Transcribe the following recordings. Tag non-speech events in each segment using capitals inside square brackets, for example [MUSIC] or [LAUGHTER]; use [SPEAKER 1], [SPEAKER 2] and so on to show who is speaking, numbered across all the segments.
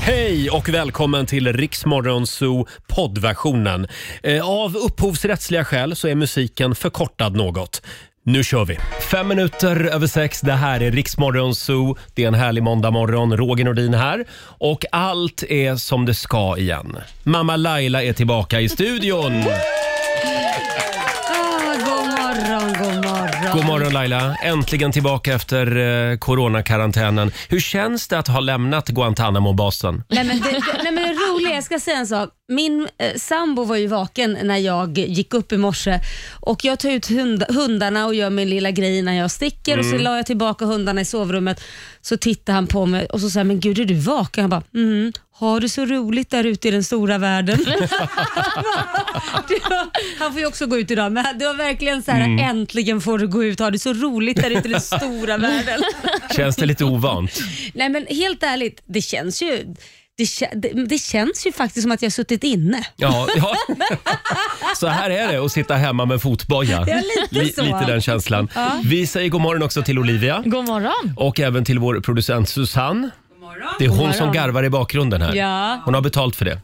[SPEAKER 1] Hej och välkommen till Riksmorgon Zoo poddversionen. Eh, Av upphovsrättsliga skäl så är musiken förkortad något. Nu kör vi! Fem minuter över sex, det här är Riksmorgon Zoo. Det är en härlig måndagmorgon. Roger Nordin här. Och allt är som det ska igen. Mamma Laila är tillbaka i studion.
[SPEAKER 2] Ah, god morgon, god morgon.
[SPEAKER 1] God morgon Laila! Äntligen tillbaka efter eh, coronakarantänen. Hur känns det att ha lämnat Guantanamo-basen?
[SPEAKER 2] Nej, men det, det, nej, men det roliga, jag ska säga en sak. Min eh, sambo var ju vaken när jag gick upp i morse och jag tar ut hund, hundarna och gör min lilla grej innan jag sticker och så la jag tillbaka hundarna i sovrummet. Så tittade han på mig och så sa han, men gud är du vaken? Jag bara, mm, har du så roligt där ute i den stora världen? [LAUGHS] det var, han får ju också gå ut idag, men det var verkligen så här, äntligen får du gå ut, har du så roligt där ute i den stora världen?
[SPEAKER 1] Känns det lite ovant?
[SPEAKER 2] Nej men helt ärligt, det känns ju det, kä- det, det känns ju faktiskt som att jag har suttit inne.
[SPEAKER 1] Ja, ja. Så här är det att sitta hemma med fotboja.
[SPEAKER 2] Ja, lite
[SPEAKER 1] Li-
[SPEAKER 2] så.
[SPEAKER 1] lite den känslan. Vi säger god morgon också till Olivia
[SPEAKER 3] God morgon.
[SPEAKER 1] och även till vår producent Susanne. Det är hon som garvar i bakgrunden här.
[SPEAKER 2] Ja.
[SPEAKER 1] Hon har betalt för det.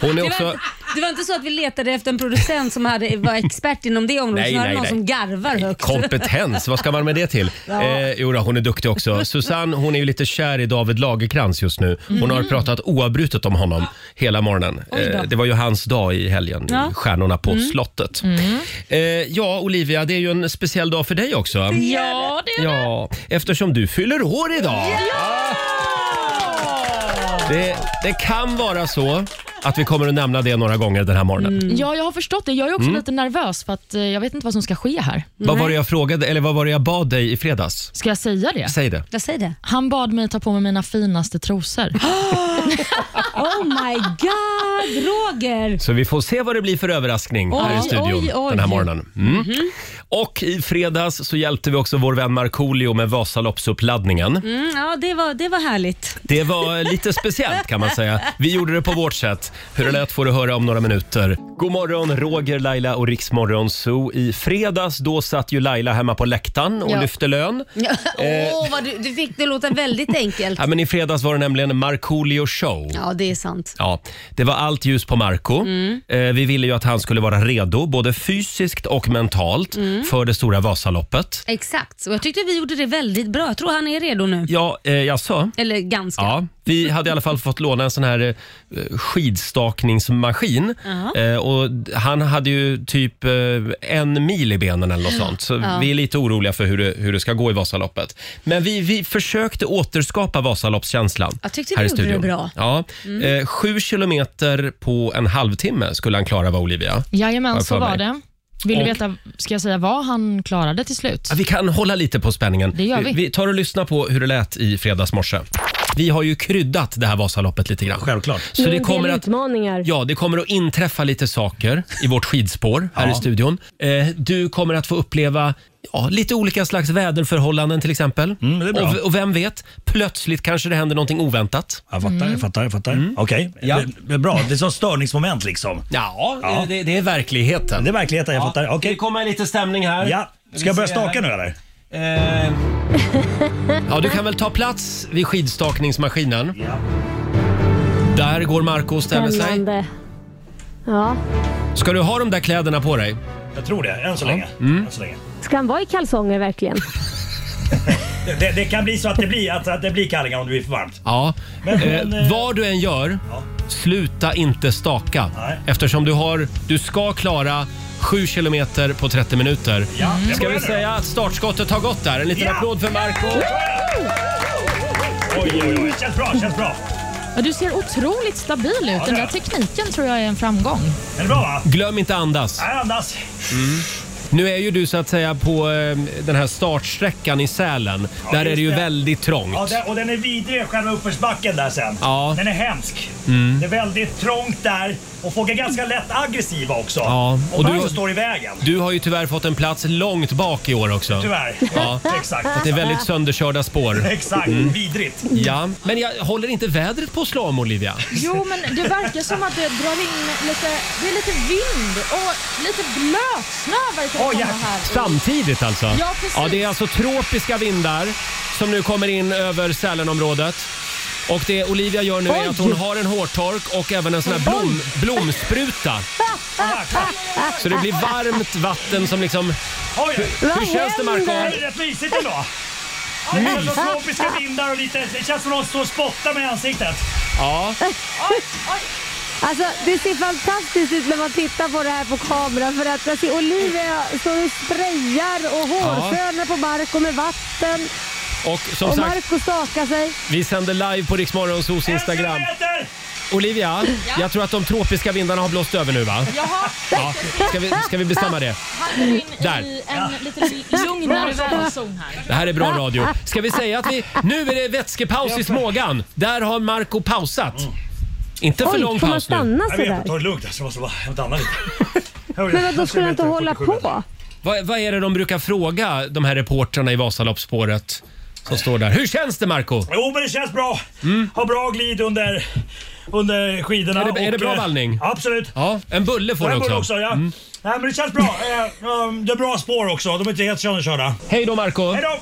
[SPEAKER 1] Hon är
[SPEAKER 2] Det var,
[SPEAKER 1] också...
[SPEAKER 2] det var inte så att vi letade efter en producent som hade, var expert inom det området,
[SPEAKER 1] Nej,
[SPEAKER 2] snarare
[SPEAKER 1] nej,
[SPEAKER 2] någon
[SPEAKER 1] nej.
[SPEAKER 2] som garvar högt.
[SPEAKER 1] Kompetens, vad ska man med det till? Eh, jo då, hon är duktig också. Susanne hon är ju lite kär i David Lagerkrans just nu. Hon
[SPEAKER 2] Mm.
[SPEAKER 1] har pratat oavbrutet om honom hela morgonen. Eh, det var ju hans dag i helgen,
[SPEAKER 2] Ja. Mm.
[SPEAKER 1] i Stjärnorna på slottet. Eh, ja, Olivia, det är ju en speciell dag för dig också.
[SPEAKER 3] Ja, det är
[SPEAKER 1] Ja, eftersom du fyller år idag. Det, det kan vara så att vi kommer att nämna det några gånger den här morgonen.
[SPEAKER 4] Mm.
[SPEAKER 3] Ja, jag har förstått det. Jag är också lite nervös för att eh, jag vet inte vad som ska ske här.
[SPEAKER 1] Vad var det jag frågade, eller vad var det jag bad dig i fredags?
[SPEAKER 3] Ska jag säga det?
[SPEAKER 1] Säg det.
[SPEAKER 2] Jag säger det.
[SPEAKER 3] Han bad mig ta på mig mina finaste [GASPS] trosor.
[SPEAKER 2] Oh my god, Roger!
[SPEAKER 1] Så vi får se vad det blir för överraskning här i
[SPEAKER 2] Oj,
[SPEAKER 1] studion
[SPEAKER 2] oj, oj.
[SPEAKER 1] den här morgonen. Mm. Och i fredags så hjälpte vi också vår vän Markoolio med Vasaloppsuppladdningen.
[SPEAKER 2] Mm, ja, det var, det var härligt.
[SPEAKER 1] Det var lite speciellt kan man säga. Vi gjorde det på vårt sätt. Hur det lät får du höra om några minuter. God morgon Roger, Laila och Riksmorgon Zoo. I fredags då satt ju Laila hemma på läktaren och
[SPEAKER 3] Ja.
[SPEAKER 1] lyfte lön.
[SPEAKER 2] Åh,
[SPEAKER 1] Eh.
[SPEAKER 2] vad du, du fick det låta väldigt enkelt.
[SPEAKER 1] Ja, men I fredags var det nämligen Markoolio show.
[SPEAKER 2] Ja, det är sant.
[SPEAKER 1] Ja, det var allt ljus på Marco. Eh, vi ville ju att han skulle vara redo, både fysiskt och mentalt, för det stora Vasaloppet.
[SPEAKER 2] Exakt, så jag tyckte vi gjorde det väldigt bra. Jag tror han är redo nu.
[SPEAKER 1] Ja, eh, jaså?
[SPEAKER 2] Eller ganska.
[SPEAKER 1] Ja, vi hade i alla fall fått låna en sån här eh, skidstakningsmaskin. Eh, och d- han hade ju typ eh, en mil i benen eller något sånt. Så vi är lite oroliga för hur det, hur det ska gå i Vasaloppet. Men vi, vi försökte återskapa Vasaloppskänslan
[SPEAKER 2] Jag tyckte
[SPEAKER 1] här
[SPEAKER 2] du
[SPEAKER 1] i
[SPEAKER 2] gjorde det
[SPEAKER 1] studion.
[SPEAKER 2] bra. Mm.
[SPEAKER 1] Ja, eh, sju kilometer på en halvtimme skulle han klara, va Olivia? Har
[SPEAKER 3] Jajamän,
[SPEAKER 1] jag
[SPEAKER 3] så
[SPEAKER 1] för mig.
[SPEAKER 3] var det. Vill
[SPEAKER 1] Och-
[SPEAKER 3] du veta, ska jag säga vad han klarade till slut?
[SPEAKER 1] Ja, Vi kan hålla lite på spänningen.
[SPEAKER 3] Det gör vi.
[SPEAKER 1] vi tar och lyssnar på hur det lät i fredags morse. Vi har ju kryddat det här Vasaloppet lite grann.
[SPEAKER 5] Självklart.
[SPEAKER 1] Så det kommer att
[SPEAKER 6] utmaningar.
[SPEAKER 1] Ja, det kommer att inträffa lite saker i vårt skidspår här i studion. Eh, du kommer att få uppleva ja, lite olika slags väderförhållanden till exempel.
[SPEAKER 5] Mm, det är bra.
[SPEAKER 1] och, v- och vem vet, plötsligt kanske det händer någonting oväntat. Mm.
[SPEAKER 5] Jag fattar, jag fattar, jag fattar. Okej, Eh,
[SPEAKER 1] Ja.
[SPEAKER 5] det, det är bra. Det är som störningsmoment liksom.
[SPEAKER 1] Ja,
[SPEAKER 5] Ja.
[SPEAKER 1] Det, det är verkligheten.
[SPEAKER 5] Det är verkligheten, jag fattar.
[SPEAKER 1] Ska
[SPEAKER 5] Okej.
[SPEAKER 1] det komma lite stämning här?
[SPEAKER 5] Ja. Ska jag börja staka nu eller?
[SPEAKER 1] Eh... [LAUGHS] Ja, du kan väl ta plats vid skidstakningsmaskinen.
[SPEAKER 5] Ja.
[SPEAKER 1] Där går Marco och ställer sig.
[SPEAKER 6] Spännande. Ja.
[SPEAKER 1] Ska du ha de där kläderna på dig? Mm.
[SPEAKER 5] Jag tror det, än så länge. Än så länge.
[SPEAKER 6] Ska han vara i kalsonger verkligen?
[SPEAKER 5] Det, det, det kan bli så att det blir, att, att det blir kallingar om det blir för varmt.
[SPEAKER 1] Ja.
[SPEAKER 5] Men- men,
[SPEAKER 1] eh,
[SPEAKER 5] eh,
[SPEAKER 1] vad du än gör,
[SPEAKER 5] Ja.
[SPEAKER 1] sluta inte staka.
[SPEAKER 5] Nej.
[SPEAKER 1] Eftersom du, har, du ska klara 7 kilometer på 30 minuter.
[SPEAKER 5] Ja, jag
[SPEAKER 1] Ska vi
[SPEAKER 5] börjar nu.
[SPEAKER 1] säga att startskottet har gått där? En liten
[SPEAKER 5] Ja.
[SPEAKER 1] applåd för Marco.
[SPEAKER 5] Oj, oj, oj. Känns bra, känns bra.
[SPEAKER 3] Ja, Du ser otroligt stabil ut. Den
[SPEAKER 5] det
[SPEAKER 3] där
[SPEAKER 5] är.
[SPEAKER 3] tekniken tror jag är en framgång.
[SPEAKER 5] Är det bra va?
[SPEAKER 1] Glöm inte andas.
[SPEAKER 5] Nej, andas.
[SPEAKER 1] Mm. Nu är ju du så att säga på eh, den här startsträckan i Sälen. där
[SPEAKER 5] just
[SPEAKER 1] är det ju
[SPEAKER 5] det.
[SPEAKER 1] väldigt trångt.
[SPEAKER 5] Ja, den, och den är vidrig själva uppförsbacken där sen.
[SPEAKER 1] Ja. Mm.
[SPEAKER 5] Den är hemsk. Det är väldigt trångt där och folk är ganska lätt aggressiva också.
[SPEAKER 1] Ja, och
[SPEAKER 5] Och,
[SPEAKER 1] du-
[SPEAKER 5] och du står i vägen.
[SPEAKER 1] Du har ju tyvärr fått en plats långt bak i år också.
[SPEAKER 5] Tyvärr.
[SPEAKER 1] Ja.
[SPEAKER 5] [LAUGHS] Exakt.
[SPEAKER 1] Det är väldigt sönderkörda spår.
[SPEAKER 5] [LAUGHS]
[SPEAKER 1] Mm.
[SPEAKER 5] Exakt, vidrigt.
[SPEAKER 1] Ja, men jag håller inte vädret på att slå om Olivia?
[SPEAKER 3] Jo, men det verkar som att det drar in lite... Det är lite vind och lite blöt snö verkar
[SPEAKER 5] Åh, komma ja. här.
[SPEAKER 1] Samtidigt alltså?
[SPEAKER 3] Ja, precis.
[SPEAKER 1] det är alltså tropiska vindar som nu kommer in över Sälenområdet. Och det Olivia gör nu är att hon har en hårtork och även en sån här blom, blomspruta. Så det blir varmt vatten som liksom...
[SPEAKER 5] Oj,
[SPEAKER 1] Hur, hur känns det Marco?
[SPEAKER 5] det är rätt mysigt ändå. Ja, Det känns som tropiska vindar och lite, det känns som någon står och spottar mig i ansiktet.
[SPEAKER 1] Ja.
[SPEAKER 6] Alltså, det ser fantastiskt ut när man tittar på det här på kameran för att jag ser Olivia står och sprayar och hårfönar på Marco med vatten
[SPEAKER 1] Och som
[SPEAKER 6] och
[SPEAKER 1] sagt,
[SPEAKER 6] Marco stakar sig.
[SPEAKER 1] vi sänder live på Riksmorgonsos Instagram.
[SPEAKER 5] Älskar vad jag heter!
[SPEAKER 1] Olivia, jag tror att de tropiska vindarna har blåst över nu va?
[SPEAKER 3] Jaha,
[SPEAKER 1] Ja. Ska vi, ska vi bestämma det?
[SPEAKER 3] hamnar in
[SPEAKER 1] Där.
[SPEAKER 3] i en lite lugnare väderzon här.
[SPEAKER 1] Det här är bra radio. Ska vi säga att vi... Nu är det vätskepaus i Smågan. Där har Marco pausat. Inte för
[SPEAKER 6] Oj,
[SPEAKER 1] lång
[SPEAKER 6] får man
[SPEAKER 1] paus nu.
[SPEAKER 6] stanna
[SPEAKER 5] Jag vet,
[SPEAKER 6] sådär?
[SPEAKER 5] ta det lugnt. Jag måste bara hämta
[SPEAKER 6] [LAUGHS]
[SPEAKER 5] Anna lite.
[SPEAKER 6] Men vadå, skulle jag inte hålla på?
[SPEAKER 1] Vad, vad är det de brukar fråga de här reportrarna i Vasaloppsspåret som står där? Hur känns det Marco?
[SPEAKER 5] Jo, men det känns bra. Har bra glid under, under skidorna.
[SPEAKER 1] Mm. Är det- är det bra
[SPEAKER 5] eh,
[SPEAKER 1] vallning?
[SPEAKER 5] Absolut.
[SPEAKER 1] Ja, en bulle får
[SPEAKER 5] Det
[SPEAKER 1] du
[SPEAKER 5] här borde
[SPEAKER 1] också. Mm.
[SPEAKER 5] också ja. Nej, men det känns bra. Eh, um, det är bra spår också. De är inte helt sönderkörda.
[SPEAKER 1] Hej då Marco.
[SPEAKER 5] Hej då!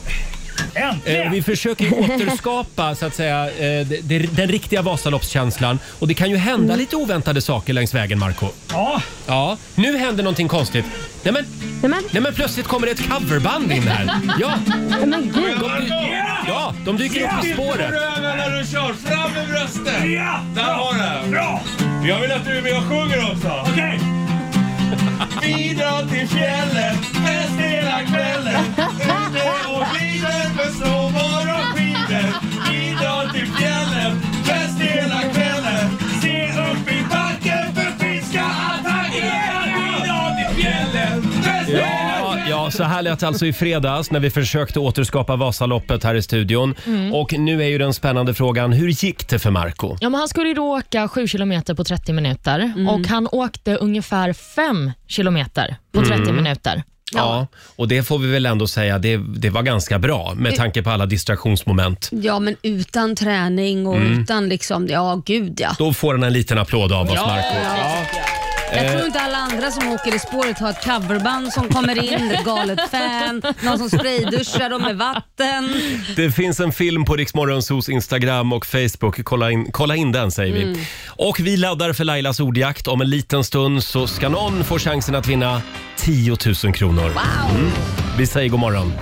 [SPEAKER 5] Äntligen!
[SPEAKER 1] Eh, vi försöker
[SPEAKER 5] [LAUGHS]
[SPEAKER 1] ju återskapa så att säga, eh, det- det- den riktiga Vasaloppskänslan. Och det kan ju hända lite oväntade saker längs vägen, Marco.
[SPEAKER 5] Ja,
[SPEAKER 1] Ja, nu händer någonting konstigt. Nej men,
[SPEAKER 6] Nämen,
[SPEAKER 1] nej men plötsligt kommer det ett coverband in här. Ja,
[SPEAKER 6] men gud.
[SPEAKER 1] de, ja, de dyker upp i spåret.
[SPEAKER 7] Röven när du kör, fram med brösten!
[SPEAKER 5] Ja!
[SPEAKER 7] Där har du!
[SPEAKER 5] bra!
[SPEAKER 7] Jag vill att du är med och sjunger också!
[SPEAKER 5] Okej!
[SPEAKER 7] Vi drar till fjällen, fest hela kvällen. Ute och glider med snowboard och skidor. Vi drar till fjällen, fest hela kvällen. Se upp i backen för finska attacker. Vi drar till fjällen, fest hela
[SPEAKER 1] Ja, ja, så här lät det alltså i fredags när vi försökte återskapa Vasaloppet här i studion. Och nu är ju den spännande frågan, hur gick det för Marco?
[SPEAKER 4] Ja, men han skulle ju då åka 7 kilometer på 30 minuter
[SPEAKER 2] Mm.
[SPEAKER 4] och han åkte ungefär 5 kilometer på 30
[SPEAKER 2] Mm.
[SPEAKER 4] minuter.
[SPEAKER 1] Ja. och det får vi väl ändå säga, det, det var ganska bra med tanke på alla distraktionsmoment.
[SPEAKER 2] Ja, men utan träning och utan liksom, ja gud ja.
[SPEAKER 1] Då får han en liten applåd Mm. av oss, Marco. Eh,
[SPEAKER 2] Jag tror inte alla andra som åker i spåret har ett coverband som kommer in, ett galet fan, någon som sprayduschar dem med vatten.
[SPEAKER 1] Det finns en film på Riksmorgonsos Instagram och Facebook. Kolla in, kolla in den, säger
[SPEAKER 2] Mm.
[SPEAKER 1] vi. Och vi laddar för Lailas ordjakt. Om en liten stund så ska någon få chansen att vinna 10 000 kronor. Mm. Vi säger god morgon.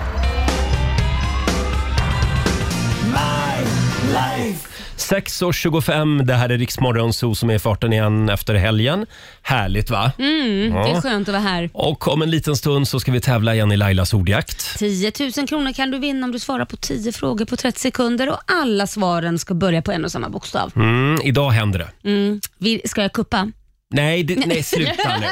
[SPEAKER 5] life!
[SPEAKER 1] 6.25, det här är Riksmorgonso som är i farten igen efter helgen. Härligt va?
[SPEAKER 2] Mm. Det är skönt att vara här.
[SPEAKER 1] Och om en liten stund så ska vi tävla igen i Lailas ordjakt.
[SPEAKER 2] 10 000 kronor kan du vinna om du svarar på 10 frågor på 30 sekunder och alla svaren ska börja på en och samma bokstav.
[SPEAKER 1] Mm, idag händer det.
[SPEAKER 2] Mm. Vi- Ska jag kuppa?
[SPEAKER 1] Nej, det, nej sluta
[SPEAKER 2] [LAUGHS]
[SPEAKER 1] nu.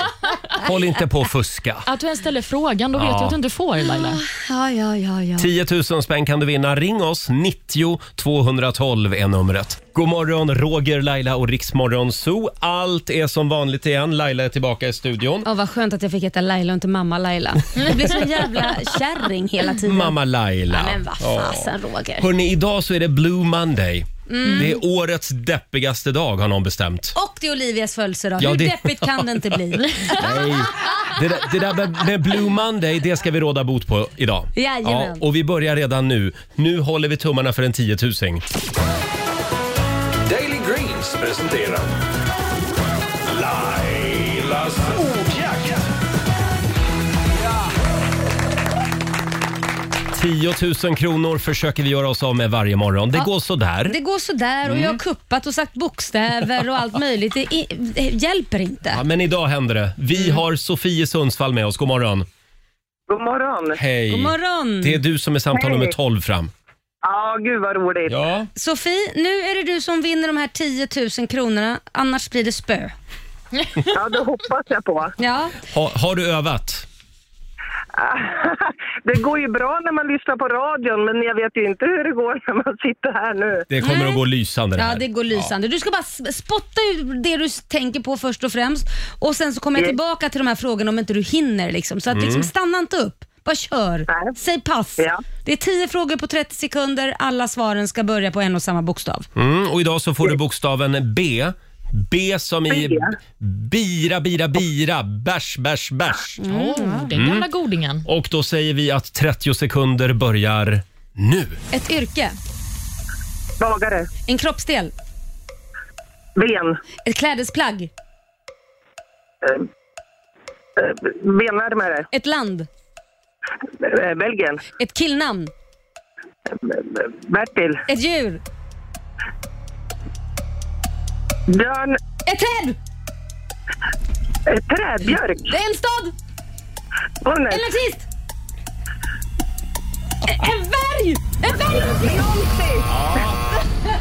[SPEAKER 1] Håll inte på och fuska.
[SPEAKER 4] Att du ens ställer frågan, då vet
[SPEAKER 1] Ja.
[SPEAKER 4] jag att du inte får Laila.
[SPEAKER 2] Ah, Ja, ja, ja, ja.
[SPEAKER 1] 10 000 spänn kan du vinna. Ring oss, 90 212 är numret. God morgon, Roger, Laila och Riksmorgon Zoo. Allt är som vanligt igen. Laila är tillbaka i studion.
[SPEAKER 2] Ja, vad skönt att jag fick heta Laila och inte mamma Laila. Jag blir så jävla kärring hela tiden.
[SPEAKER 1] Mamma Laila.
[SPEAKER 2] Ja, men vad fasen Roger. Mm.
[SPEAKER 1] Hörni, idag så är det Blue Monday. Det är årets deppigaste dag har någon bestämt.
[SPEAKER 2] Och det är Olivias födelsedag.
[SPEAKER 1] Ja,
[SPEAKER 2] Hur
[SPEAKER 1] det-
[SPEAKER 2] deppigt kan det inte
[SPEAKER 1] [LAUGHS]
[SPEAKER 2] bli?
[SPEAKER 1] Nej. Det där, det där med, med Blue Monday, det ska vi råda bot på idag.
[SPEAKER 2] Jajamän.
[SPEAKER 1] och vi börjar redan nu. Nu håller vi tummarna för en tiotusing.
[SPEAKER 7] Daily Greens presenterar Lailas ordjakt.
[SPEAKER 1] 10 000 kronor försöker vi göra oss av med varje morgon. Det går sådär. Mm.
[SPEAKER 2] Det går sådär och jag har kuppat och sagt bokstäver och allt möjligt. Det, i, det hjälper inte.
[SPEAKER 1] Ja, men idag händer det. Vi
[SPEAKER 2] Mm.
[SPEAKER 1] har Sofie Sundsvall med oss. God morgon.
[SPEAKER 8] God morgon.
[SPEAKER 1] Hej.
[SPEAKER 2] God morgon.
[SPEAKER 1] Det är du som är samtal nummer
[SPEAKER 8] Hej.
[SPEAKER 1] 12 fram.
[SPEAKER 8] Ja, gud vad roligt.
[SPEAKER 1] Ja.
[SPEAKER 2] Sofie, nu är det du som vinner de här 10 000 kronorna, annars blir det spö.
[SPEAKER 8] Ja, det hoppas jag på.
[SPEAKER 2] Ja,
[SPEAKER 1] Ha, har du övat?
[SPEAKER 8] Det går ju bra när man lyssnar på radion, men jag vet ju inte hur det går när man sitter här nu.
[SPEAKER 1] Det kommer
[SPEAKER 2] Nej.
[SPEAKER 1] att gå lysande det
[SPEAKER 2] ja
[SPEAKER 1] här.
[SPEAKER 2] det går lysande. Du ska bara s- spotta ut det du s- tänker på först och främst och sen så kommer jag
[SPEAKER 8] Yes.
[SPEAKER 2] tillbaka till de här frågorna om inte du hinner. Liksom. Så att, liksom, stanna inte upp, bara kör.
[SPEAKER 8] Nej.
[SPEAKER 2] Säg pass.
[SPEAKER 8] Ja.
[SPEAKER 2] Det är 10 frågor på 30 sekunder, alla svaren ska börja på en och samma bokstav.
[SPEAKER 1] Mm, och idag så får du bokstaven B. B som i
[SPEAKER 8] B.
[SPEAKER 1] bira, bira, bira, bärs, bärs, bärs.
[SPEAKER 4] Oh,
[SPEAKER 2] Mm.
[SPEAKER 4] den gamla godingen.
[SPEAKER 1] Och då säger vi att 30 sekunder börjar nu.
[SPEAKER 2] Ett yrke,
[SPEAKER 8] Bagare.
[SPEAKER 2] En kroppsdel.
[SPEAKER 8] Ben.
[SPEAKER 2] Ett klädesplagg.
[SPEAKER 8] Eh, eh, Benvärmare.
[SPEAKER 2] Ett land.
[SPEAKER 8] Eh, Belgien.
[SPEAKER 2] Ett killnamn.
[SPEAKER 8] Eh, Bertil.
[SPEAKER 2] Ett djur.
[SPEAKER 8] Björn.
[SPEAKER 2] Ett träd.
[SPEAKER 8] Eh, Trädbjörk.
[SPEAKER 2] Det är en stad.
[SPEAKER 8] Bonnet.
[SPEAKER 2] En artist. E- En berg. En berg.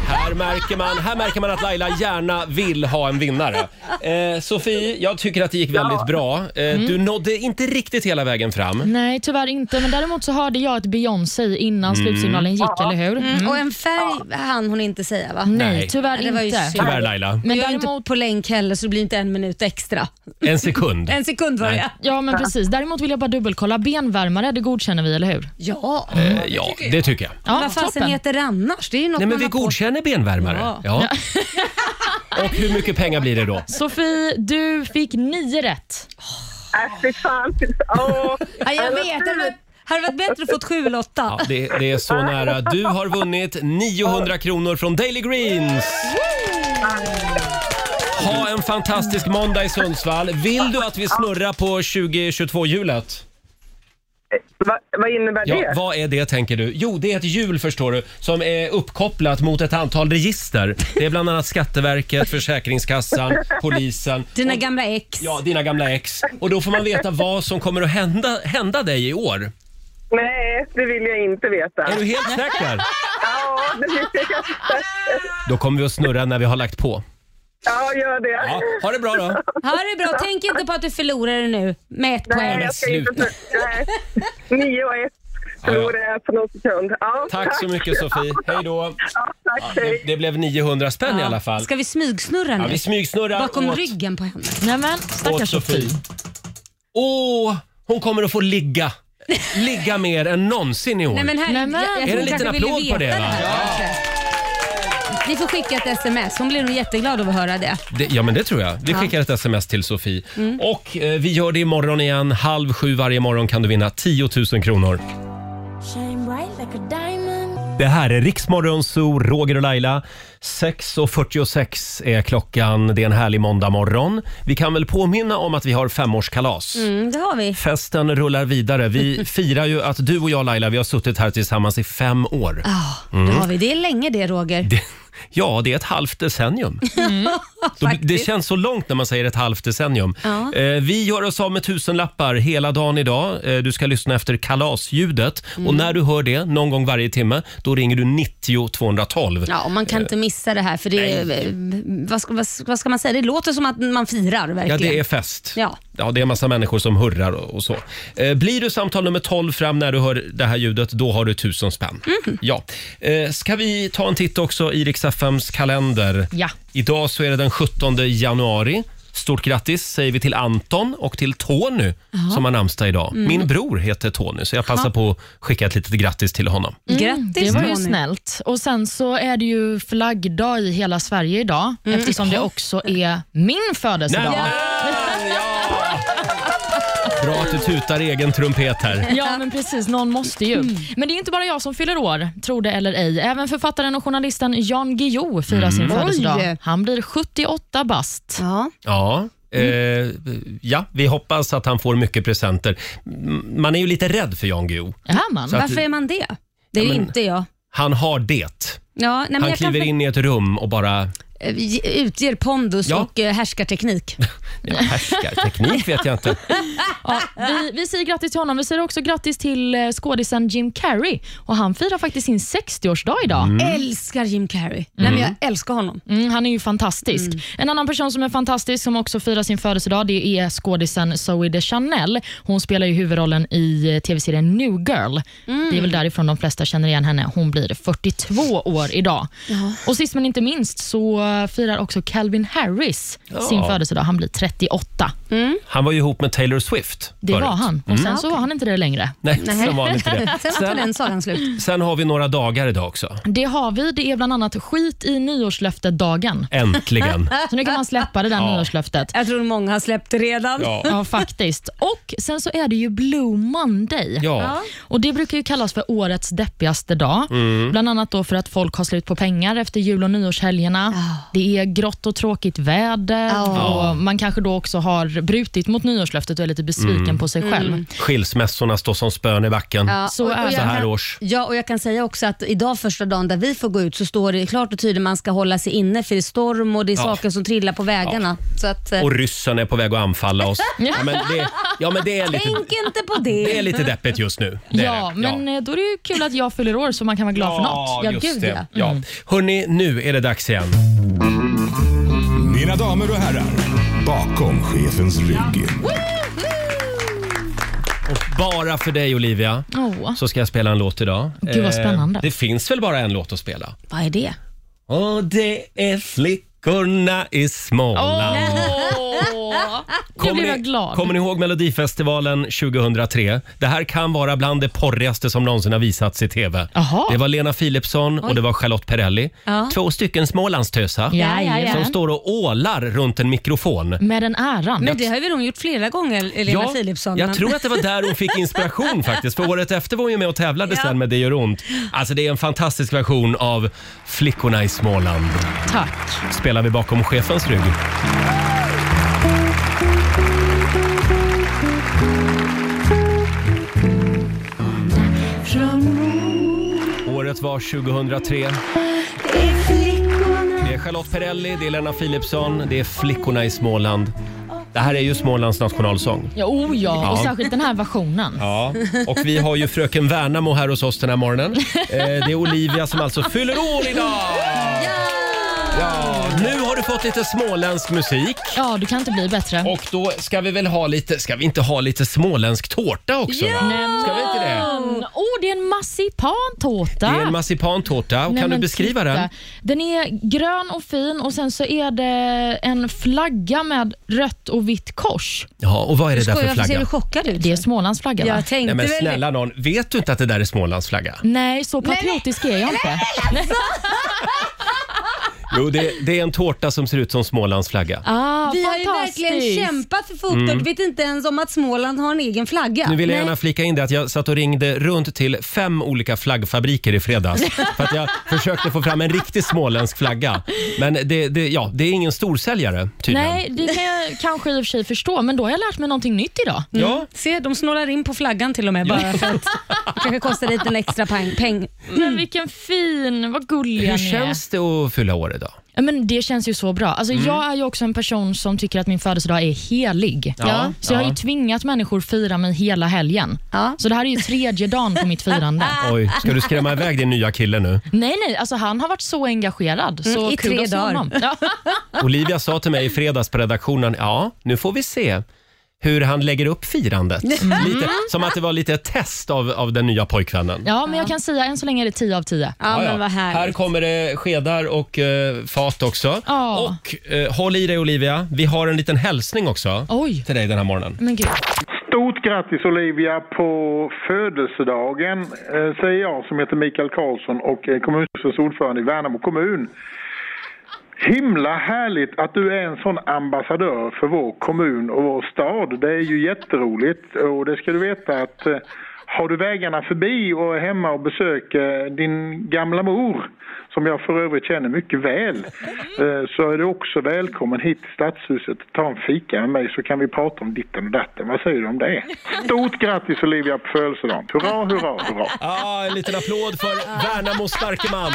[SPEAKER 1] Här märker, man, här märker man att Laila gärna vill ha en vinnare. Eh, Sofie, jag tycker att det gick väldigt bra. Eh, Du nådde inte riktigt hela vägen fram.
[SPEAKER 4] Nej, tyvärr inte. Men däremot så hörde jag ett Beyoncé innan
[SPEAKER 1] Mm.
[SPEAKER 4] slutsignalen gick, eller hur? Mm.
[SPEAKER 2] Och en färg hann hon inte säga va?
[SPEAKER 1] Nej.
[SPEAKER 4] Nej, tyvärr
[SPEAKER 2] Det var ju
[SPEAKER 4] inte.
[SPEAKER 2] synd.
[SPEAKER 1] Tyvärr Laila.
[SPEAKER 4] Men
[SPEAKER 2] Men jag är inte
[SPEAKER 4] däremot,
[SPEAKER 2] på länk heller så det blir inte en minut extra.
[SPEAKER 4] [LAUGHS]
[SPEAKER 1] En sekund.
[SPEAKER 2] En sekund var
[SPEAKER 1] Nej.
[SPEAKER 2] jag.
[SPEAKER 4] ja, men precis. Däremot vill jag bara dubbelkolla. Benvärmare, det godkänner vi, eller hur?
[SPEAKER 2] Ja.
[SPEAKER 1] Eh, Ja, det tycker jag.
[SPEAKER 4] Ja,
[SPEAKER 2] Vad fasen
[SPEAKER 4] toppen.
[SPEAKER 2] heter det annars? Det är ju något
[SPEAKER 1] Nej, men
[SPEAKER 2] man
[SPEAKER 1] vi
[SPEAKER 2] har på
[SPEAKER 1] godkänner benvärmare.
[SPEAKER 2] Ja.
[SPEAKER 1] Ja. Och hur mycket pengar blir det då?
[SPEAKER 4] Sofie, du fick nio rätt.
[SPEAKER 8] [LAUGHS] Äh, fy fan. Åh.
[SPEAKER 2] Ja, jag vet. Det hade varit- hade varit bättre att få sju eller åtta.
[SPEAKER 1] Ja, det, det är så nära. Du har vunnit 900 kronor från Daily Greens. Ha en fantastisk måndag i Sundsvall. Vill du att vi snurrar på 2022-hjulet?
[SPEAKER 8] Va, vad innebär
[SPEAKER 1] Ja,
[SPEAKER 8] det?
[SPEAKER 1] vad är det tänker du? Jo, det är ett hjul förstår du som är uppkopplat mot ett antal register. Det är bland
[SPEAKER 8] [LAUGHS]
[SPEAKER 1] annat Skatteverket, Försäkringskassan, Polisen.
[SPEAKER 2] Dina gamla ex.
[SPEAKER 1] Ja, dina gamla ex. Och då får man veta vad som kommer att hända, hända dig i år.
[SPEAKER 8] Nej, det vill jag inte veta.
[SPEAKER 1] Är du helt säker?
[SPEAKER 8] Ja, det vill jag.
[SPEAKER 1] Då kommer vi att snurra när vi har lagt på.
[SPEAKER 8] [LAUGHS] ja gör det.
[SPEAKER 1] Ja, ha det bra då.
[SPEAKER 2] Ha det bra. Tänk inte på att du förlorar det nu med ett
[SPEAKER 8] Nej,
[SPEAKER 2] poäng.
[SPEAKER 8] jag ska inte...
[SPEAKER 1] sluta.
[SPEAKER 8] Nej. [LAUGHS] Nio och ett förlorade jag på någon sekund. Ja,
[SPEAKER 1] Tack så mycket Sofie. Hej då.
[SPEAKER 8] Ja, tack,
[SPEAKER 1] Det,
[SPEAKER 8] hej.
[SPEAKER 1] det blev 900 spänn i alla fall.
[SPEAKER 2] Ska vi smygsnurra
[SPEAKER 1] Ja,
[SPEAKER 2] nu?
[SPEAKER 1] vi smygsnurrar
[SPEAKER 2] Bakom
[SPEAKER 1] åt,
[SPEAKER 2] ryggen på henne.
[SPEAKER 4] Nämen,
[SPEAKER 1] åt
[SPEAKER 4] stackars
[SPEAKER 1] Sofie.
[SPEAKER 4] Sofie.
[SPEAKER 1] Åh, hon kommer att
[SPEAKER 2] [LAUGHS]
[SPEAKER 1] få ligga. Ligga mer än någonsin i år.
[SPEAKER 2] Nej, men här,
[SPEAKER 4] Nej, men.
[SPEAKER 2] Jag, jag,
[SPEAKER 1] Är det
[SPEAKER 2] tror
[SPEAKER 1] en liten
[SPEAKER 2] kanske ville
[SPEAKER 1] applåd på
[SPEAKER 2] veta
[SPEAKER 1] det, va?
[SPEAKER 2] här, kanske. Ni får skicka ett sms. Hon blir nog jätteglad av att höra det.
[SPEAKER 1] Det, ja, men det tror jag. Vi skickar ett sms till Sofie.
[SPEAKER 2] Mm.
[SPEAKER 1] Och eh, vi gör det imorgon igen. Halv sju varje morgon kan du vinna 10 000 kronor. Det här är Riksmorgon Zoo, Roger och Laila. 6.46 är klockan. Det är en härlig måndag morgon. Vi kan väl påminna om att vi har femårskalas.
[SPEAKER 2] Mm, det har vi.
[SPEAKER 1] Festen rullar
[SPEAKER 2] [LAUGHS]
[SPEAKER 1] vidare. Vi firar ju att du och jag Laila, vi har suttit här tillsammans i fem år.
[SPEAKER 2] Ja, Ah,
[SPEAKER 1] Mm.
[SPEAKER 2] det har vi. Det är länge det, Roger.
[SPEAKER 1] Det, [LAUGHS] ja, det är ett halvt decennium.
[SPEAKER 2] Mm. [LAUGHS]
[SPEAKER 1] Då, det känns så långt när man säger ett halvt decennium.
[SPEAKER 2] Ja.
[SPEAKER 1] Eh, vi gör oss av med tusenlappar hela dagen idag. Eh, du ska lyssna efter kalasljudet.
[SPEAKER 2] Mm.
[SPEAKER 1] Och när du hör det, någon gång varje timme, då ringer du 90 212.
[SPEAKER 2] Ja, och man kan inte missa det här för det är, vad, ska, vad, ska- vad ska man säga? Det låter som att man firar
[SPEAKER 1] Ja,
[SPEAKER 2] verkligen.
[SPEAKER 1] det är fest.
[SPEAKER 2] Ja.
[SPEAKER 1] det är en massa människor som hurrar och, och så. Eh, blir du samtal nummer 12 fram när du hör det här ljudet, då har du tusen spänn.
[SPEAKER 2] Mhm.
[SPEAKER 1] Ja. Eh, ska vi ta en titt också i Rix FMs kalender?
[SPEAKER 4] Ja.
[SPEAKER 1] Idag så är det den 17 januari. Stort grattis säger vi till Anton och till Tony som har namnsdag idag. Min bror heter Tony så jag passar på att skicka ett litet grattis till honom.
[SPEAKER 2] Grattis
[SPEAKER 4] Det var ju
[SPEAKER 2] Tony.
[SPEAKER 4] snällt. Och Sen så är det ju flaggdag i hela Sverige idag
[SPEAKER 2] Mm.
[SPEAKER 4] eftersom det också är min födelsedag.
[SPEAKER 1] Nämen, ja! Bra att du tutar egen trumpet här.
[SPEAKER 4] Ja, men precis. Någon måste ju.
[SPEAKER 2] Mm.
[SPEAKER 4] Men det är inte bara jag som fyller år, tro det eller ej. Även författaren och journalisten Jan Guillou firar sin födelsedag. Han blir 78 bast.
[SPEAKER 2] Mm. Ja.
[SPEAKER 1] Ja. Eh, ja, vi hoppas att han får mycket presenter. M- Man är ju lite rädd för Jan Guillou.
[SPEAKER 4] Är man?
[SPEAKER 1] Så att-
[SPEAKER 2] Varför är man det? Det är
[SPEAKER 1] Ja,
[SPEAKER 2] ju
[SPEAKER 1] men-
[SPEAKER 2] inte jag.
[SPEAKER 1] Han har det.
[SPEAKER 2] Ja, nej, men
[SPEAKER 1] Han
[SPEAKER 2] jag kan
[SPEAKER 1] kliver in i ett rum och bara
[SPEAKER 2] Eh, ge- utger pondus
[SPEAKER 1] Ja.
[SPEAKER 2] och eh, härskarteknik.
[SPEAKER 1] [LAUGHS] ja, härskar. Teknik vet jag inte.
[SPEAKER 4] Ja, vi, vi säger grattis till honom. Vi säger också grattis till eh, skådisen Jim Carrey. Och Han firar faktiskt sin 60-årsdag idag.
[SPEAKER 2] Mm. Älskar Jim Carrey. Nej, men jag älskar honom. Mm.
[SPEAKER 4] Mm, han är ju fantastisk. En annan person som är fantastisk som också firar sin födelsedag det är skådisen Zoe de Chanel. Hon spelar ju huvudrollen i eh, tv-serien New Girl.
[SPEAKER 2] Mm.
[SPEAKER 4] Det är väl därifrån de flesta känner igen henne. Hon blir 42 år idag. Och Sist men inte minst så så firar också Calvin Harris sin födelsedag. Han blir 38.
[SPEAKER 2] Mm.
[SPEAKER 1] Han var ju ihop med Taylor Swift.
[SPEAKER 4] Det
[SPEAKER 1] förut. Mm.
[SPEAKER 4] var han. Och sen så var han inte det längre.
[SPEAKER 1] Nej, sen var han inte det.
[SPEAKER 2] [LAUGHS] Sen var inte
[SPEAKER 1] Sen,
[SPEAKER 2] den sagan slut.
[SPEAKER 1] sen har vi några dagar idag också.
[SPEAKER 4] Det har vi. Det är bland annat skit i nyårslöftet-dagen. [LAUGHS]
[SPEAKER 1] Äntligen.
[SPEAKER 4] Så nu kan man släppa
[SPEAKER 1] [LAUGHS]
[SPEAKER 4] det där nyårslöftet.
[SPEAKER 2] Jag tror många har släppt det redan.
[SPEAKER 4] Ja, faktiskt. Och sen så är det ju Blue Monday.
[SPEAKER 1] Ja.
[SPEAKER 4] Och Det brukar ju kallas för årets deppigaste dag.
[SPEAKER 1] Mm.
[SPEAKER 4] Bland annat då för att folk har slut på pengar efter jul och nyårshelgerna. Det är grått och tråkigt väder. Och Man kanske då också har brutit mot nyårslöftet och är lite besviken
[SPEAKER 1] Mm.
[SPEAKER 4] på sig själv.
[SPEAKER 2] Mm.
[SPEAKER 1] Skilsmässorna står som spön i backen.
[SPEAKER 2] Ja,
[SPEAKER 4] Så är
[SPEAKER 2] jag
[SPEAKER 4] det.
[SPEAKER 1] Så här
[SPEAKER 2] kan,
[SPEAKER 1] års.
[SPEAKER 2] eh, Ja, och jag kan säga också att idag första dagen där vi får gå ut så står det klart och tydligt man ska hålla sig inne för det är storm och det är
[SPEAKER 1] Ja.
[SPEAKER 2] saker som trillar på vägarna. Så att, eh,
[SPEAKER 1] Och ryssen är på väg att anfalla
[SPEAKER 4] [LAUGHS]
[SPEAKER 1] oss. Ja, men det, ja, men det är lite...
[SPEAKER 2] tänk inte på det.
[SPEAKER 1] Det är lite deppigt just nu. Det är
[SPEAKER 4] Ja,
[SPEAKER 1] det.
[SPEAKER 4] men eh, då är det ju kul att jag fyller år så man kan vara glad för något.
[SPEAKER 2] Ja, gud, ja.
[SPEAKER 1] ja.
[SPEAKER 4] Mm.
[SPEAKER 1] Hörni, nu är det dags igen.
[SPEAKER 9] Mina damer och herrar, bakom chefens rygg.
[SPEAKER 1] Och bara för dig Olivia
[SPEAKER 4] Åh.
[SPEAKER 1] så ska jag spela en låt idag.
[SPEAKER 4] Gud, vad spännande.
[SPEAKER 1] Eh, det finns väl bara en låt att spela?
[SPEAKER 2] Vad är det?
[SPEAKER 1] Och det är flickorna i Småland.
[SPEAKER 4] Åh. Nu blev jag glad.
[SPEAKER 1] kommer ni ihåg Melodifestivalen 2003? Det här kan vara bland det porrigaste som någonsin har visats i TV.
[SPEAKER 4] Jaha.
[SPEAKER 1] Det var Lena Philipsson och det var Charlotte Perrelli.
[SPEAKER 2] Ja.
[SPEAKER 1] Två stycken Smålandstösar
[SPEAKER 4] Ja, ja, ja. Mm.
[SPEAKER 1] som står och ålar runt en mikrofon.
[SPEAKER 4] Med den äran.
[SPEAKER 2] Men det har ju hon gjort flera gånger, Elena Philipsson.
[SPEAKER 1] jag
[SPEAKER 2] men-
[SPEAKER 1] tror att det var där hon fick inspiration faktiskt. För året efter var hon ju med och tävlade
[SPEAKER 2] Ja.
[SPEAKER 1] sen med Det gör ont. Alltså det är en fantastisk version av Flickorna i Småland.
[SPEAKER 4] Tack.
[SPEAKER 1] Spelar vi bakom chefens rygg. Året var 2003. Det är Charlotte Perrelli, det är Lena Philipsson, det är Flickorna i Småland. Det här är ju Smålands nationalsång.
[SPEAKER 4] Ja, oh ja.
[SPEAKER 1] Ja.
[SPEAKER 4] och särskilt den här versionen.
[SPEAKER 1] Ja, och vi har ju fröken Värnamo här hos oss den här morgonen. Eh, det är Olivia som alltså fyller år idag! Ja, nu har du fått lite småländsk musik.
[SPEAKER 4] Ja, du kan inte bli bättre.
[SPEAKER 1] Och då ska vi väl ha lite, ska vi inte ha lite småländsk tårta också? va? Ska vi inte det?
[SPEAKER 4] Mm. Oh, det är en marsipantårta.
[SPEAKER 1] Det är en marsipantårta. Och
[SPEAKER 4] Nej,
[SPEAKER 1] kan du
[SPEAKER 4] men
[SPEAKER 1] beskriva
[SPEAKER 4] titta.
[SPEAKER 1] den?
[SPEAKER 4] Den är grön och fin och sen så är det en flagga med rött och vitt kors.
[SPEAKER 1] Ja, och vad är det där
[SPEAKER 2] Skojar,
[SPEAKER 1] för
[SPEAKER 2] varför ser
[SPEAKER 1] flagga?
[SPEAKER 2] du chockad ut?
[SPEAKER 4] Det är Smålands flagga va?
[SPEAKER 2] jag tänkte
[SPEAKER 1] Nej men
[SPEAKER 2] väl
[SPEAKER 1] snälla någon, vet du inte att det där är Smålands flagga?
[SPEAKER 4] Nej, så patriotisk är jag inte.
[SPEAKER 1] Jo, det, det är en tårta som ser ut som Smålands flagga.
[SPEAKER 4] [LAUGHS] Ah,
[SPEAKER 2] Vi har ju
[SPEAKER 4] fantastiskt.
[SPEAKER 2] verkligen kämpat för fotboll. Du vet inte ens om att Småland har en egen flagga.
[SPEAKER 1] Mm. Nu vill jag gärna flika in det att jag satt och ringde runt till fem olika flaggfabriker i fredags för att jag försökte få fram en riktig småländsk flagga. Men det, det, ja, det är ingen storsäljare tydligen.
[SPEAKER 4] Nej, det kan jag kanske i och för sig förstå, men då har jag lärt mig någonting nytt idag.
[SPEAKER 1] Ja,
[SPEAKER 2] Mm. Se, de snålar in på flaggan till och med bara
[SPEAKER 4] [LAUGHS]
[SPEAKER 2] för att det kanske kostar lite en extra pang, peng.
[SPEAKER 4] Men vilken fin, vad gulliga
[SPEAKER 1] hur
[SPEAKER 4] ni är.
[SPEAKER 1] känns Mm. det att fylla år idag?
[SPEAKER 4] Ja, Men det känns ju så bra. Alltså, Jag är ju också en person som tycker att min födelsedag är helig.
[SPEAKER 1] Ja.
[SPEAKER 4] Så jag har
[SPEAKER 1] Ja.
[SPEAKER 4] ju tvingat människor fira mig hela helgen.
[SPEAKER 2] Ja.
[SPEAKER 4] Så det här är ju tredje dagen på mitt
[SPEAKER 2] [LAUGHS]
[SPEAKER 4] firande.
[SPEAKER 1] Oj, ska du skrämma iväg din nya kille nu?
[SPEAKER 4] Nej, nej, alltså han har varit så engagerad. Så
[SPEAKER 2] Mm, i tre
[SPEAKER 4] kudos till
[SPEAKER 2] dagar. [LAUGHS]
[SPEAKER 4] honom. Ja.
[SPEAKER 1] Olivia sa till mig i fredags på redaktionen, ja, nu får vi se hur han lägger upp firandet.
[SPEAKER 4] Mm.
[SPEAKER 1] Lite, som att det var lite ett test av, av den nya pojkvännen.
[SPEAKER 4] ja, men jag kan säga än så länge är det 10 av 10.
[SPEAKER 2] Ja,
[SPEAKER 1] Ja, ja.
[SPEAKER 2] men vad
[SPEAKER 1] Här
[SPEAKER 2] härligt.
[SPEAKER 1] kommer det skedar och eh, fat också.
[SPEAKER 4] Ja.
[SPEAKER 1] Och eh, håll i dig Olivia, vi har en liten hälsning också
[SPEAKER 4] Oj.
[SPEAKER 1] till dig den här morgonen.
[SPEAKER 4] Men gud.
[SPEAKER 10] Stort grattis Olivia på födelsedagen eh, säger jag som heter Mikael Karlsson och är kommunstyrelsens ordförande i Värnamo kommun. Himla härligt att du är en sån ambassadör för vår kommun och vår stad. Det är ju jätteroligt och det ska du veta att eh, har du vägarna förbi och är hemma och besöker din gamla mor, som jag för övrigt känner mycket väl, eh, så är du också välkommen hit till Stadshuset. Ta en fika med mig så kan vi prata om ditten och datten. Vad säger du om det? Stort grattis Olivia på födelsedagen. Hurra, hurra, hurra.
[SPEAKER 1] [LAUGHS] Ja, Ah, en liten applåd för
[SPEAKER 4] [LAUGHS]
[SPEAKER 1] Värnamos starke man.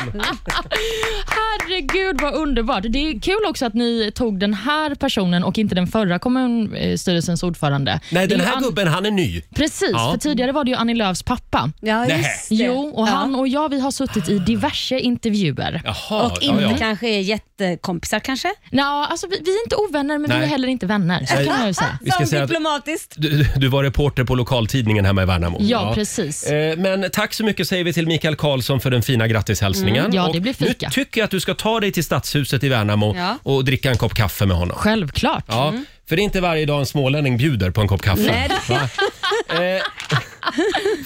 [SPEAKER 4] Herregud vad underbart. Det är kul också att ni tog den här personen och inte den förra kommunstyrelsens ordförande.
[SPEAKER 1] Nej,
[SPEAKER 4] Det är
[SPEAKER 1] den
[SPEAKER 4] ju
[SPEAKER 1] här
[SPEAKER 4] Ann-
[SPEAKER 1] gubben han är ny.
[SPEAKER 4] Precis,
[SPEAKER 1] Ja.
[SPEAKER 4] för tidigare var det ju Annie Lööfs pappa.
[SPEAKER 2] Ja,
[SPEAKER 1] Nähä.
[SPEAKER 2] just det.
[SPEAKER 4] Jo, och
[SPEAKER 2] Ja.
[SPEAKER 4] han och jag vi har suttit i diverse intervjuer.
[SPEAKER 1] Jaha,
[SPEAKER 2] Och inte kanske är jättekompisar kanske?
[SPEAKER 4] Ja, alltså vi, vi är inte ovänner, men vi
[SPEAKER 1] Nej.
[SPEAKER 4] är heller inte vänner. Så
[SPEAKER 1] Nej.
[SPEAKER 4] kan man
[SPEAKER 2] [LAUGHS]
[SPEAKER 4] ju säga.
[SPEAKER 1] Vi ska Som säga att-
[SPEAKER 2] diplomatiskt.
[SPEAKER 1] Du, du var reporter på lokaltidningen hemma i Värnamo.
[SPEAKER 4] Ja, precis.
[SPEAKER 1] Eh, Men tack så mycket säger vi till Mikael Karlsson för den fina grattishälsningen.
[SPEAKER 4] Mm, ja, det
[SPEAKER 1] Och
[SPEAKER 4] blir fika.
[SPEAKER 1] Nu tycker jag att du ska ta dig till Stadshuset i Värnamo
[SPEAKER 4] Ja.
[SPEAKER 1] och dricka en kopp kaffe med honom.
[SPEAKER 4] Självklart.
[SPEAKER 1] Ja,
[SPEAKER 2] Mm.
[SPEAKER 1] För det är inte varje dag en smålänning bjuder på en kopp kaffe.
[SPEAKER 4] Nej, det-
[SPEAKER 1] Va? Eh,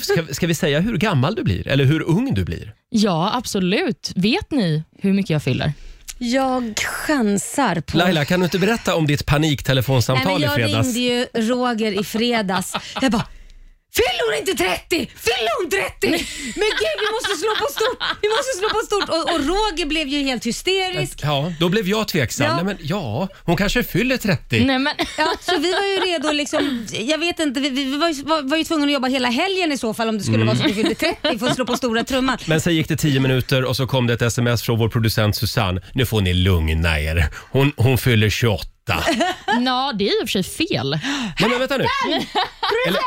[SPEAKER 1] ska, ska vi säga hur gammal du blir? Eller hur ung du blir?
[SPEAKER 4] Ja, absolut. Vet ni hur mycket jag fyller?
[SPEAKER 2] Jag chansar på...
[SPEAKER 1] Laila, kan du inte berätta om ditt
[SPEAKER 2] Nej, men
[SPEAKER 1] paniktelefonsamtal i
[SPEAKER 2] jag
[SPEAKER 1] fredags?
[SPEAKER 2] ringde ju Roger i fredags. Jag bara, fyller hon inte 30? Fyller hon 30? Men gud, vi måste slå på stort! Vi måste slå på stort! Och, och Roger blev ju helt hysterisk.
[SPEAKER 1] Ja, då blev jag tveksam.
[SPEAKER 2] Ja.
[SPEAKER 1] Nej, men, ja, hon kanske fyller 30.
[SPEAKER 2] [LAUGHS] Ja, så vi var ju redo liksom, jag vet inte, vi, vi var, ju- var, var ju tvungna att jobba hela helgen i så fall om det skulle
[SPEAKER 1] Mm.
[SPEAKER 2] vara så att vi fyllde 30 för att slå på stora trumman.
[SPEAKER 1] Men sen gick det tio minuter och så kom det ett sms från vår producent Susanne. Nu får ni lugna er. Hon, hon fyller 28.
[SPEAKER 4] Ja, det är i och för sig fel.
[SPEAKER 1] Nej, men vänta nu. Eller,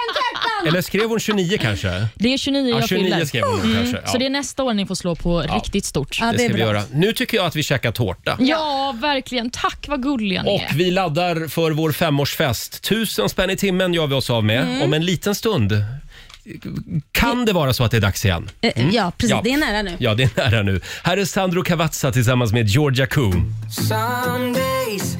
[SPEAKER 1] eller skrev hon 29 kanske?
[SPEAKER 4] Det är 29
[SPEAKER 1] Ja,
[SPEAKER 4] jag
[SPEAKER 1] 29
[SPEAKER 4] fyller. Mm.
[SPEAKER 1] skrev hon nog kanske, ja.
[SPEAKER 4] Så det är nästa år ni får slå på riktigt stort.
[SPEAKER 1] det, ska vi göra. Nu tycker jag att vi käkar tårta.
[SPEAKER 4] Ja, verkligen. Tack vad gulliga ni
[SPEAKER 1] Och
[SPEAKER 4] är.
[SPEAKER 1] vi laddar för vår femårsfest. Tusen spänn i timmen gör vi oss av med.
[SPEAKER 2] Mm.
[SPEAKER 1] Om en liten stund kan det vara så att det är dags igen.
[SPEAKER 2] Eh,
[SPEAKER 1] Mm.
[SPEAKER 2] Ja, precis. Det är nära nu.
[SPEAKER 1] Ja, det är nära nu. Här är Sandro Cavazza tillsammans med Georgia Koo.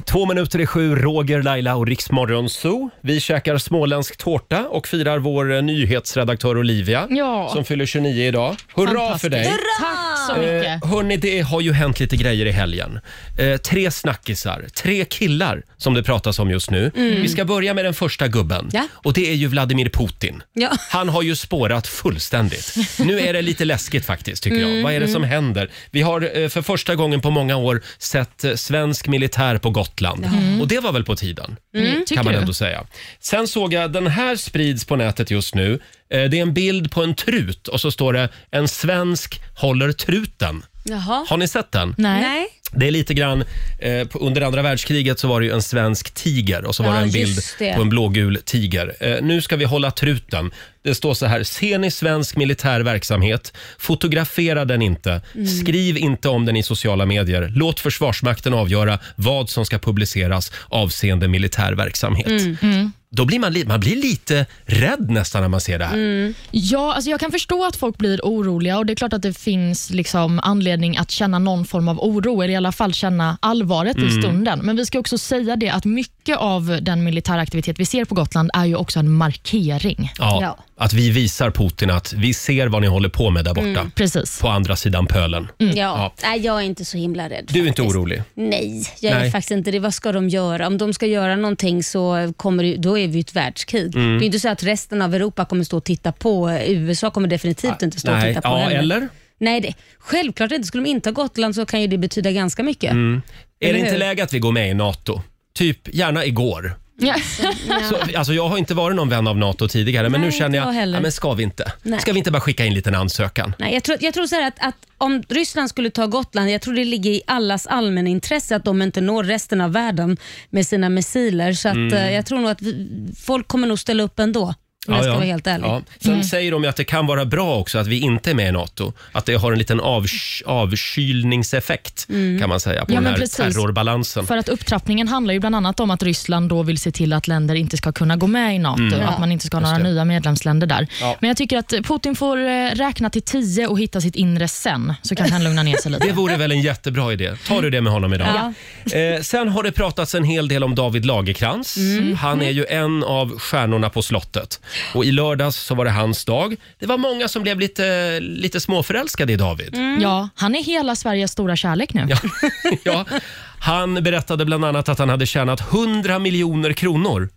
[SPEAKER 1] Två minuter i sju, Roger, Laila och Riksmorgon Zoo. Vi käkar småländsk tårta och firar vår eh, nyhetsredaktör Olivia
[SPEAKER 4] Ja.
[SPEAKER 1] som fyller 29 idag. Hurra för dig!
[SPEAKER 4] Tack så mycket.
[SPEAKER 1] Eh, hörni, det har ju hänt lite grejer i helgen. Eh, tre snackisar, tre killar som det pratas om just nu.
[SPEAKER 2] Mm.
[SPEAKER 1] Vi ska börja med den första gubben
[SPEAKER 2] Ja.
[SPEAKER 1] och det är ju Vladimir Putin.
[SPEAKER 2] Ja.
[SPEAKER 1] Han har ju spårat fullständigt. Nu är det lite läskigt faktiskt tycker jag.
[SPEAKER 2] Mm,
[SPEAKER 1] Vad är det som
[SPEAKER 2] mm.
[SPEAKER 1] händer? Vi har eh, för första gången på många år sett eh, svensk militär på Gotland
[SPEAKER 7] Mm.
[SPEAKER 1] och det var väl på tiden.
[SPEAKER 7] Mm, tycker
[SPEAKER 1] kan man
[SPEAKER 7] du?
[SPEAKER 1] ändå säga. Sen såg jag den här sprids på nätet just nu. Eh, Det är en bild på en trut och så står det en svensk håller truten.
[SPEAKER 2] Jaha.
[SPEAKER 1] Har ni sett den?
[SPEAKER 2] Nej. Nej.
[SPEAKER 1] Det är lite grann, eh, på, under andra världskriget så var det ju en svensk tiger och så var
[SPEAKER 2] Ja,
[SPEAKER 1] det en bild
[SPEAKER 2] just det.
[SPEAKER 1] på en blågul tiger. Eh, nu ska vi hålla truten. Det står så här, ser ni svensk militär verksamhet? Fotografera den inte.
[SPEAKER 7] Mm.
[SPEAKER 1] Skriv inte om den i sociala medier. Låt Försvarsmakten avgöra vad som ska publiceras avseende militär verksamhet.
[SPEAKER 4] Mm. Mm.
[SPEAKER 1] Då blir man, li- man blir lite rädd nästan när man ser det
[SPEAKER 2] Mm.
[SPEAKER 1] här.
[SPEAKER 4] Ja, alltså jag kan förstå att folk blir oroliga och det är klart att det finns liksom anledning att känna någon form av oro, eller i alla fall känna allvaret i
[SPEAKER 7] Mm.
[SPEAKER 4] stunden. Men vi ska också säga det att mycket av den militära aktivitet vi ser på Gotland är ju också en markering.
[SPEAKER 1] Ja, Att vi visar Putin att vi ser vad ni håller på med där borta.
[SPEAKER 2] Mm,
[SPEAKER 1] På andra sidan pölen.
[SPEAKER 2] Ja. Nej, jag är inte så himla rädd.
[SPEAKER 1] Du är inte orolig?
[SPEAKER 2] Nej, jag är
[SPEAKER 1] Nej.
[SPEAKER 2] faktiskt inte det. Vad ska de göra? Om de ska göra någonting så kommer det, då är vi ju ett världskrig.
[SPEAKER 1] Mm.
[SPEAKER 2] Det är inte så att resten av Europa kommer stå och titta på. USA kommer definitivt inte stå och
[SPEAKER 1] Ah, Nej.
[SPEAKER 2] titta på
[SPEAKER 1] Ja,
[SPEAKER 2] heller.
[SPEAKER 1] eller?
[SPEAKER 2] Nej, det, självklart inte. Skulle de inte ha Gotland så kan ju det betyda ganska mycket.
[SPEAKER 1] Mm. Är
[SPEAKER 2] Eller
[SPEAKER 1] det inte
[SPEAKER 2] hur?
[SPEAKER 1] läge att vi går med i NATO? Typ gärna igår.
[SPEAKER 4] Ja.
[SPEAKER 1] Så, alltså jag har inte varit någon vän av NATO tidigare, men nu
[SPEAKER 2] Nej,
[SPEAKER 1] känner
[SPEAKER 2] inte jag
[SPEAKER 1] jag,
[SPEAKER 2] heller.
[SPEAKER 1] ja, men ska vi inte?
[SPEAKER 2] Nej.
[SPEAKER 1] Ska vi inte bara skicka in en liten ansökan?
[SPEAKER 2] Nej, jag tror, jag tror så här att, att om Ryssland skulle ta Gotland, jag tror det ligger i allas allmänintresse att de inte når resten av världen med sina missiler. Så att,
[SPEAKER 1] Mm.
[SPEAKER 2] eh, jag tror nog att vi, folk kommer nog ställa upp ändå, om jag ska vara helt ärlig. Mm.
[SPEAKER 1] Ja. Sen säger de ju att det kan vara bra också att vi inte är med i NATO. Att det har en liten avs- avkylningseffekt
[SPEAKER 4] Mm.
[SPEAKER 1] kan man säga på
[SPEAKER 4] Ja,
[SPEAKER 1] den
[SPEAKER 4] men
[SPEAKER 1] här
[SPEAKER 4] precis.
[SPEAKER 1] terrorbalansen.
[SPEAKER 4] För att upptrappningen handlar ju bland annat om att Ryssland då vill se till att länder inte ska kunna gå med i NATO,
[SPEAKER 1] Mm.
[SPEAKER 4] att man inte ska ha
[SPEAKER 1] Just
[SPEAKER 4] några
[SPEAKER 1] det.
[SPEAKER 4] nya medlemsländer där.
[SPEAKER 1] Ja.
[SPEAKER 4] Men jag tycker att Putin får eh, räkna till tio och hitta sitt inre sen, så kan han lugna ner sig
[SPEAKER 1] [LAUGHS]
[SPEAKER 4] lite.
[SPEAKER 1] Det vore väl en jättebra idé. Tar du det med honom idag? Eh, sen har det pratats en hel del om David Lagerkrans.
[SPEAKER 7] Mm.
[SPEAKER 1] Han är ju en av stjärnorna på slottet. Och i lördags så var det hans dag. Det var många som blev lite, lite småförälskade i David.
[SPEAKER 4] Ja, han är hela Sveriges stora kärlek nu.
[SPEAKER 1] Ja. Han berättade bland annat att han hade tjänat 100 miljoner kronor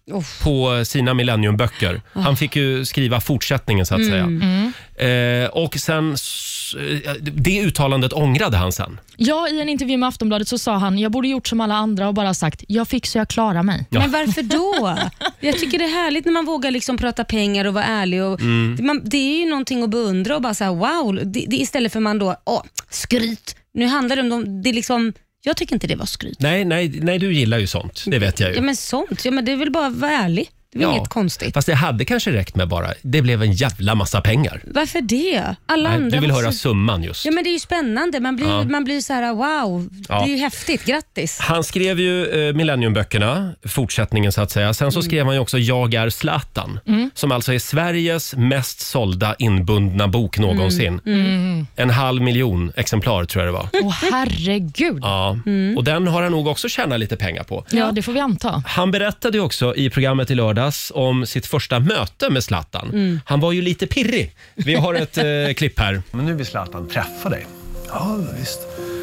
[SPEAKER 1] på sina Millenniumböcker. Han fick ju skriva fortsättningen så att säga.
[SPEAKER 4] Mm.
[SPEAKER 1] Eh, och sen, s- eh, det uttalandet ångrade han sen.
[SPEAKER 4] Ja, i en intervju med Aftonbladet så sa han, jag borde gjort som alla andra och bara sagt, jag fick så jag klarar mig.
[SPEAKER 1] Ja. Men
[SPEAKER 4] [LAUGHS]
[SPEAKER 2] Varför då? Jag tycker det är härligt när man vågar liksom prata pengar och vara ärlig. Och
[SPEAKER 4] Mm.
[SPEAKER 2] det, man, det är ju någonting att beundra och bara så här, wow, det, det, istället för man då, åh, skryt. Nu handlar det om, de, det är liksom, jag tycker inte det var skryt.
[SPEAKER 1] Nej, nej, nej, du gillar ju sånt. Det vet jag ju.
[SPEAKER 2] Ja men sånt, ja, men det är väl bara att vara ärlig. Det är väl inget konstigt.
[SPEAKER 1] Fast det hade kanske räckt med bara. Det blev en jävla massa pengar.
[SPEAKER 2] Varför det? Alla
[SPEAKER 1] Nej,
[SPEAKER 2] andra
[SPEAKER 1] du vill
[SPEAKER 2] var
[SPEAKER 1] höra
[SPEAKER 2] så...
[SPEAKER 1] summan just.
[SPEAKER 2] Ja men det är ju spännande. Man blir,
[SPEAKER 1] Ja.
[SPEAKER 2] man blir så här wow,
[SPEAKER 1] Ja.
[SPEAKER 2] det är ju häftigt. Grattis.
[SPEAKER 1] Han skrev ju eh, Millenniumböckerna, fortsättningen så att säga. Sen så skrev han ju också Jag är Zlatan,
[SPEAKER 2] Mm.
[SPEAKER 1] som alltså är Sveriges mest sålda inbundna bok någonsin.
[SPEAKER 4] Mm.
[SPEAKER 1] En halv miljon exemplar tror jag det var.
[SPEAKER 4] Åh herregud.
[SPEAKER 1] Ja.
[SPEAKER 4] Mm.
[SPEAKER 1] Och den har han nog också tjänat lite pengar på.
[SPEAKER 4] Ja, det får vi anta.
[SPEAKER 1] Han berättade ju också i programmet i lördags om sitt första möte med Zlatan.
[SPEAKER 4] Mm.
[SPEAKER 1] Han var ju lite pirrig. Vi har
[SPEAKER 4] [LAUGHS]
[SPEAKER 1] ett eh, klipp här.
[SPEAKER 11] Men nu vill Zlatan träffa dig. Ja, visst.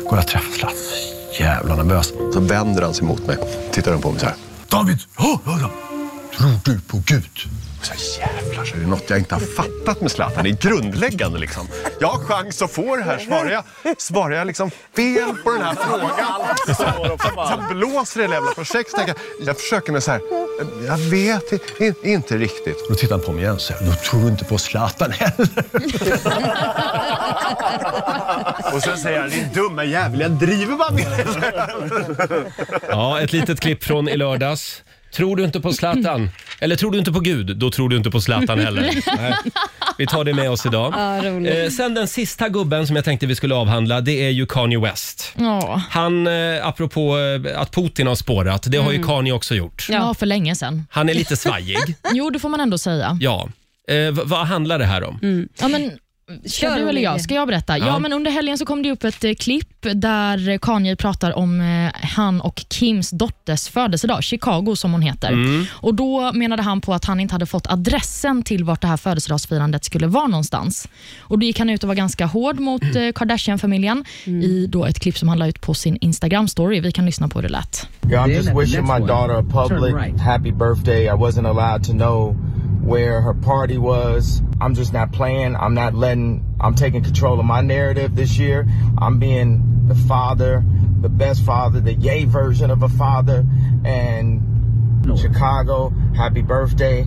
[SPEAKER 11] Går jag träffa Zlatan? Så Jävla nervös. Så vänder han sig mot mig. Tittar han på mig så här. David! Ja, ja, ja. Tror du på Gud? Och Så här, jävlar, så är det något jag inte har fattat med Zlatan. Det är grundläggande liksom. Jag har chans att få det här. Svarar jag, svarar jag liksom fel på den här frågan? Sen blåser det hela jävla projekt. Så tänker Jag, jag försöker med så här. Jag vet i- i- inte riktigt. Då tittar han på mig igen så här. Då tror du inte på Zlatan heller. Och sen säger han, din dumma jävel, jag driver bara med dig.
[SPEAKER 1] Ja, ett litet klipp från i lördags. Tror du inte på Zlatan? Eller tror du inte på Gud? Då tror du inte på Zlatan heller. [LAUGHS] Nej. Vi tar det med oss idag.
[SPEAKER 7] Ja, roligt.
[SPEAKER 1] Eh, sen den sista gubben som jag tänkte vi skulle avhandla, det är ju Kanye West.
[SPEAKER 4] Ja.
[SPEAKER 1] Han, eh, apropå eh, att Putin har spårat, det har ju
[SPEAKER 4] Mm.
[SPEAKER 1] Kanye också gjort.
[SPEAKER 4] Ja, för länge sedan.
[SPEAKER 1] Han är lite svajig.
[SPEAKER 4] [LAUGHS] Jo, det får man ändå säga.
[SPEAKER 1] Ja. Eh, v- vad handlar det här om?
[SPEAKER 4] Ja, men, ska
[SPEAKER 2] Kör,
[SPEAKER 4] du eller
[SPEAKER 2] Olivia.
[SPEAKER 4] jag? Ska jag berätta? Ja.
[SPEAKER 1] Ja.
[SPEAKER 4] men under helgen så kom det upp ett eh, klipp där Kanye pratar om eh, han och Kims dotters födelsedag, Chicago som hon heter.
[SPEAKER 7] Mm.
[SPEAKER 4] Och Då menade han på att han inte hade fått adressen till vart det här födelsedagsfirandet skulle vara någonstans. Och Då gick han ut och var ganska hård mot eh, Kardashian-familjen i då ett klipp som han la ut på sin Instagram-story. Vi kan lyssna på hur det lät.
[SPEAKER 12] Yeah, I'm just wishing my daughter a public happy birthday. I wasn't allowed to know where her party was. I'm just not playing. I'm not letting, I'm taking control of my narrative this year. I'm being the father, the best father, the yay version of a father. And Chicago, happy birthday.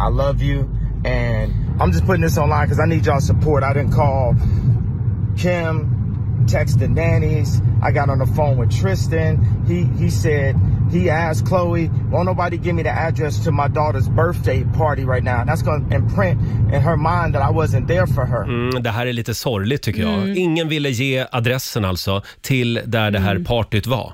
[SPEAKER 12] I love you. And I'm just putting this online because I need y'all support. I didn't call Kim, texted nannies. I got on the phone with Tristan. He he said he asked Chloe, "Won't nobody give me the address to my daughter's birthday party right now?" And that's gonna imprint in her mind that I wasn't there for her.
[SPEAKER 1] Mm, det här är lite sorgligt tycker jag.
[SPEAKER 2] Mm.
[SPEAKER 1] Ingen ville ge adressen alltså till där det
[SPEAKER 2] Mm.
[SPEAKER 1] här partyt var.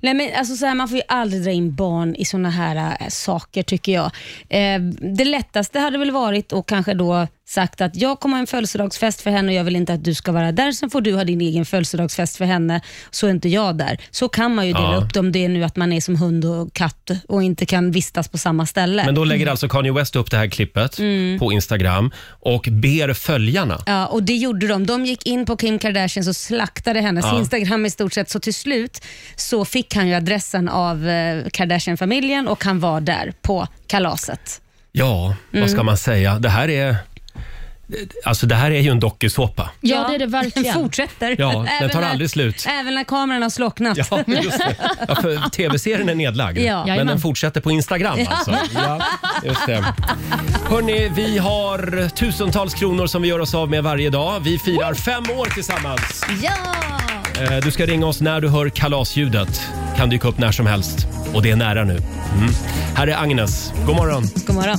[SPEAKER 2] Nej, men alltså så här, man får ju aldrig dra in barn i såna här äh, saker tycker jag. Eh, det lättaste hade väl varit att kanske då sagt att jag kommer ha en födelsedagsfest för henne och jag vill inte att du ska vara där. Sen får du ha din egen födelsedagsfest för henne, så är inte jag där. Så kan man ju dela
[SPEAKER 1] Ja.
[SPEAKER 2] upp det om det är nu att man är som hund och katt och inte kan vistas på samma ställe.
[SPEAKER 1] Men då lägger alltså Kanye West upp det här klippet
[SPEAKER 2] Mm.
[SPEAKER 1] på Instagram och ber följarna.
[SPEAKER 2] Ja, och det gjorde de. De gick in på Kim Kardashian och slaktade hennes
[SPEAKER 1] Ja.
[SPEAKER 2] Instagram i stort sett. Så till slut så fick han ju adressen av eh, Kardashian-familjen och han var där på kalaset.
[SPEAKER 1] Ja,
[SPEAKER 2] Mm.
[SPEAKER 1] vad ska man säga? Det här är... Alltså det här är ju en dokusåpa.
[SPEAKER 4] Ja, det är det verkligen.
[SPEAKER 2] Den [LAUGHS] fortsätter.
[SPEAKER 1] Ja, den
[SPEAKER 2] Även
[SPEAKER 1] tar
[SPEAKER 2] när-
[SPEAKER 1] aldrig slut.
[SPEAKER 2] Även när kameran har slocknat.
[SPEAKER 1] Ja, just det. Ja,
[SPEAKER 2] [LAUGHS]
[SPEAKER 1] för tv-serien är nedlagd,
[SPEAKER 2] Ja.
[SPEAKER 1] men
[SPEAKER 2] Jajamän.
[SPEAKER 1] den fortsätter på Instagram alltså.
[SPEAKER 2] [LAUGHS] Ja.
[SPEAKER 1] Just det. Hörni, vi har tusentals kronor som vi gör oss av med varje dag. Vi firar fem år tillsammans.
[SPEAKER 2] Ja!
[SPEAKER 1] Eh, Du ska ringa oss när du hör kalasljudet. Kan dyka upp när som helst. Och det är nära nu. Mm. Här är Agnes. God morgon.
[SPEAKER 2] God morgon.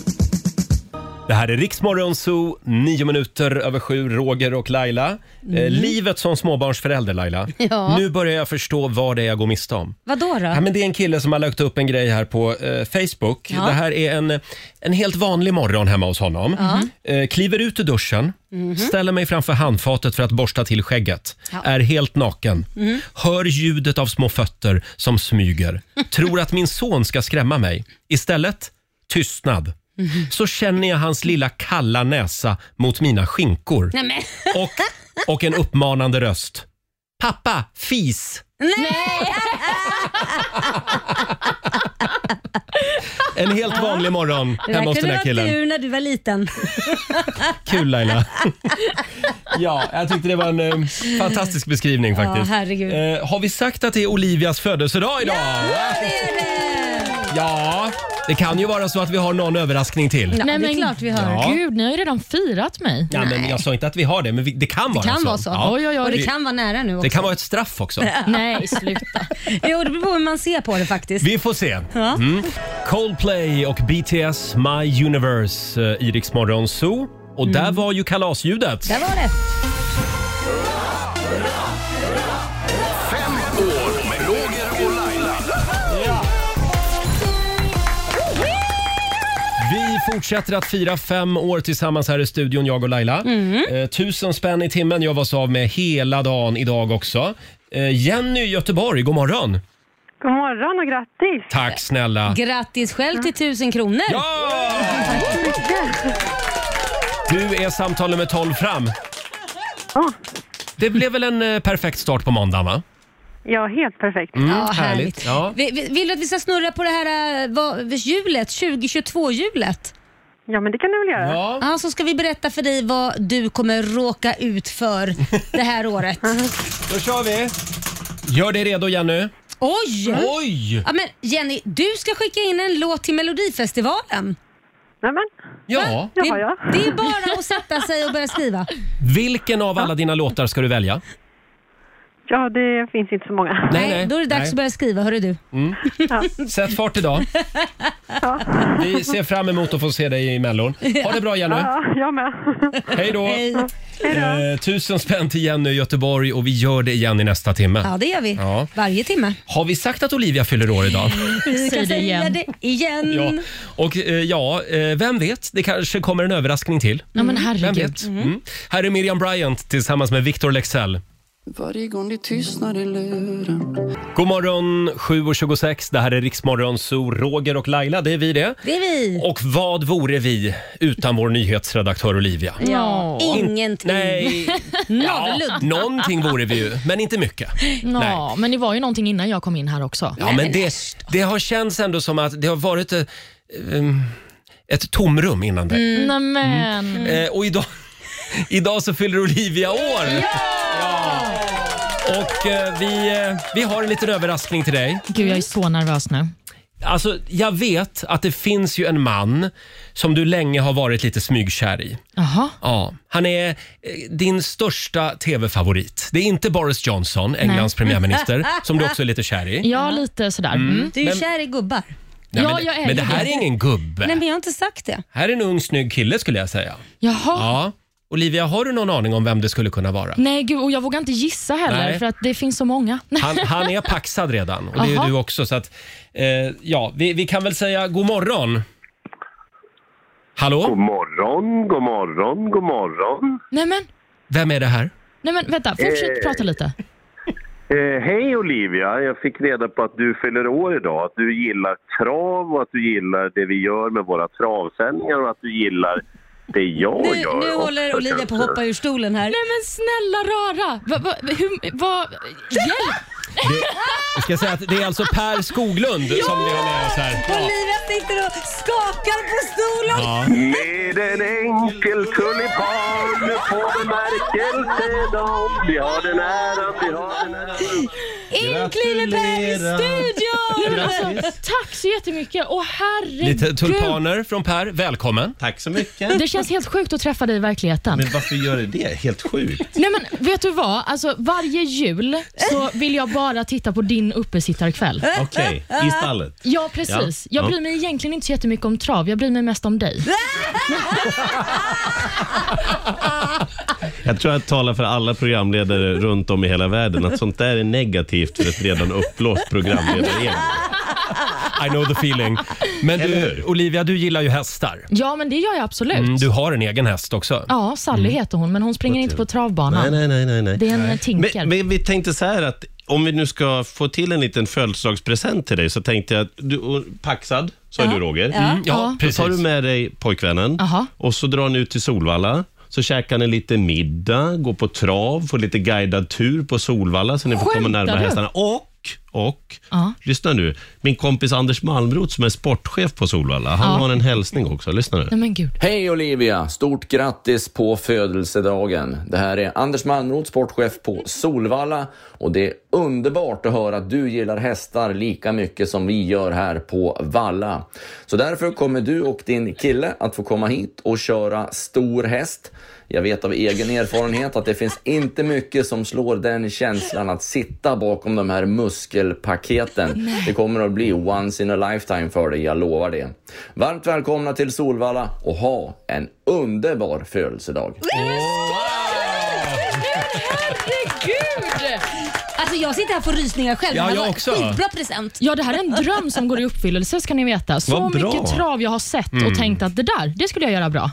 [SPEAKER 1] Det här är Riksmorgon Zoo, nio minuter över sju, Roger och Laila. Eh,
[SPEAKER 2] Mm.
[SPEAKER 1] livet som småbarnsförälder, Laila.
[SPEAKER 2] [LAUGHS] Ja.
[SPEAKER 1] Nu börjar jag förstå vad det är jag går miste om.
[SPEAKER 2] Vad då?
[SPEAKER 1] Ja, men det är en kille som har lagt upp en grej här på eh, Facebook.
[SPEAKER 2] Ja.
[SPEAKER 1] Det här är en, en helt vanlig morgon hemma hos honom.
[SPEAKER 2] Ja.
[SPEAKER 1] Eh, kliver ut ur duschen,
[SPEAKER 2] Mhm.
[SPEAKER 1] ställer mig framför handfatet för att borsta till skägget.
[SPEAKER 2] Ja.
[SPEAKER 1] Är helt naken.
[SPEAKER 2] Mhm.
[SPEAKER 1] Hör ljudet av små fötter
[SPEAKER 2] [LAUGHS]
[SPEAKER 1] som smyger. Tror att min son ska skrämma mig. Istället tystnad.
[SPEAKER 2] Mhm.
[SPEAKER 1] Så känner jag hans lilla kalla näsa mot mina skinkor
[SPEAKER 2] [LAUGHS] Nej, men.
[SPEAKER 1] Och, och en uppmanande röst. Pappa, fis!
[SPEAKER 2] Nej! [LAUGHS]
[SPEAKER 1] En helt vanlig morgon
[SPEAKER 2] Det där
[SPEAKER 1] hemma hos
[SPEAKER 2] kunde
[SPEAKER 1] den
[SPEAKER 2] varit
[SPEAKER 1] här killen.
[SPEAKER 2] du när du var
[SPEAKER 1] [LAUGHS]
[SPEAKER 2] liten.
[SPEAKER 1] Kul Laila. [LAUGHS] ja, jag tyckte det var en eh, fantastisk beskrivning faktiskt.
[SPEAKER 2] Ja, herregud.
[SPEAKER 1] Eh, har vi sagt att det är Olivias födelsedag idag?
[SPEAKER 2] Ja, det är det!
[SPEAKER 1] Ja, Det kan ju vara så att vi har någon överraskning till.
[SPEAKER 4] Nej, men
[SPEAKER 1] Ja.
[SPEAKER 4] Gud, ni har ju redan firat mig.
[SPEAKER 1] Ja, men jag sa inte att vi har det, men vi, det kan vara
[SPEAKER 2] kan
[SPEAKER 1] så.
[SPEAKER 2] vara så.
[SPEAKER 1] Ja.
[SPEAKER 2] Och det kan vara nära nu också.
[SPEAKER 1] Det kan vara ett straff också.
[SPEAKER 2] [LAUGHS] Nej, sluta. jo, det beror på hur man ser på det faktiskt.
[SPEAKER 1] Vi får se.
[SPEAKER 2] Ja.
[SPEAKER 1] Mm. Coldplay och BTS My Universe eh, i Rix Morgon Zoo. Och där var ju kalasljudet.
[SPEAKER 2] Mm. Där var det.
[SPEAKER 7] År med Roger och Laila.
[SPEAKER 1] Vi fortsätter att fira fem år tillsammans här i studion, jag och Laila.
[SPEAKER 2] Mm.
[SPEAKER 1] Eh, tusen spänn i timmen jag var av med hela dagen idag också. Eh, Jenny i Göteborg, god morgon.
[SPEAKER 2] God morgon och grattis.
[SPEAKER 1] Tack snälla.
[SPEAKER 2] Grattis själv till 1000 kronor.
[SPEAKER 1] Ja!
[SPEAKER 2] Tack så mycket.
[SPEAKER 1] Du är samtal nummer 12 fram. Det blev väl en eh, perfekt start på måndagen va?
[SPEAKER 2] Ja, helt perfekt.
[SPEAKER 1] Mm,
[SPEAKER 2] ja, härligt.
[SPEAKER 1] Ja.
[SPEAKER 2] Vi- vi- Vill du att vi ska snurra på det här eh, vad- hjulet, 2022-hjulet? Ja, men det kan du väl göra?
[SPEAKER 1] Ja.
[SPEAKER 2] så ska vi berätta för dig vad du kommer råka ut för det [LAUGHS] här året.
[SPEAKER 1] Då kör vi. Gör dig redo Jenny.
[SPEAKER 2] Oj!
[SPEAKER 1] Oj!
[SPEAKER 2] Ja, men Jenny, du ska skicka in en låt till Melodifestivalen. Nämen.
[SPEAKER 1] Ja.
[SPEAKER 2] Det, det är bara att sätta sig och börja skriva.
[SPEAKER 1] Vilken av alla dina låtar ska du välja?
[SPEAKER 2] Ja, det finns inte så många. Nej,
[SPEAKER 1] nej,
[SPEAKER 2] Då är det dags
[SPEAKER 1] nej.
[SPEAKER 2] att börja skriva, hörru du.
[SPEAKER 1] Mm. Sätt fart idag. Vi ser fram emot att få se dig i Mellon. Ha det bra Jenny.
[SPEAKER 2] jag med.
[SPEAKER 1] [LAUGHS] Hej då. Eh, tusen spänn till Jenny i Göteborg och vi gör det igen i nästa timme.
[SPEAKER 2] Ja, det gör vi.
[SPEAKER 1] Ja.
[SPEAKER 2] Varje timme.
[SPEAKER 1] Har vi sagt att Olivia fyller år idag?
[SPEAKER 2] Vi
[SPEAKER 4] Säg
[SPEAKER 2] kan
[SPEAKER 4] det
[SPEAKER 2] säga
[SPEAKER 4] igen.
[SPEAKER 2] det igen.
[SPEAKER 1] Ja. Och eh, ja, eh, vem vet? Det kanske kommer en överraskning till.
[SPEAKER 4] Ja, men
[SPEAKER 1] Vem
[SPEAKER 4] herregud.
[SPEAKER 1] vet? Mm. Här är Miriam Bryant tillsammans med Victor Lexell.
[SPEAKER 13] Varje gång det tystnar i luren
[SPEAKER 1] God morgon, 7.26. Det här är Riksmorgon, så Roger och Laila, det är vi det.
[SPEAKER 2] Det är vi.
[SPEAKER 1] Och vad vore vi utan vår nyhetsredaktör Olivia?
[SPEAKER 2] Ja, ingenting. [LAUGHS]
[SPEAKER 1] Nej.
[SPEAKER 4] Navelludd.
[SPEAKER 1] Någonting vore vi ju, men inte mycket.
[SPEAKER 4] Ja, men det var ju någonting innan jag kom in här också.
[SPEAKER 1] Ja, men det, det har känts ändå som att det har varit eh, um, ett tomrum innan det.
[SPEAKER 4] Mm. Nämen.
[SPEAKER 1] Eh, och idag, [LAUGHS] idag så fyller Olivia år. Ja! Och eh, vi, eh, vi har en liten överraskning till dig.
[SPEAKER 4] Gud, jag är så nervös nu.
[SPEAKER 1] Alltså, jag vet att det finns ju en man som du länge har varit lite smygkär i.
[SPEAKER 4] Jaha.
[SPEAKER 1] Ja, han är eh, din största tv-favorit. Det är inte Boris Johnson, Englands
[SPEAKER 4] Nej. [LAUGHS]
[SPEAKER 1] premiärminister, som du också är lite kär i.
[SPEAKER 4] Ja, lite sådär.
[SPEAKER 1] Mm.
[SPEAKER 4] Mm.
[SPEAKER 2] Du är ju
[SPEAKER 1] Men-
[SPEAKER 2] kär i gubbar.
[SPEAKER 1] Nej, men, men det här är ingen gubbe.
[SPEAKER 2] Nej, men jag har inte sagt det.
[SPEAKER 1] Här är en ung snygg kille skulle jag säga.
[SPEAKER 4] Jaha.
[SPEAKER 1] Ja. Olivia, har du någon aning om vem det skulle kunna vara?
[SPEAKER 4] Nej, gud, och jag vågar inte gissa heller
[SPEAKER 1] Nej.
[SPEAKER 4] för att det finns så många. [LAUGHS]
[SPEAKER 1] Han, han är paxad redan och det är ju
[SPEAKER 4] Jaha.
[SPEAKER 1] du också. Så att, eh, ja, vi, vi kan väl säga god morgon. Hallå?
[SPEAKER 14] God morgon, god morgon, god morgon.
[SPEAKER 4] Nej men,
[SPEAKER 1] Vem är det här?
[SPEAKER 4] nej men vänta, fortsätt
[SPEAKER 14] Eh.
[SPEAKER 4] prata lite.
[SPEAKER 14] Eh, hej Olivia, jag fick reda på att du fyller år idag, att du gillar trav och att du gillar det vi gör med våra travsändningar och att du gillar det jag
[SPEAKER 2] Nu,
[SPEAKER 14] gör.
[SPEAKER 2] nu håller
[SPEAKER 14] också,
[SPEAKER 2] Olivia på att
[SPEAKER 14] kanske.
[SPEAKER 2] hoppa ur stolen här.
[SPEAKER 4] Nej men snälla rara! Va, va, hur, va, hjälp!
[SPEAKER 14] [LAUGHS]
[SPEAKER 1] Jag ska säga att det är alltså Per Skoglund som vi har med oss här. Ja.
[SPEAKER 2] Olivia sitter och skakar på stolen.
[SPEAKER 1] Ja.
[SPEAKER 14] Med en enkel tulipan på bemärkelse dom Vi har den äran, vi har den
[SPEAKER 4] [LAUGHS]
[SPEAKER 14] äran
[SPEAKER 4] In
[SPEAKER 2] Klillepär i
[SPEAKER 4] studion! Alltså,
[SPEAKER 1] Grattis.
[SPEAKER 4] tack så jättemycket. Åh herregud.
[SPEAKER 1] Lite tulpaner från Per. Välkommen. Tack så mycket.
[SPEAKER 4] Det känns helt sjukt att träffa dig i verkligheten.
[SPEAKER 1] varför gör du det? Helt sjukt.
[SPEAKER 4] Nej men vet du vad? Alltså, varje jul så vill jag bara titta på din uppesittarkväll.
[SPEAKER 15] Okej, i stallet.
[SPEAKER 4] Ja, precis.
[SPEAKER 15] Ja.
[SPEAKER 4] Jag bryr mig egentligen inte så jättemycket om trav. Jag bryr mig mest om dig.
[SPEAKER 15] Jag tror jag talar för alla programledare runt om i hela världen att sånt där är negativt för ett redan uppblåst programledargäng.
[SPEAKER 1] I know the feeling. Men du, Olivia, du gillar ju hästar.
[SPEAKER 4] Ja, men det gör jag absolut.
[SPEAKER 1] Mm, du har en egen häst också.
[SPEAKER 4] Ja, Sally heter hon, men hon springer inte på travbanan.
[SPEAKER 15] Mm. Nej, nej, nej. nej, nej.
[SPEAKER 4] Det är en tinker.
[SPEAKER 15] Men, men vi tänkte så här att om vi nu ska få till en liten födelsedagspresent till dig så tänkte jag att du, och paxad, sa
[SPEAKER 4] Ja.
[SPEAKER 15] du Roger.
[SPEAKER 4] Ja. Mm, ja,
[SPEAKER 15] Då
[SPEAKER 4] precis.
[SPEAKER 15] tar du med dig pojkvännen
[SPEAKER 4] Jaha.
[SPEAKER 15] och så drar ni ut till Solvalla. Så käkar ni lite middag, går på trav, får lite guidad tur på Solvalla så ni får komma
[SPEAKER 4] Skämtar
[SPEAKER 15] närmare
[SPEAKER 4] du?
[SPEAKER 15] hästarna. Och och,
[SPEAKER 4] Ja.
[SPEAKER 15] lyssna nu, min kompis Anders Malmroth som är sportchef på Solvalla, han
[SPEAKER 4] Ja.
[SPEAKER 15] har en hälsning också. Lyssna nu.
[SPEAKER 4] Nej men gud.
[SPEAKER 16] Hej Olivia! Stort grattis på födelsedagen. Det här är Anders Malmroth, sportchef på Solvalla. Och det är underbart att höra att du gillar hästar lika mycket som vi gör här på Valla. Så därför kommer du och din kille att få komma hit och köra stor häst. Jag vet av egen erfarenhet att det finns inte mycket som slår den känslan att sitta bakom de här muskelpaketen.
[SPEAKER 17] Nej.
[SPEAKER 16] Det kommer att bli once in a lifetime för dig, jag lovar det. Varmt välkomna till Solvalla och ha en underbar födelsedag.
[SPEAKER 2] Herregud! Alltså jag sitter här och får rysningar själv.
[SPEAKER 16] Ja,
[SPEAKER 2] Det här
[SPEAKER 16] jag
[SPEAKER 2] var
[SPEAKER 16] också.
[SPEAKER 2] Skitbra present.
[SPEAKER 4] Ja, det här är
[SPEAKER 2] [LAUGHS]
[SPEAKER 4] en dröm som går i uppfyllelse ska ni veta. Så
[SPEAKER 15] Vad bra.
[SPEAKER 4] mycket trav jag har sett och
[SPEAKER 15] Mm.
[SPEAKER 4] tänkt att det där, det skulle jag göra bra.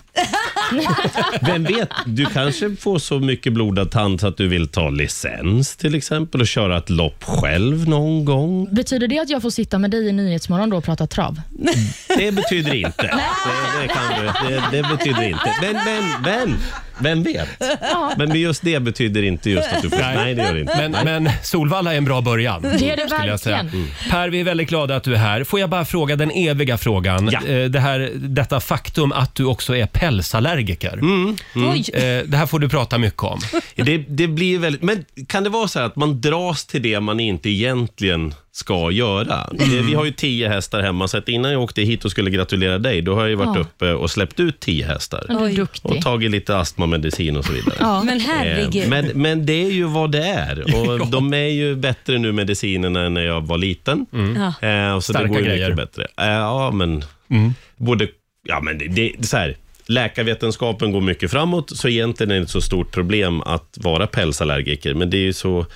[SPEAKER 15] Vem vet, du kanske får så mycket blodad tand så att du vill ta licens till exempel och köra ett lopp själv någon gång.
[SPEAKER 4] Betyder det att jag får sitta med dig i Nyhetsmorgon då och prata trav?
[SPEAKER 15] Det betyder inte. Det, det, kan du, det, det betyder inte. Men, men, men, vem vet?
[SPEAKER 4] Ja.
[SPEAKER 15] Men just det betyder inte just att du får...
[SPEAKER 1] [LAUGHS] Nej.
[SPEAKER 15] Nej, det gör det inte.
[SPEAKER 1] Men- men Solvalla är en bra början.
[SPEAKER 4] Det är det
[SPEAKER 1] skulle jag säga.
[SPEAKER 4] verkligen.
[SPEAKER 1] Mm. Per, vi är väldigt glada att du är här. Får jag bara fråga den eviga frågan. Eh, Det här, detta faktum att du också är pälsallergiker.
[SPEAKER 15] mm. Oj.
[SPEAKER 1] Eh, Det här får du prata mycket om.
[SPEAKER 15] Det, det blir väldigt... Men kan det vara så här att man dras till det man inte egentligen ska göra?
[SPEAKER 4] Mm.
[SPEAKER 15] Det- Vi har ju tio hästar hemma, så att innan jag åkte hit och skulle gratulera dig, då har jag ju varit
[SPEAKER 4] Ja.
[SPEAKER 15] uppe och släppt ut tio hästar.
[SPEAKER 4] Men du är duktig.
[SPEAKER 15] Och tagit lite astmamedicin och så vidare.
[SPEAKER 4] Ja.
[SPEAKER 2] Men herregud.
[SPEAKER 15] Eh, Men, men det är ju vad det är. Och De är ju bättre nu medicinerna än när jag var liten.
[SPEAKER 2] Ja.
[SPEAKER 15] Eh, och så
[SPEAKER 1] Starka
[SPEAKER 15] det går ju
[SPEAKER 1] grejer.
[SPEAKER 15] mycket bättre. Eh, ja, men både... Ja, men det, det, det är så här. Läkarvetenskapen går mycket framåt, så egentligen är det inte så stort problem att vara pälsallergiker, men det är ju så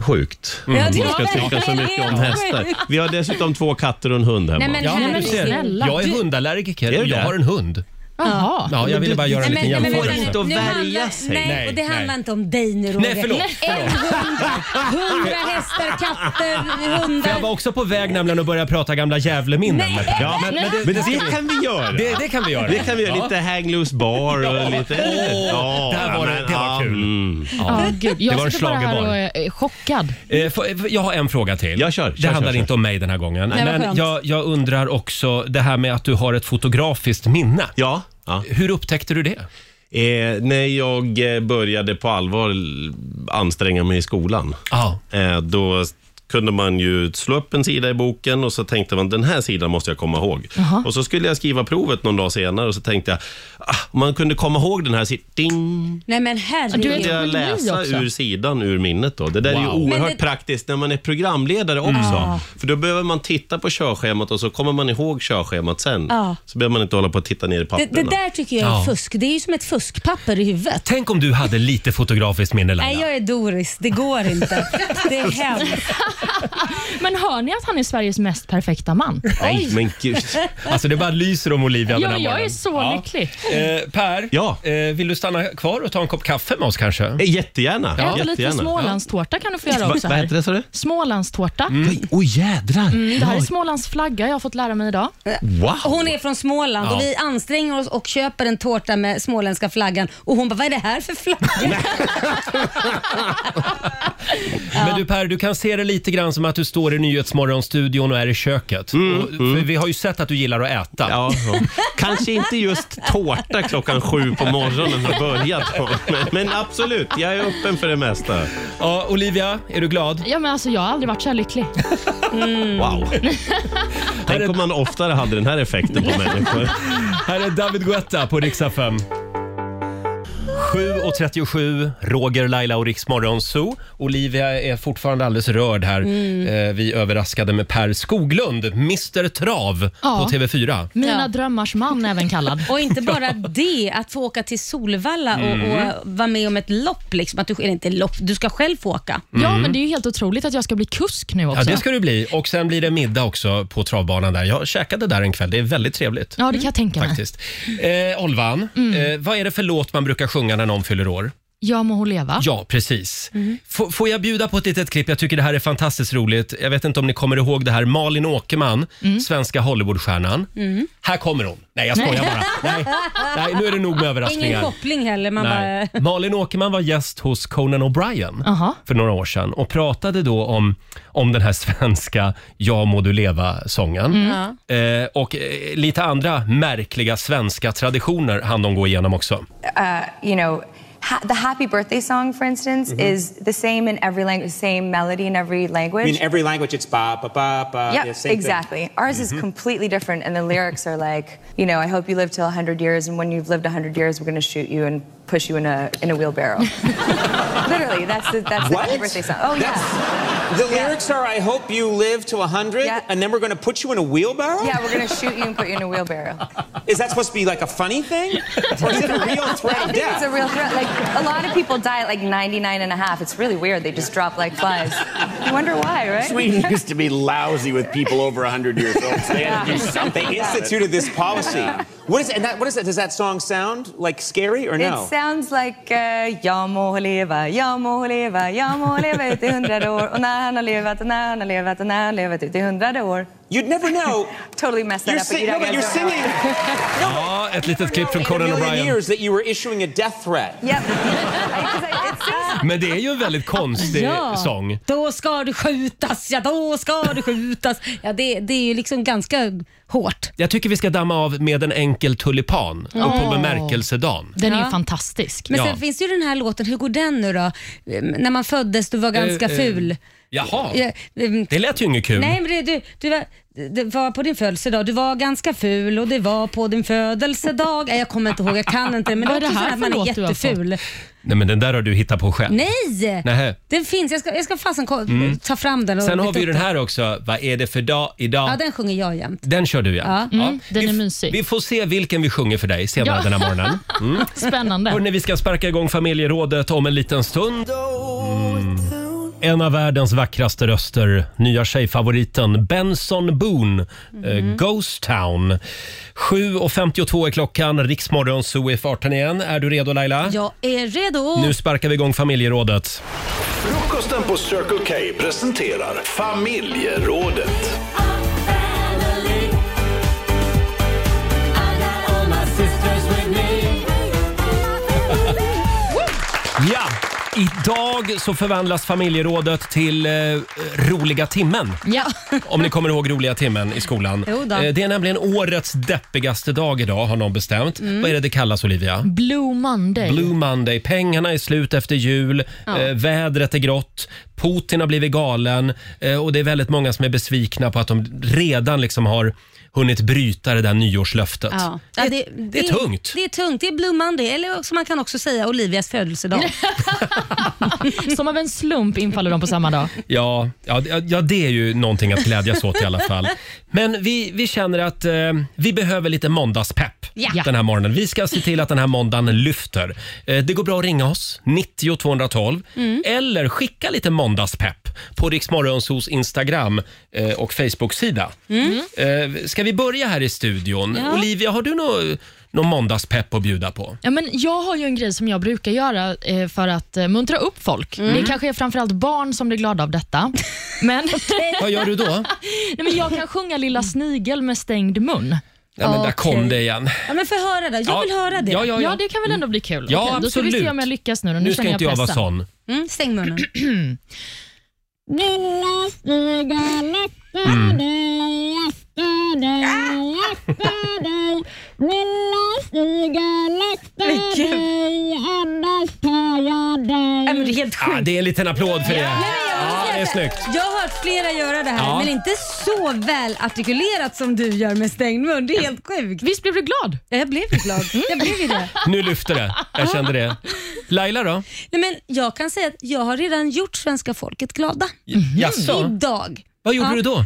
[SPEAKER 15] sjukt.
[SPEAKER 7] Mm.
[SPEAKER 15] Att Man
[SPEAKER 7] Ja,
[SPEAKER 15] ska
[SPEAKER 7] det är
[SPEAKER 15] tycka så mycket om
[SPEAKER 7] helt
[SPEAKER 15] hästar.
[SPEAKER 7] sjukt.
[SPEAKER 15] Vi har dessutom två katter och en hund hemma.
[SPEAKER 2] Nej, men Ja, men herregud. du ser. Snälla. Jag är Du-
[SPEAKER 1] hundallergiker och jag har en hund.
[SPEAKER 2] Jaha.
[SPEAKER 1] Ja, jag ville bara göra en
[SPEAKER 2] Nej,
[SPEAKER 1] liten
[SPEAKER 2] men- men-
[SPEAKER 1] jämförelse.
[SPEAKER 2] men- nu handlar- Nej, och det handlar inte om dig nu Roger.
[SPEAKER 1] Nej, förlåt.
[SPEAKER 2] En hund, hundra hästar, katter,
[SPEAKER 1] För jag
[SPEAKER 2] hundar.
[SPEAKER 1] var också på väg nämligen att börja prata gamla Gävleminnen med Per.
[SPEAKER 15] Ja, men, men, det,
[SPEAKER 1] ska vi-
[SPEAKER 15] kan vi göra.
[SPEAKER 1] Det, det kan vi göra.
[SPEAKER 15] Det kan vi göra.
[SPEAKER 1] Ja.
[SPEAKER 15] Lite hang loose bar och lite...
[SPEAKER 1] Åh, där var det- det var kul.
[SPEAKER 15] Mm.
[SPEAKER 4] Ja, gud.
[SPEAKER 1] Det var
[SPEAKER 4] Jag
[SPEAKER 1] en
[SPEAKER 4] sitter bara här
[SPEAKER 1] schlagerbar.
[SPEAKER 4] och är eh, chockad.
[SPEAKER 1] Eh, får- eh, Jag har en fråga till. Jag kör, det
[SPEAKER 15] kör,
[SPEAKER 1] handlar
[SPEAKER 15] kör.
[SPEAKER 1] inte om mig den här gången.
[SPEAKER 4] Nej, vad
[SPEAKER 1] men
[SPEAKER 4] skönt.
[SPEAKER 1] jag, jag undrar också det här med att du har ett fotografiskt minne.
[SPEAKER 15] Ja.
[SPEAKER 1] Hur upptäckte du det?
[SPEAKER 15] Eh, när jag eh, började på allvar l- anstränga mig i skolan, eh, då kunde man ju slå upp en sida i boken och så tänkte man den här sidan måste jag komma ihåg.
[SPEAKER 7] Jaha.
[SPEAKER 15] Och så skulle jag skriva provet någon dag senare och så tänkte jag, ah, om man kunde komma ihåg den här sidan. Ding!
[SPEAKER 2] Nej men
[SPEAKER 15] Du
[SPEAKER 2] herregud.
[SPEAKER 15] vet jag läsa ur sidan ur minnet då. Det där är ju
[SPEAKER 7] Wow.
[SPEAKER 15] oerhört
[SPEAKER 2] Men det-
[SPEAKER 15] praktiskt när man är programledare också.
[SPEAKER 2] Ja.
[SPEAKER 15] För då behöver man titta på körschemat och så kommer man ihåg körschemat sen.
[SPEAKER 2] Ja.
[SPEAKER 15] Så behöver man inte hålla på och titta ner i
[SPEAKER 2] Det,
[SPEAKER 15] papperna.
[SPEAKER 2] det där tycker jag är
[SPEAKER 15] Ja.
[SPEAKER 2] fusk. Det är ju som ett fuskpapper i huvudet.
[SPEAKER 1] Tänk om du hade lite fotografiskt minne Laila.
[SPEAKER 2] Nej, jag är Doris. Det går inte. Det är hemskt.
[SPEAKER 4] Men hör ni att han är Sveriges mest perfekta man?
[SPEAKER 1] Nej, men
[SPEAKER 2] [LAUGHS]
[SPEAKER 1] gud. [LAUGHS] Alltså det bara lyser om Olivia den
[SPEAKER 4] Ja,
[SPEAKER 1] här
[SPEAKER 4] jag är
[SPEAKER 1] morgonen.
[SPEAKER 4] så
[SPEAKER 1] Ja.
[SPEAKER 4] lycklig.
[SPEAKER 1] Eh, per, eh, vill du stanna kvar och ta en kopp kaffe med oss kanske?
[SPEAKER 15] Eh, Jättegärna.
[SPEAKER 4] Ja, lite Smålandstårta kan du få göra
[SPEAKER 1] Va-
[SPEAKER 4] också.
[SPEAKER 1] vad heter
[SPEAKER 4] här.
[SPEAKER 1] det, sa du? Mm.
[SPEAKER 4] Smålandstårta.
[SPEAKER 15] Oj, jädrar!
[SPEAKER 4] Mm, det här är
[SPEAKER 1] Oj.
[SPEAKER 4] Smålands flagga jag har fått lära mig idag.
[SPEAKER 15] Wow.
[SPEAKER 2] Hon är från Småland och
[SPEAKER 4] Ja.
[SPEAKER 2] vi anstränger oss och köper en tårta med småländska flaggan och hon bara, vad är det här för flagga?
[SPEAKER 1] Men du Per, du kan se det lite grann som att du står i Nyhetsmorgonstudion och är i köket.
[SPEAKER 15] Mm,
[SPEAKER 1] och, För vi har ju sett att du gillar att äta. [LAUGHS]
[SPEAKER 15] Kanske inte just tårta klockan sju på morgonen har börjat då. men, men absolut, jag är öppen för det mesta.
[SPEAKER 1] Ja, Olivia, är du glad?
[SPEAKER 4] Ja, men alltså, jag har aldrig varit så här
[SPEAKER 1] [LAUGHS]
[SPEAKER 4] lycklig.
[SPEAKER 15] Wow. Tänk om man oftare hade den här effekten
[SPEAKER 1] [LAUGHS]
[SPEAKER 15] på människor.
[SPEAKER 1] Här är David Guetta på Riksa 5. 7.37, Roger, Laila och Riksmorgon Zoo. Olivia är fortfarande alldeles rörd här.
[SPEAKER 4] Mm.
[SPEAKER 1] Eh, Vi överraskade med Per Skoglund, Mr Trav,
[SPEAKER 4] Ja.
[SPEAKER 1] på TV4.
[SPEAKER 4] Mina drömmars man även kallad.
[SPEAKER 2] Och inte bara det, att få åka till Solvalla och,
[SPEAKER 4] Mm.
[SPEAKER 2] och vara med om ett lopp. Liksom. Att du, eller inte lopp, du ska själv få åka.
[SPEAKER 4] Ja,
[SPEAKER 15] Mm.
[SPEAKER 4] men det är ju helt otroligt att jag ska bli kusk nu också.
[SPEAKER 1] Ja, det ska du bli. Och sen blir det middag också på travbanan där. Jag käkade där en kväll. Det är väldigt trevligt.
[SPEAKER 4] Ja, det kan jag tänka mig. Mm.
[SPEAKER 1] Faktiskt. Eh, Olvan, eh, vad är det för låt man brukar sjunga när någon fyller år?
[SPEAKER 4] [LAUGHS] Ja, må hon leva.
[SPEAKER 1] Ja, precis. F- får jag bjuda på ett litet klipp? Jag tycker det här är fantastiskt roligt. Jag vet inte om ni kommer ihåg det här. Malin Åkerman, svenska Hollywoodstjärnan.
[SPEAKER 2] Mm.
[SPEAKER 1] Här kommer hon. Nej, jag skojar bara.
[SPEAKER 2] [LAUGHS]
[SPEAKER 1] Nej, nej, nu är det nog med
[SPEAKER 2] Ingen
[SPEAKER 1] överraskningar.
[SPEAKER 2] koppling heller. Man
[SPEAKER 1] Nej.
[SPEAKER 2] bara...
[SPEAKER 1] Malin Åkerman var gäst hos Conan O'Brien för några år sedan och pratade då om, om den här [LAUGHS] svenska Ja må du leva-sången.
[SPEAKER 7] Mm.
[SPEAKER 1] Eh, och eh, lite andra märkliga svenska traditioner hann de gå igenom också.
[SPEAKER 17] uh, you know, ha- the happy birthday song, for instance,
[SPEAKER 18] Mm-hmm.
[SPEAKER 1] Mhm.
[SPEAKER 17] is the same in every language, same melody in every language.
[SPEAKER 18] I mean, every language it's ba ba ba ba.
[SPEAKER 17] yeah,
[SPEAKER 18] the same thing. Mm-hmm.
[SPEAKER 17] exactly. Ours is completely different, and the lyrics are like, you know, I hope you live till 100 years, and when you've lived 100 years, we're gonna shoot you and push you in a in a
[SPEAKER 18] [LAUGHS]
[SPEAKER 17] wheelbarrow. Literally, that's the that's the happy
[SPEAKER 18] What?
[SPEAKER 17] birthday song. Oh yeah,
[SPEAKER 18] The lyrics are, I hope you live to 100, and then we're going to put you in a wheelbarrow?
[SPEAKER 17] yeah, we're gonna shoot you and put you in a wheelbarrow.
[SPEAKER 18] [LAUGHS] Is that supposed to be like a funny thing? Or is it a real
[SPEAKER 17] [LAUGHS]
[SPEAKER 18] threat
[SPEAKER 17] I
[SPEAKER 18] of
[SPEAKER 17] think it's a
[SPEAKER 18] death?
[SPEAKER 17] real threat. Like, a lot of people die at like 99 and a half. It's really weird. They just drop like flies. You wonder why, right?
[SPEAKER 19] Sweden used to be lousy with people over 100 years old. So they had to do something.
[SPEAKER 18] They instituted this policy. What is, and that, what is that? Does that song sound like scary or no?
[SPEAKER 17] It sounds like uh, Jag må leva, jag må leva, jag må leva ut i hundrade år och när han har levat och när han har levat och när han levat ut i hundrade år.
[SPEAKER 18] You'd never know.
[SPEAKER 17] [LAUGHS] totally messed that
[SPEAKER 18] You're
[SPEAKER 17] up. but you
[SPEAKER 18] sing- no,
[SPEAKER 17] don't
[SPEAKER 18] but
[SPEAKER 17] guys
[SPEAKER 18] you're
[SPEAKER 17] don't know.
[SPEAKER 18] singing.
[SPEAKER 1] Ja, ett litet klipp från
[SPEAKER 18] In a
[SPEAKER 1] Conan
[SPEAKER 18] million
[SPEAKER 1] O'Brien.
[SPEAKER 18] years that you were issuing a
[SPEAKER 17] [LAUGHS]
[SPEAKER 18] death threat.
[SPEAKER 1] Men det är ju en
[SPEAKER 2] [LAUGHS]
[SPEAKER 1] väldigt konstig sång.
[SPEAKER 2] Då ska du skjutas, ja då ska du skjutas. Ja, det, det är ju liksom ganska hårt.
[SPEAKER 1] Jag tycker vi ska damma av med en enkel tulipan och på
[SPEAKER 2] Åh.
[SPEAKER 1] bemärkelsedagen.
[SPEAKER 2] Den är ju Ja.
[SPEAKER 4] fantastisk.
[SPEAKER 2] Men
[SPEAKER 1] ja.
[SPEAKER 2] sen finns ju den här låten, hur går den nu då? Ehm, När man föddes, du var ganska
[SPEAKER 1] Eh, eh,
[SPEAKER 2] ful.
[SPEAKER 1] Jaha,
[SPEAKER 2] Ja, ehm,
[SPEAKER 1] det lät ju inget kul.
[SPEAKER 2] Nej, men det, du, du var, det var på din födelsedag, du var ganska ful och det var på din födelsedag. Nej, Jag kommer inte ihåg, jag kan inte men
[SPEAKER 4] Vad är det
[SPEAKER 2] det är också
[SPEAKER 4] här
[SPEAKER 2] sån
[SPEAKER 4] för
[SPEAKER 2] att man är
[SPEAKER 4] låt du har
[SPEAKER 2] jätteful.
[SPEAKER 1] Nej, men den där har du hittat på själv.
[SPEAKER 2] Nej!
[SPEAKER 1] Nähä.
[SPEAKER 2] Den finns, jag ska, jag ska fasen ko-
[SPEAKER 1] Mm.
[SPEAKER 2] ta fram den. och
[SPEAKER 1] Sen har
[SPEAKER 2] leta
[SPEAKER 1] vi ju
[SPEAKER 2] upp
[SPEAKER 1] den här också. Vad är det för dag idag?
[SPEAKER 2] Ja, den sjunger jag jämt.
[SPEAKER 1] Den kör du ja.
[SPEAKER 2] Ja.
[SPEAKER 1] ja.
[SPEAKER 4] Mm, Den är mysig.
[SPEAKER 1] Vi får se vilken vi sjunger för dig senare
[SPEAKER 4] Ja.
[SPEAKER 1] den här morgonen.
[SPEAKER 2] [LAUGHS]
[SPEAKER 1] Mm.
[SPEAKER 4] Spännande.
[SPEAKER 1] Hörrni, vi ska sparka igång familjerådet om en liten stund. En av världens vackraste röster, nya tjejfavoriten Benson Boone, eh, Ghost Town. 7.52 är klockan, Riksmorgon Zoo är i farten igen. Är du redo Laila?
[SPEAKER 2] Jag är redo.
[SPEAKER 1] Nu sparkar vi igång familjerådet.
[SPEAKER 9] Frukosten på Circle K presenterar familjerådet.
[SPEAKER 1] Ja, idag så förvandlas familjerådet till eh, roliga timmen.
[SPEAKER 4] Ja.
[SPEAKER 1] Om ni kommer ihåg roliga timmen i skolan.
[SPEAKER 4] Jo då.
[SPEAKER 1] Eh, Det är nämligen årets deppigaste dag idag har någon bestämt.
[SPEAKER 4] Mm.
[SPEAKER 1] Vad är det det kallas Olivia?
[SPEAKER 4] Blue Monday.
[SPEAKER 1] Blue Monday. Pengarna är slut efter jul,
[SPEAKER 4] Ja.
[SPEAKER 1] eh, vädret är grått, Putin har blivit galen eh, och det är väldigt många som är besvikna på att de redan liksom har hunnit bryta det där nyårslöftet.
[SPEAKER 2] Ja. Ja, det,
[SPEAKER 1] det är tungt.
[SPEAKER 2] Det är tungt. Det är Blue Monday, eller också man kan också säga Olivias födelsedag.
[SPEAKER 4] [LAUGHS] Som av en slump infaller de på samma dag.
[SPEAKER 1] Ja, ja, d- ja, det är ju någonting att glädjas åt i alla fall. Men vi, vi känner att eh, vi behöver lite måndagspepp
[SPEAKER 4] Ja.
[SPEAKER 1] den här morgonen. Vi ska se till att den här måndagen lyfter. Eh, det går bra att ringa oss, 90 212, eller skicka lite måndagspepp på Riksmorgonsos Instagram eh, och Facebook-sida. Eh, ska vi börja här i studion?
[SPEAKER 4] Ja.
[SPEAKER 1] Olivia, har du nå- någon måndagspepp att bjuda på?
[SPEAKER 4] Ja, men jag har ju en grej som jag brukar göra eh, för att eh, muntra upp folk.
[SPEAKER 1] Mm.
[SPEAKER 4] Det kanske är framförallt barn som blir glada av
[SPEAKER 2] [LAUGHS]
[SPEAKER 4] detta. Men...
[SPEAKER 1] Vad gör du då?
[SPEAKER 4] [LAUGHS] Nej, men jag kan sjunga Lilla snigel med stängd mun.
[SPEAKER 1] Ja, men Där kom det igen.
[SPEAKER 2] Ja, men få höra det. Jag
[SPEAKER 1] Ja,
[SPEAKER 2] vill höra det.
[SPEAKER 1] ja, ja, ja.
[SPEAKER 4] Ja, det kan väl ändå bli kul?
[SPEAKER 1] Ja,
[SPEAKER 4] Okej, då ska vi se
[SPEAKER 1] absolut.
[SPEAKER 4] om jag lyckas nu. då.
[SPEAKER 1] Nu
[SPEAKER 4] Nu
[SPEAKER 1] ska
[SPEAKER 4] känner
[SPEAKER 1] inte jag vara
[SPEAKER 4] pressen.
[SPEAKER 1] sån.
[SPEAKER 2] Mm, stäng
[SPEAKER 4] [CLEARS THROAT]
[SPEAKER 2] munnen. Men det är helt
[SPEAKER 1] Ah, det är en liten applåd för det. Ja, det är snyggt.
[SPEAKER 2] Jag har hört flera göra det här,
[SPEAKER 1] Ja.
[SPEAKER 2] men inte så väl artikulerat som du gör med stängd mun. Det är helt sjukt.
[SPEAKER 4] Visst blev du glad?
[SPEAKER 2] Ja, jag blev ju glad. Jag blev ju det.
[SPEAKER 1] [LAUGHS] Nu lyfter det. Jag kände det. Laila då?
[SPEAKER 2] Nej, men jag kan säga att jag har redan gjort svenska folket glada.
[SPEAKER 1] Jaså?
[SPEAKER 2] Idag.
[SPEAKER 1] Vad gjorde du då?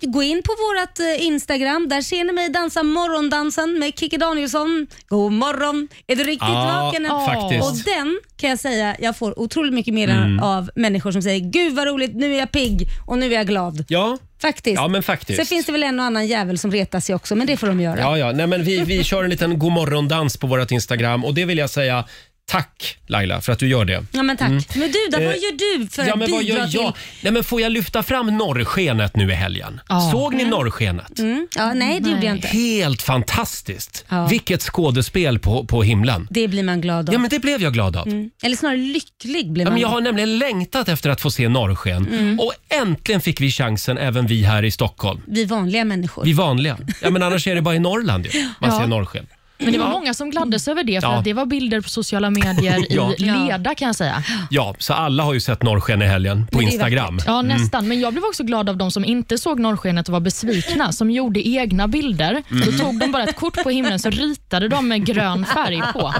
[SPEAKER 2] Jag går in på vårt Instagram. Där ser ni mig dansa morgondansen med Kikki Danielsson. God morgon, är du riktigt
[SPEAKER 7] Ja,
[SPEAKER 2] vaken? än?"
[SPEAKER 7] faktiskt.
[SPEAKER 2] Och den kan jag säga, jag får otroligt mycket mer
[SPEAKER 1] Mm.
[SPEAKER 2] av människor som säger “Gud vad roligt, nu är jag pigg och nu är jag glad”.
[SPEAKER 1] Ja.
[SPEAKER 2] Faktiskt.
[SPEAKER 1] Ja, men faktiskt.
[SPEAKER 2] Sen finns det väl en och annan jävel som retar sig också, men det får de göra.
[SPEAKER 1] Ja, ja. Nej, men vi, vi kör en liten godmorgondans på vårt Instagram och det vill jag säga Tack Laila för att du gör det.
[SPEAKER 2] Ja, men tack.
[SPEAKER 1] Mm.
[SPEAKER 2] Men du då,
[SPEAKER 1] Eh,
[SPEAKER 2] vad gör du för
[SPEAKER 1] ja,
[SPEAKER 2] att
[SPEAKER 1] men
[SPEAKER 2] bidra
[SPEAKER 1] vad gör
[SPEAKER 2] till...
[SPEAKER 1] jag? Nej, men får jag lyfta fram norrskenet nu i helgen?
[SPEAKER 2] Ja.
[SPEAKER 1] Såg ni
[SPEAKER 2] Mm.
[SPEAKER 1] norrskenet?
[SPEAKER 2] Mm. Ja, nej, det gjorde jag inte.
[SPEAKER 1] Helt fantastiskt!
[SPEAKER 2] Ja.
[SPEAKER 1] Vilket skådespel på, på himlen.
[SPEAKER 2] Det blir man glad av.
[SPEAKER 1] Ja, men det blev jag glad av.
[SPEAKER 2] Mm. Eller snarare lycklig blir
[SPEAKER 1] Ja,
[SPEAKER 2] man.
[SPEAKER 1] men jag har nämligen längtat efter att få se norrsken
[SPEAKER 2] Mm.
[SPEAKER 1] och äntligen fick vi chansen även vi här i Stockholm.
[SPEAKER 2] Vi vanliga människor.
[SPEAKER 1] Vi vanliga. Ja, men annars är det bara i Norrland ju. man
[SPEAKER 4] Ja.
[SPEAKER 1] ser norrsken.
[SPEAKER 4] Men det var
[SPEAKER 1] Ja.
[SPEAKER 4] många som gladdes över det, för
[SPEAKER 1] Ja.
[SPEAKER 4] att det var bilder på sociala
[SPEAKER 1] [LAUGHS]
[SPEAKER 4] medier
[SPEAKER 1] Ja.
[SPEAKER 4] i leda kan jag säga.
[SPEAKER 1] Ja, så alla har ju sett norrsken i helgen på
[SPEAKER 4] Men det är
[SPEAKER 1] Instagram.
[SPEAKER 4] vackert. Ja,
[SPEAKER 1] Mm.
[SPEAKER 4] nästan. Men jag blev också glad av de som inte såg norrskenet och var besvikna, som gjorde egna bilder.
[SPEAKER 1] Mm.
[SPEAKER 4] Då tog de bara ett kort på himlen så ritade de med grön färg på.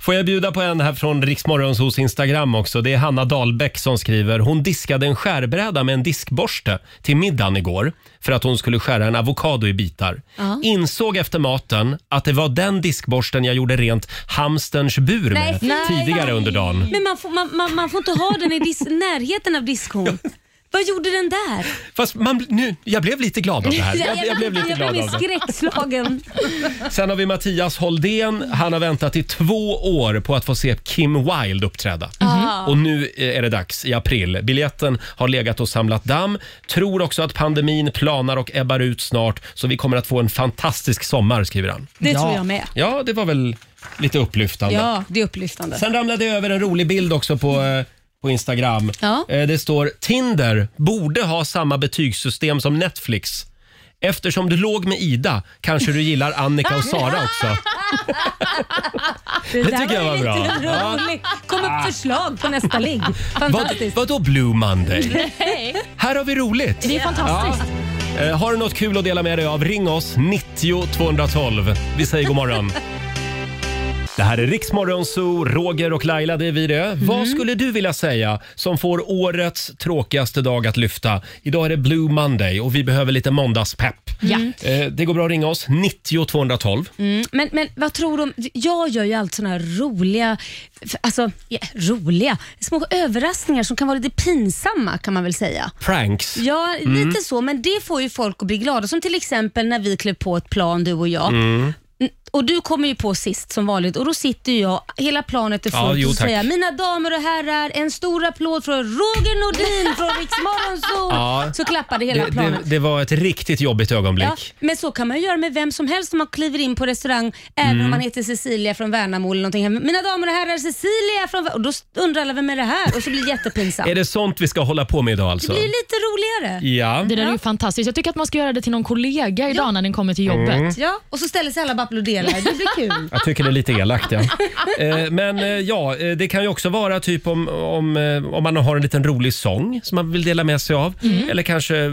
[SPEAKER 1] Får jag bjuda på en här från Riksmorgonsos Instagram också. Det är Hanna Dahlbäck som skriver. Hon diskade en skärbräda med en diskborste till middagen igår för att hon skulle skära en avokado i bitar.
[SPEAKER 2] Ja.
[SPEAKER 1] Insåg efter maten att det var den diskborsten jag gjorde rent hamsterns bur med
[SPEAKER 2] Nej, nej.
[SPEAKER 1] tidigare under dagen.
[SPEAKER 2] Men man får, man, man, man får inte ha den i [LAUGHS] dis- närheten av diskhon. Vad gjorde den där?
[SPEAKER 1] Fast man, nu, jag blev lite glad av
[SPEAKER 2] [LAUGHS]
[SPEAKER 1] det här. Jag, jag blev lite
[SPEAKER 2] jag
[SPEAKER 1] glad
[SPEAKER 2] blev
[SPEAKER 1] av det.
[SPEAKER 2] skräckslagen.
[SPEAKER 1] Sen har vi Mattias Holdén. Han har väntat i två år på att få se Kim Wilde uppträda.
[SPEAKER 7] Mhm.
[SPEAKER 1] Och nu är det dags i april. Biljetten har legat och samlat damm. Tror också att pandemin planar och ebbar ut snart så vi kommer att få en fantastisk sommar, skriver han.
[SPEAKER 2] Det tror jag med.
[SPEAKER 1] Ja, det var väl lite upplyftande.
[SPEAKER 2] Ja, det är upplyftande.
[SPEAKER 1] Sen ramlade jag över en rolig bild också på, eh, på Instagram.
[SPEAKER 2] Ja.
[SPEAKER 1] Eh, Det står “Tinder borde ha samma betygssystem som Netflix. Eftersom du låg med Ida kanske du gillar Annika och Sara också.” Det
[SPEAKER 2] där
[SPEAKER 1] tycker jag var
[SPEAKER 2] lite
[SPEAKER 1] bra. Ja.
[SPEAKER 2] roligt. Kom upp förslag på nästa ligg. [LAUGHS]
[SPEAKER 1] Vad,
[SPEAKER 2] Fantastiskt.
[SPEAKER 1] vadå Blue Monday?
[SPEAKER 2] [LAUGHS] Nej.
[SPEAKER 1] Här har vi roligt.
[SPEAKER 2] Det är fantastiskt.
[SPEAKER 1] Ja. Eh, Har du något kul att dela med dig av, ring oss 90 212. Vi säger
[SPEAKER 2] [LAUGHS]
[SPEAKER 1] god morgon. Det här är Riksmorgon Zoo, Roger och Laila, det är vi det.
[SPEAKER 2] Mm.
[SPEAKER 1] Vad skulle du vilja säga som får årets tråkigaste dag att lyfta? Idag är det Blue Monday och vi behöver lite måndagspepp.
[SPEAKER 2] Ja.
[SPEAKER 1] Eh, Det går bra att ringa oss, 90 212.
[SPEAKER 2] Mm, men, men vad tror du om, jag gör ju allt såna här roliga, f- alltså ja, roliga, små överraskningar som kan vara lite pinsamma kan man väl säga.
[SPEAKER 1] Pranks.
[SPEAKER 2] Ja,
[SPEAKER 1] Mm.
[SPEAKER 2] lite så, men det får ju folk att bli glada. Som till exempel när vi klev på ett plan du och jag.
[SPEAKER 1] Mm.
[SPEAKER 2] Mm, Och du kommer ju på sist som vanligt och då sitter ju jag, hela planet är fullt
[SPEAKER 1] Ja, jo,
[SPEAKER 2] och så
[SPEAKER 1] tack.
[SPEAKER 2] säger jag, mina damer och herrar, en stor applåd från Roger Nordin från Rix Morgonzoo.
[SPEAKER 1] Ja.
[SPEAKER 2] Så klappade
[SPEAKER 1] Det,
[SPEAKER 2] hela
[SPEAKER 1] det,
[SPEAKER 2] planet.
[SPEAKER 1] det var ett riktigt jobbigt ögonblick.
[SPEAKER 2] Ja, men så kan man ju göra med vem som helst om man kliver in på restaurang, även
[SPEAKER 1] Mm.
[SPEAKER 2] om man heter Cecilia från Värnamo eller någonting. Mina damer och herrar, Cecilia från Vär-" Och då undrar alla vem är det här? Och så blir det jättepinsamt.
[SPEAKER 1] [LAUGHS] Är det sånt vi ska hålla på med idag alltså?
[SPEAKER 2] Det blir lite roligare.
[SPEAKER 1] Ja.
[SPEAKER 4] Det där är ju fantastiskt. Jag tycker att man ska göra det till någon kollega idag när den kommer till jobbet.
[SPEAKER 1] Mm.
[SPEAKER 2] Ja, och så ställer sig alla och bara applåderar. Det blir
[SPEAKER 4] [LAUGHS]
[SPEAKER 2] kul.
[SPEAKER 1] Jag tycker det är lite elakt. Ja. Eh, Men eh, ja, eh, det kan ju också vara typ om, om, eh, om man har en liten rolig sång som man vill dela med sig av.
[SPEAKER 2] Mm.
[SPEAKER 1] Eller kanske eh,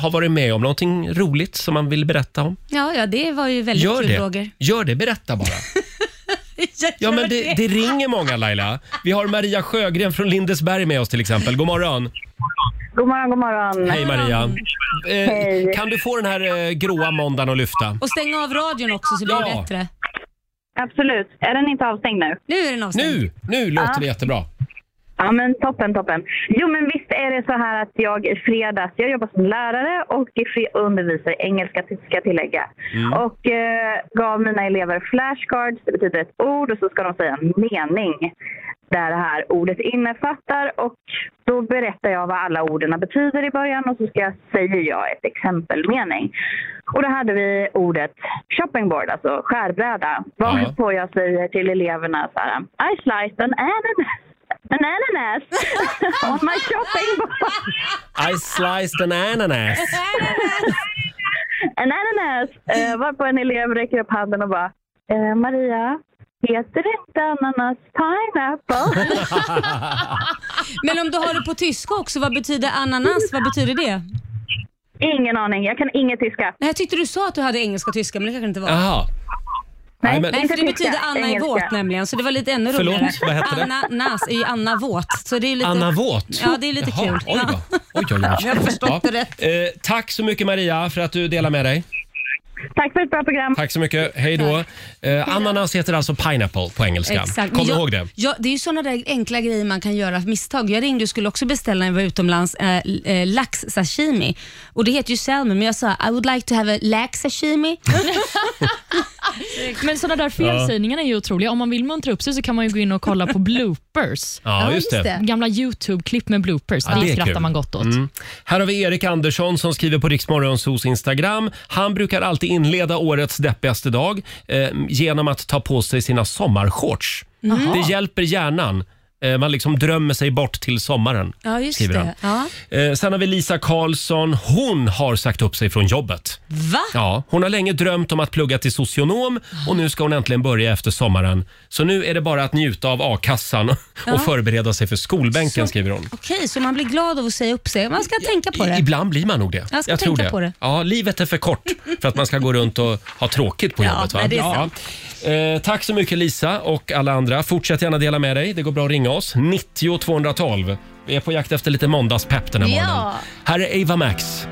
[SPEAKER 1] har varit med om någonting roligt som man vill berätta om.
[SPEAKER 2] Ja, ja det var ju väldigt
[SPEAKER 1] Gör
[SPEAKER 2] kul [LAUGHS]
[SPEAKER 1] det.
[SPEAKER 2] Roger.
[SPEAKER 1] Gör det, berätta bara. Ja, men det, det ringer många Laila. Vi har Maria Sjögren från Lindesberg med oss till exempel. God morgon.
[SPEAKER 20] God morgon, god morgon.
[SPEAKER 1] Hej Maria. Eh,
[SPEAKER 20] Hej.
[SPEAKER 1] Kan du få den här eh, gråa måndagen att lyfta?
[SPEAKER 2] Och stäng av radion också så blir det
[SPEAKER 1] Ja.
[SPEAKER 2] bättre.
[SPEAKER 20] Absolut. Är den inte avstängd nu?
[SPEAKER 2] Nu är den avstängd.
[SPEAKER 1] Nu, nu låter
[SPEAKER 20] Ja.
[SPEAKER 1] det jättebra.
[SPEAKER 20] Ja, men toppen, toppen. Jo, men visst är det så här att jag i fredags, jag jobbar som lärare och i fre- undervisar i engelska, ska jag tillägga.
[SPEAKER 7] Mm.
[SPEAKER 20] Och eh, gav mina elever flashcards, det betyder ett ord och så ska de säga en mening där det här ordet innefattar och då berättar jag vad alla orden betyder i början och så ska jag, säger jag ett exempelmening. Och då hade vi ordet shoppingboard, alltså skärbräda, varpå jag säger till eleverna så här I sliced an ananas, [LAUGHS] an ananas [LAUGHS] on my shopping board.
[SPEAKER 1] I sliced an ananas.
[SPEAKER 20] En ananas! Eh, varpå en elev räcker upp handen och bara eh, Maria, heter det inte ananas pineapple?
[SPEAKER 2] Men om du har det på tyska också, vad betyder ananas? Vad betyder det?
[SPEAKER 20] Ingen aning, jag kan inget tyska.
[SPEAKER 2] Nej, jag tyckte du sa att du hade engelska och tyska, men det kanske inte var.
[SPEAKER 1] Jaha.
[SPEAKER 2] Nej,
[SPEAKER 1] men-
[SPEAKER 2] för det
[SPEAKER 20] inte
[SPEAKER 2] betyder
[SPEAKER 20] tyska,
[SPEAKER 2] Anna är
[SPEAKER 20] engelska.
[SPEAKER 2] våt nämligen, så det var lite ännu
[SPEAKER 1] Förlåt,
[SPEAKER 2] roligare.
[SPEAKER 1] vad hette det?
[SPEAKER 2] Anna Nas är ju Anna Våt. Så det är ju lite...
[SPEAKER 1] Anna Våt?
[SPEAKER 2] Ja, det är lite
[SPEAKER 1] Jaha,
[SPEAKER 2] kul.
[SPEAKER 1] Oj,
[SPEAKER 2] Ja.
[SPEAKER 1] vad. oj, oj, oj.
[SPEAKER 2] Jag har förstått
[SPEAKER 1] Ja. Eh, tack så mycket Maria för att du delar med dig.
[SPEAKER 20] Tack för ett bra program.
[SPEAKER 1] Tack så mycket. Hej då. Eh, ananas heter alltså pineapple på engelska.
[SPEAKER 2] Exakt.
[SPEAKER 1] Kom
[SPEAKER 2] Men jag,
[SPEAKER 1] ihåg det.
[SPEAKER 2] Jag, det är ju sådana där enkla grejer man kan göra av misstag. Jag ringde och skulle också beställa när jag var utomlands, eh, l- eh, lax sashimi. Och det heter ju salmon, men jag sa I would like to have a lax sashimi.
[SPEAKER 4] Men sådana där felsägningar är ju otroliga. Om man vill muntra upp sig så kan man ju gå in och kolla på bloopers.
[SPEAKER 1] [LAUGHS] Ja, just det.
[SPEAKER 4] Gamla YouTube-klipp med bloopers.
[SPEAKER 1] Ja,
[SPEAKER 4] det
[SPEAKER 1] är
[SPEAKER 4] skrattar
[SPEAKER 1] kul.
[SPEAKER 4] man gott åt.
[SPEAKER 1] Mm. Här har vi Erik Andersson som skriver på Riksmorgonsos Instagram. Han brukar alltid inleda årets deppigaste dag eh, genom att ta på sig sina sommarshorts.
[SPEAKER 2] Mm.
[SPEAKER 1] Det hjälper hjärnan. Eh, man liksom drömmer sig bort till sommaren.
[SPEAKER 2] Ja, just
[SPEAKER 1] skriver han.
[SPEAKER 2] det. Ja.
[SPEAKER 1] Eh, sen har vi Lisa Karlsson. Hon har sagt upp sig från jobbet.
[SPEAKER 2] Va?
[SPEAKER 1] Ja, hon har länge drömt om att plugga till socionom och nu ska hon äntligen börja efter sommaren. Så nu är det bara att njuta av a-kassan och
[SPEAKER 2] Ja.
[SPEAKER 1] förbereda sig för
[SPEAKER 2] Så-
[SPEAKER 1] skolbänken, skriver hon.
[SPEAKER 2] Okej, så man blir glad av att säga upp sig. Man ska tänka på det.
[SPEAKER 1] Ibland blir man nog det.
[SPEAKER 2] Jag ska tänka på det.
[SPEAKER 1] Ja, livet är för kort för att man ska gå runt och ha tråkigt på
[SPEAKER 2] Ja,
[SPEAKER 1] jobbet. Va?
[SPEAKER 2] nej, det är sant.
[SPEAKER 1] Eh, tack så mycket Lisa och alla andra. Fortsätt gärna dela med dig. Det går bra att ringa oss. 90 212. Vi är på jakt efter lite måndagspepp den här
[SPEAKER 7] Ja.
[SPEAKER 1] morgonen. Här är Ava Max.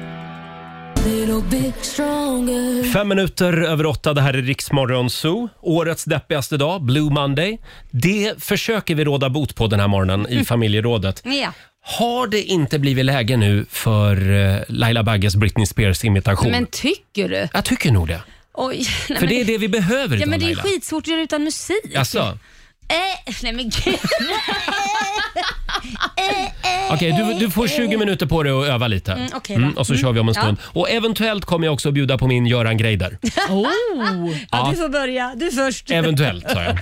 [SPEAKER 1] Fem minuter över åtta, det här är Riksmorgon Zoo. Årets deppigaste dag, Blue Monday. Det försöker vi råda bot på den här morgonen
[SPEAKER 2] Mm.
[SPEAKER 1] i familjerådet.
[SPEAKER 2] Ja.
[SPEAKER 1] Har det inte blivit läge nu för eh, Laila Bagges Britney Spears imitation?
[SPEAKER 2] Men tycker du?
[SPEAKER 1] Jag tycker nog det.
[SPEAKER 2] Oj, [LAUGHS] nej,
[SPEAKER 1] för
[SPEAKER 2] men-
[SPEAKER 1] det är det vi behöver
[SPEAKER 2] Ja,
[SPEAKER 1] idag
[SPEAKER 2] men det är
[SPEAKER 1] Laila.
[SPEAKER 2] skitsvårt att göra utan musik.
[SPEAKER 1] Jaså?
[SPEAKER 2] Eh, nej men
[SPEAKER 1] [LAUGHS]
[SPEAKER 2] gud.
[SPEAKER 1] Okej, du, du får 20 minuter på dig att öva lite.
[SPEAKER 2] Mm, okej då.
[SPEAKER 1] mm, och så
[SPEAKER 2] Mm.
[SPEAKER 1] kör vi om en
[SPEAKER 2] Ja.
[SPEAKER 1] stund. Och eventuellt kommer jag också att bjuda på min Göran Greider.
[SPEAKER 2] oh.
[SPEAKER 1] Ja.
[SPEAKER 2] ja, du får börja. Du först.
[SPEAKER 1] Eventuellt, sa jag.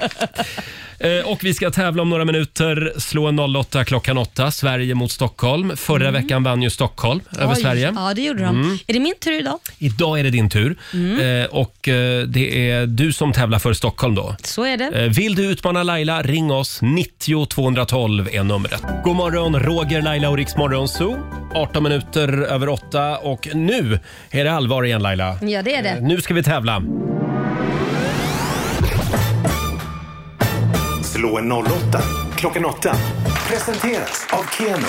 [SPEAKER 1] Eh, Och vi ska tävla om några minuter. Slå en 08 klockan 8. Sverige mot Stockholm. Förra veckan vann ju Stockholm över
[SPEAKER 2] Mm. Oj.
[SPEAKER 1] Sverige.
[SPEAKER 2] Ja, det gjorde de.
[SPEAKER 1] Mm.
[SPEAKER 2] Är det min tur idag?
[SPEAKER 1] Idag är det din tur
[SPEAKER 2] Mm.
[SPEAKER 1] Eh, och eh, det är du som tävlar för Stockholm då.
[SPEAKER 2] Så är det.
[SPEAKER 1] Eh, Vill du utmana Laila, ring oss. 90 212 är numret. God morgon, Roger, Laila och Riksmorgon Zoo. 18 minuter över 8 och nu är det allvar igen Laila.
[SPEAKER 2] Ja, det är det.
[SPEAKER 1] Eh, Nu ska vi tävla.
[SPEAKER 9] Slå en 08 klockan 8. Presenteras av Keno.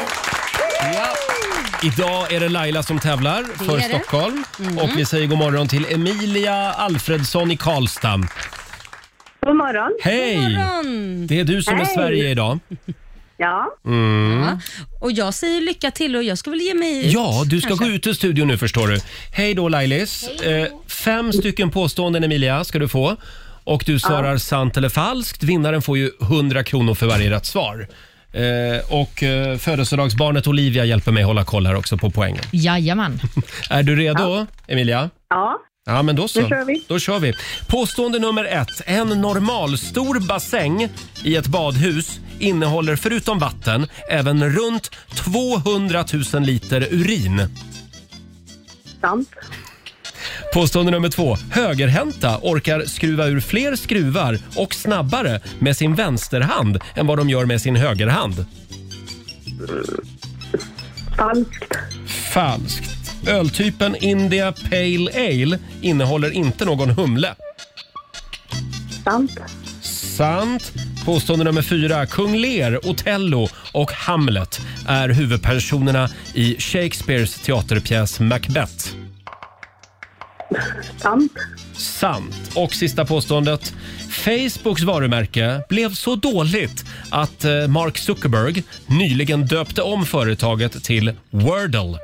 [SPEAKER 1] Idag är det Laila som tävlar för
[SPEAKER 7] är det.
[SPEAKER 1] Stockholm.
[SPEAKER 7] Mhm.
[SPEAKER 1] Och vi säger god morgon till Emilia Alfredsson i Karlstad.
[SPEAKER 20] God morgon.
[SPEAKER 1] Hej! God
[SPEAKER 2] morgon.
[SPEAKER 1] Det är du som är
[SPEAKER 2] Hej.
[SPEAKER 1] Sverige idag.
[SPEAKER 20] Ja.
[SPEAKER 1] Mm.
[SPEAKER 2] Och jag säger lycka till och jag ska väl ge mig ut,
[SPEAKER 1] Ja, du ska
[SPEAKER 2] kanske.
[SPEAKER 1] gå ut ur studion nu förstår du. Hej då Lailis. Eh, fem stycken påståenden Emilia ska du få. Och du svarar sant eller falskt. Vinnaren får ju 100 kronor för varje rätt svar. Eh, och eh, födelsedagsbarnet Olivia hjälper mig hålla koll här också på poängen. [LAUGHS]
[SPEAKER 4] Jajamän.
[SPEAKER 1] Är du redo Emilia?
[SPEAKER 20] Ja.
[SPEAKER 1] Ja, men då så.
[SPEAKER 20] Nu kör vi.
[SPEAKER 1] Då kör vi. Påstående nummer ett. En normalstor bassäng i ett badhus innehåller förutom vatten även runt 200 000 liter urin.
[SPEAKER 20] Sant.
[SPEAKER 1] Påstående nummer två. Högerhänta orkar skruva ur fler skruvar och snabbare med sin vänsterhand än vad de gör med sin högerhand.
[SPEAKER 20] Falskt.
[SPEAKER 1] Falskt. Öltypen India Pale Ale innehåller inte någon humle.
[SPEAKER 20] Sant.
[SPEAKER 1] Sant. Påstående nummer fyra. Kung Lear, Othello och Hamlet är huvudpersonerna i Shakespeares teaterpjäs Macbeth.
[SPEAKER 20] Sant.
[SPEAKER 1] Sant. Och sista påståendet. Facebooks varumärke blev så dåligt att eh, Mark Zuckerberg nyligen döpte om företaget till Wordle.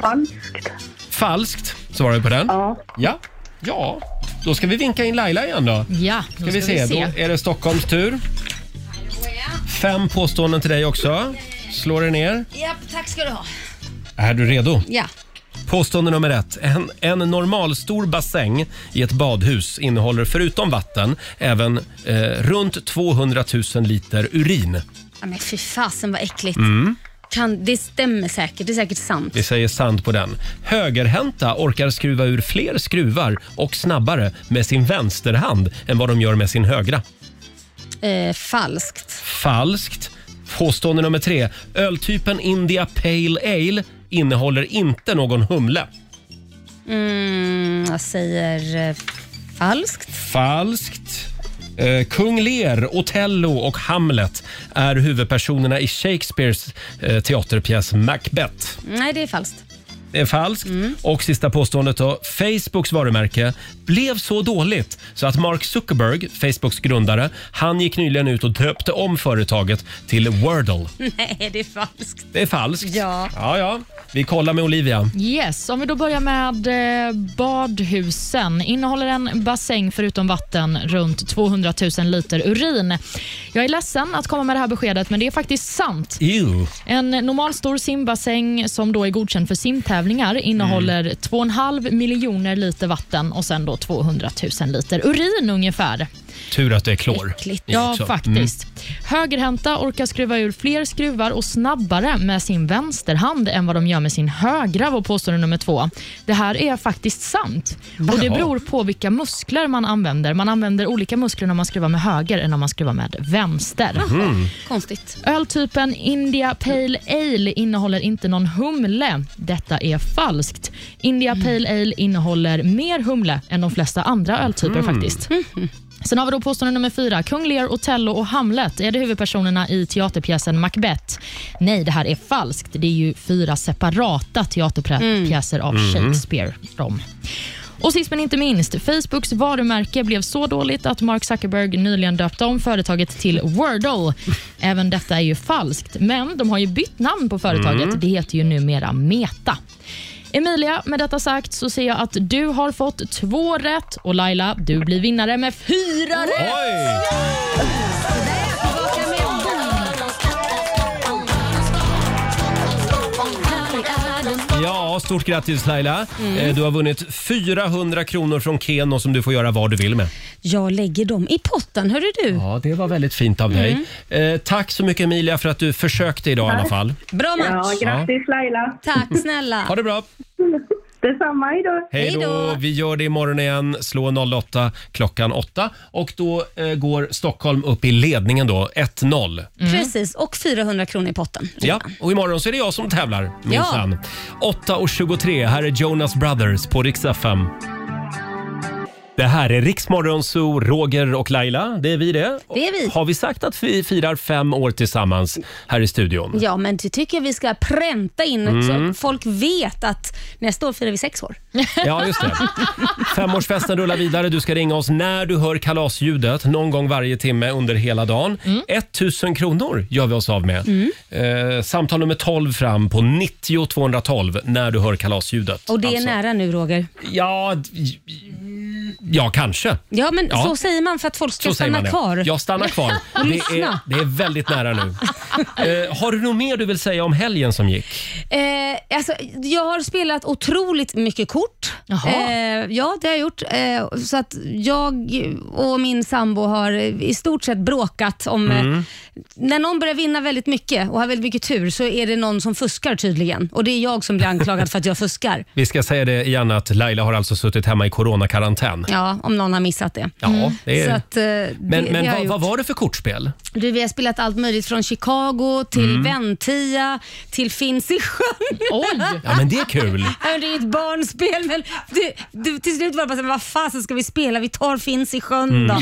[SPEAKER 20] Falskt.
[SPEAKER 1] Falskt, svarar vi på den. Ja. ja. Ja, då ska vi vinka in Laila igen då.
[SPEAKER 4] Ja,
[SPEAKER 1] Ska vi se, då är det Stockholms tur. Fem påståenden till dig också. Slår det ner.
[SPEAKER 2] Japp, tack ska du ha.
[SPEAKER 1] Är du redo?
[SPEAKER 2] Ja.
[SPEAKER 1] Påstående nummer ett. En, en normalstor bassäng i ett badhus innehåller förutom vatten även eh, runt 200 000 liter urin.
[SPEAKER 2] ja men fy fasen vad äckligt.
[SPEAKER 1] Mm.
[SPEAKER 2] Kan, det stämmer säkert. Det är säkert sant.
[SPEAKER 1] Vi säger sant på den. Högerhänta orkar skruva ur fler skruvar och snabbare med sin vänsterhand än vad de gör med sin högra.
[SPEAKER 2] Eh, falskt.
[SPEAKER 1] Falskt. Påstående nummer tre. Öltypen India Pale Ale innehåller inte någon humle.
[SPEAKER 2] Mm, jag säger eh, falskt.
[SPEAKER 1] Falskt. Eh, Kung Lear, Othello och Hamlet är huvudpersonerna i Shakespeares eh, teaterpjäs Macbeth.
[SPEAKER 2] Nej, det är falskt.
[SPEAKER 1] är falskt.
[SPEAKER 4] Mm.
[SPEAKER 1] Och sista påståendet då. Facebooks varumärke blev så dåligt så att Mark Zuckerberg, Facebooks grundare, han gick nyligen ut och döpte om företaget till Wordle.
[SPEAKER 2] Nej, det är falskt.
[SPEAKER 1] Det är falskt.
[SPEAKER 2] Ja.
[SPEAKER 1] Ja, ja. Vi kollar med Olivia.
[SPEAKER 4] Yes, om vi då börjar med eh, badhusen. Innehåller en bassäng förutom vatten runt 200 000 liter urin. Jag är ledsen att komma med det här beskedet, men det är faktiskt sant.
[SPEAKER 1] Ew.
[SPEAKER 4] En normalstor simbassäng som då är godkänd för simtävlingar innehåller 2,5 miljoner liter vatten och sen då 200 000 liter urin ungefär.
[SPEAKER 1] Tur att det är klor.
[SPEAKER 4] Äckligt.
[SPEAKER 1] i
[SPEAKER 4] Ja,
[SPEAKER 1] också. Mm.
[SPEAKER 4] faktiskt. Högerhänta orkar skruva ur fler skruvar och snabbare med sin vänsterhand än vad de gör med sin högra, var påstående nummer två. Det här är faktiskt sant. Och Det
[SPEAKER 7] Jaha.
[SPEAKER 4] beror på vilka muskler man använder. Man använder olika muskler när man skruvar med höger än när man skruvar med vänster.
[SPEAKER 7] Mhm.
[SPEAKER 2] Konstigt.
[SPEAKER 4] Öltypen India Pale Ale innehåller inte någon humle. Detta är falskt. India Pale Ale innehåller mer humle än de flesta andra öltyper
[SPEAKER 7] Mm.
[SPEAKER 4] faktiskt. Sen har vi då påstående nummer fyra. Kung Lear, Othello och Hamlet, är det huvudpersonerna i teaterpjäsen Macbeth? Nej, det här är falskt. Det är ju fyra separata teaterpjäser av
[SPEAKER 7] Mm.
[SPEAKER 4] Shakespeare. De. Och sist men inte minst, Facebooks varumärke blev så dåligt att Mark Zuckerberg nyligen döpte om företaget till Wordle. Även detta är ju falskt, men de har ju bytt namn på företaget.
[SPEAKER 7] Mm.
[SPEAKER 4] Det heter ju numera Meta. Emilia, med detta sagt så ser jag att du har fått två rätt och Laila, du blir vinnare med fyra rätt.
[SPEAKER 1] Ja, stort grattis Laila.
[SPEAKER 2] Mm.
[SPEAKER 1] Eh, Du har vunnit 400 kronor från Keno som du får göra vad du vill med.
[SPEAKER 2] Jag lägger dem i potten, hörru du. Mm.
[SPEAKER 1] Ja, det var väldigt fint av dig. Eh, tack så mycket Emilia för att du försökte idag i alla fall.
[SPEAKER 2] Bra match.
[SPEAKER 1] Ja, grattis,
[SPEAKER 2] Laila. Tack snälla.
[SPEAKER 1] Ha det bra.
[SPEAKER 2] Detsamma, hejdå.
[SPEAKER 1] Hej då! Vi gör det imorgon igen. Slå 08 klockan 8 och då eh, går Stockholm upp i ledningen då, 1-0.
[SPEAKER 2] Precis, och 400 kronor i potten.
[SPEAKER 1] Ja, och imorgon så är det jag som tävlar minsann. 8.23, här är Jonas Brothers på Rix FM. Det här är Riksmorgon Zoo, Roger och Laila. Det är vi det.
[SPEAKER 2] Det är vi.
[SPEAKER 1] Har vi sagt att vi firar fem år tillsammans här i studion?
[SPEAKER 2] Ja, men det tycker jag vi ska pränta in
[SPEAKER 1] Mm.
[SPEAKER 2] så folk vet att nästa år firar vi sex år.
[SPEAKER 1] Ja, just det. Femårsfesten rullar vidare. Du ska ringa oss när du hör kalasljudet någon gång varje timme under hela dagen. 1000 kronor gör vi oss av med.
[SPEAKER 2] Mm.
[SPEAKER 1] Eh, samtal nummer 12 fram på 90 212 när du hör kalasljudet.
[SPEAKER 2] Och det är
[SPEAKER 1] Alltså.
[SPEAKER 2] nära nu, Roger.
[SPEAKER 1] Ja, Ja, kanske.
[SPEAKER 2] ja men
[SPEAKER 1] Ja.
[SPEAKER 2] så säger man för att folk ska
[SPEAKER 1] Så säger man
[SPEAKER 2] stanna
[SPEAKER 1] det.
[SPEAKER 2] kvar.
[SPEAKER 1] Jag
[SPEAKER 2] [LAUGHS]
[SPEAKER 1] stannar kvar.
[SPEAKER 2] Och
[SPEAKER 1] Det är,
[SPEAKER 2] lyssna.
[SPEAKER 1] det är väldigt
[SPEAKER 2] [LAUGHS]
[SPEAKER 1] nära nu. Eh, har du något mer du vill säga om helgen som gick?
[SPEAKER 2] Eh, alltså, jag har spelat otroligt mycket kort. Eh, ja, det har jag gjort. Eh, så att jag och min sambo har i stort sett bråkat om... Eh,
[SPEAKER 7] Mm.
[SPEAKER 2] när någon börjar vinna väldigt mycket och har väldigt mycket tur så är det någon som fuskar tydligen. Och det är jag som blir anklagad för att jag fuskar.
[SPEAKER 1] Vi ska säga det igen att Laila har alltså suttit hemma i coronakarantän.
[SPEAKER 2] Ja, om någon har missat det.
[SPEAKER 1] Ja, Typ. det är-
[SPEAKER 2] Så att, eh, det,
[SPEAKER 1] Men,
[SPEAKER 2] det har
[SPEAKER 1] men
[SPEAKER 2] jag
[SPEAKER 1] vad,
[SPEAKER 2] gjort.
[SPEAKER 1] vad var det för kortspel?
[SPEAKER 2] Du, vi har spelat allt möjligt från Chicago till
[SPEAKER 1] Mm.
[SPEAKER 2] Ventia till Finns i sjön. [LAUGHS]
[SPEAKER 4] Oj!
[SPEAKER 1] Ja, men det är kul.
[SPEAKER 2] Det är ett barnspel men det, det, till slut var det bara så här, vad fasen ska vi spela? Vi tar Finns i sjön
[SPEAKER 1] Mm.
[SPEAKER 2] då.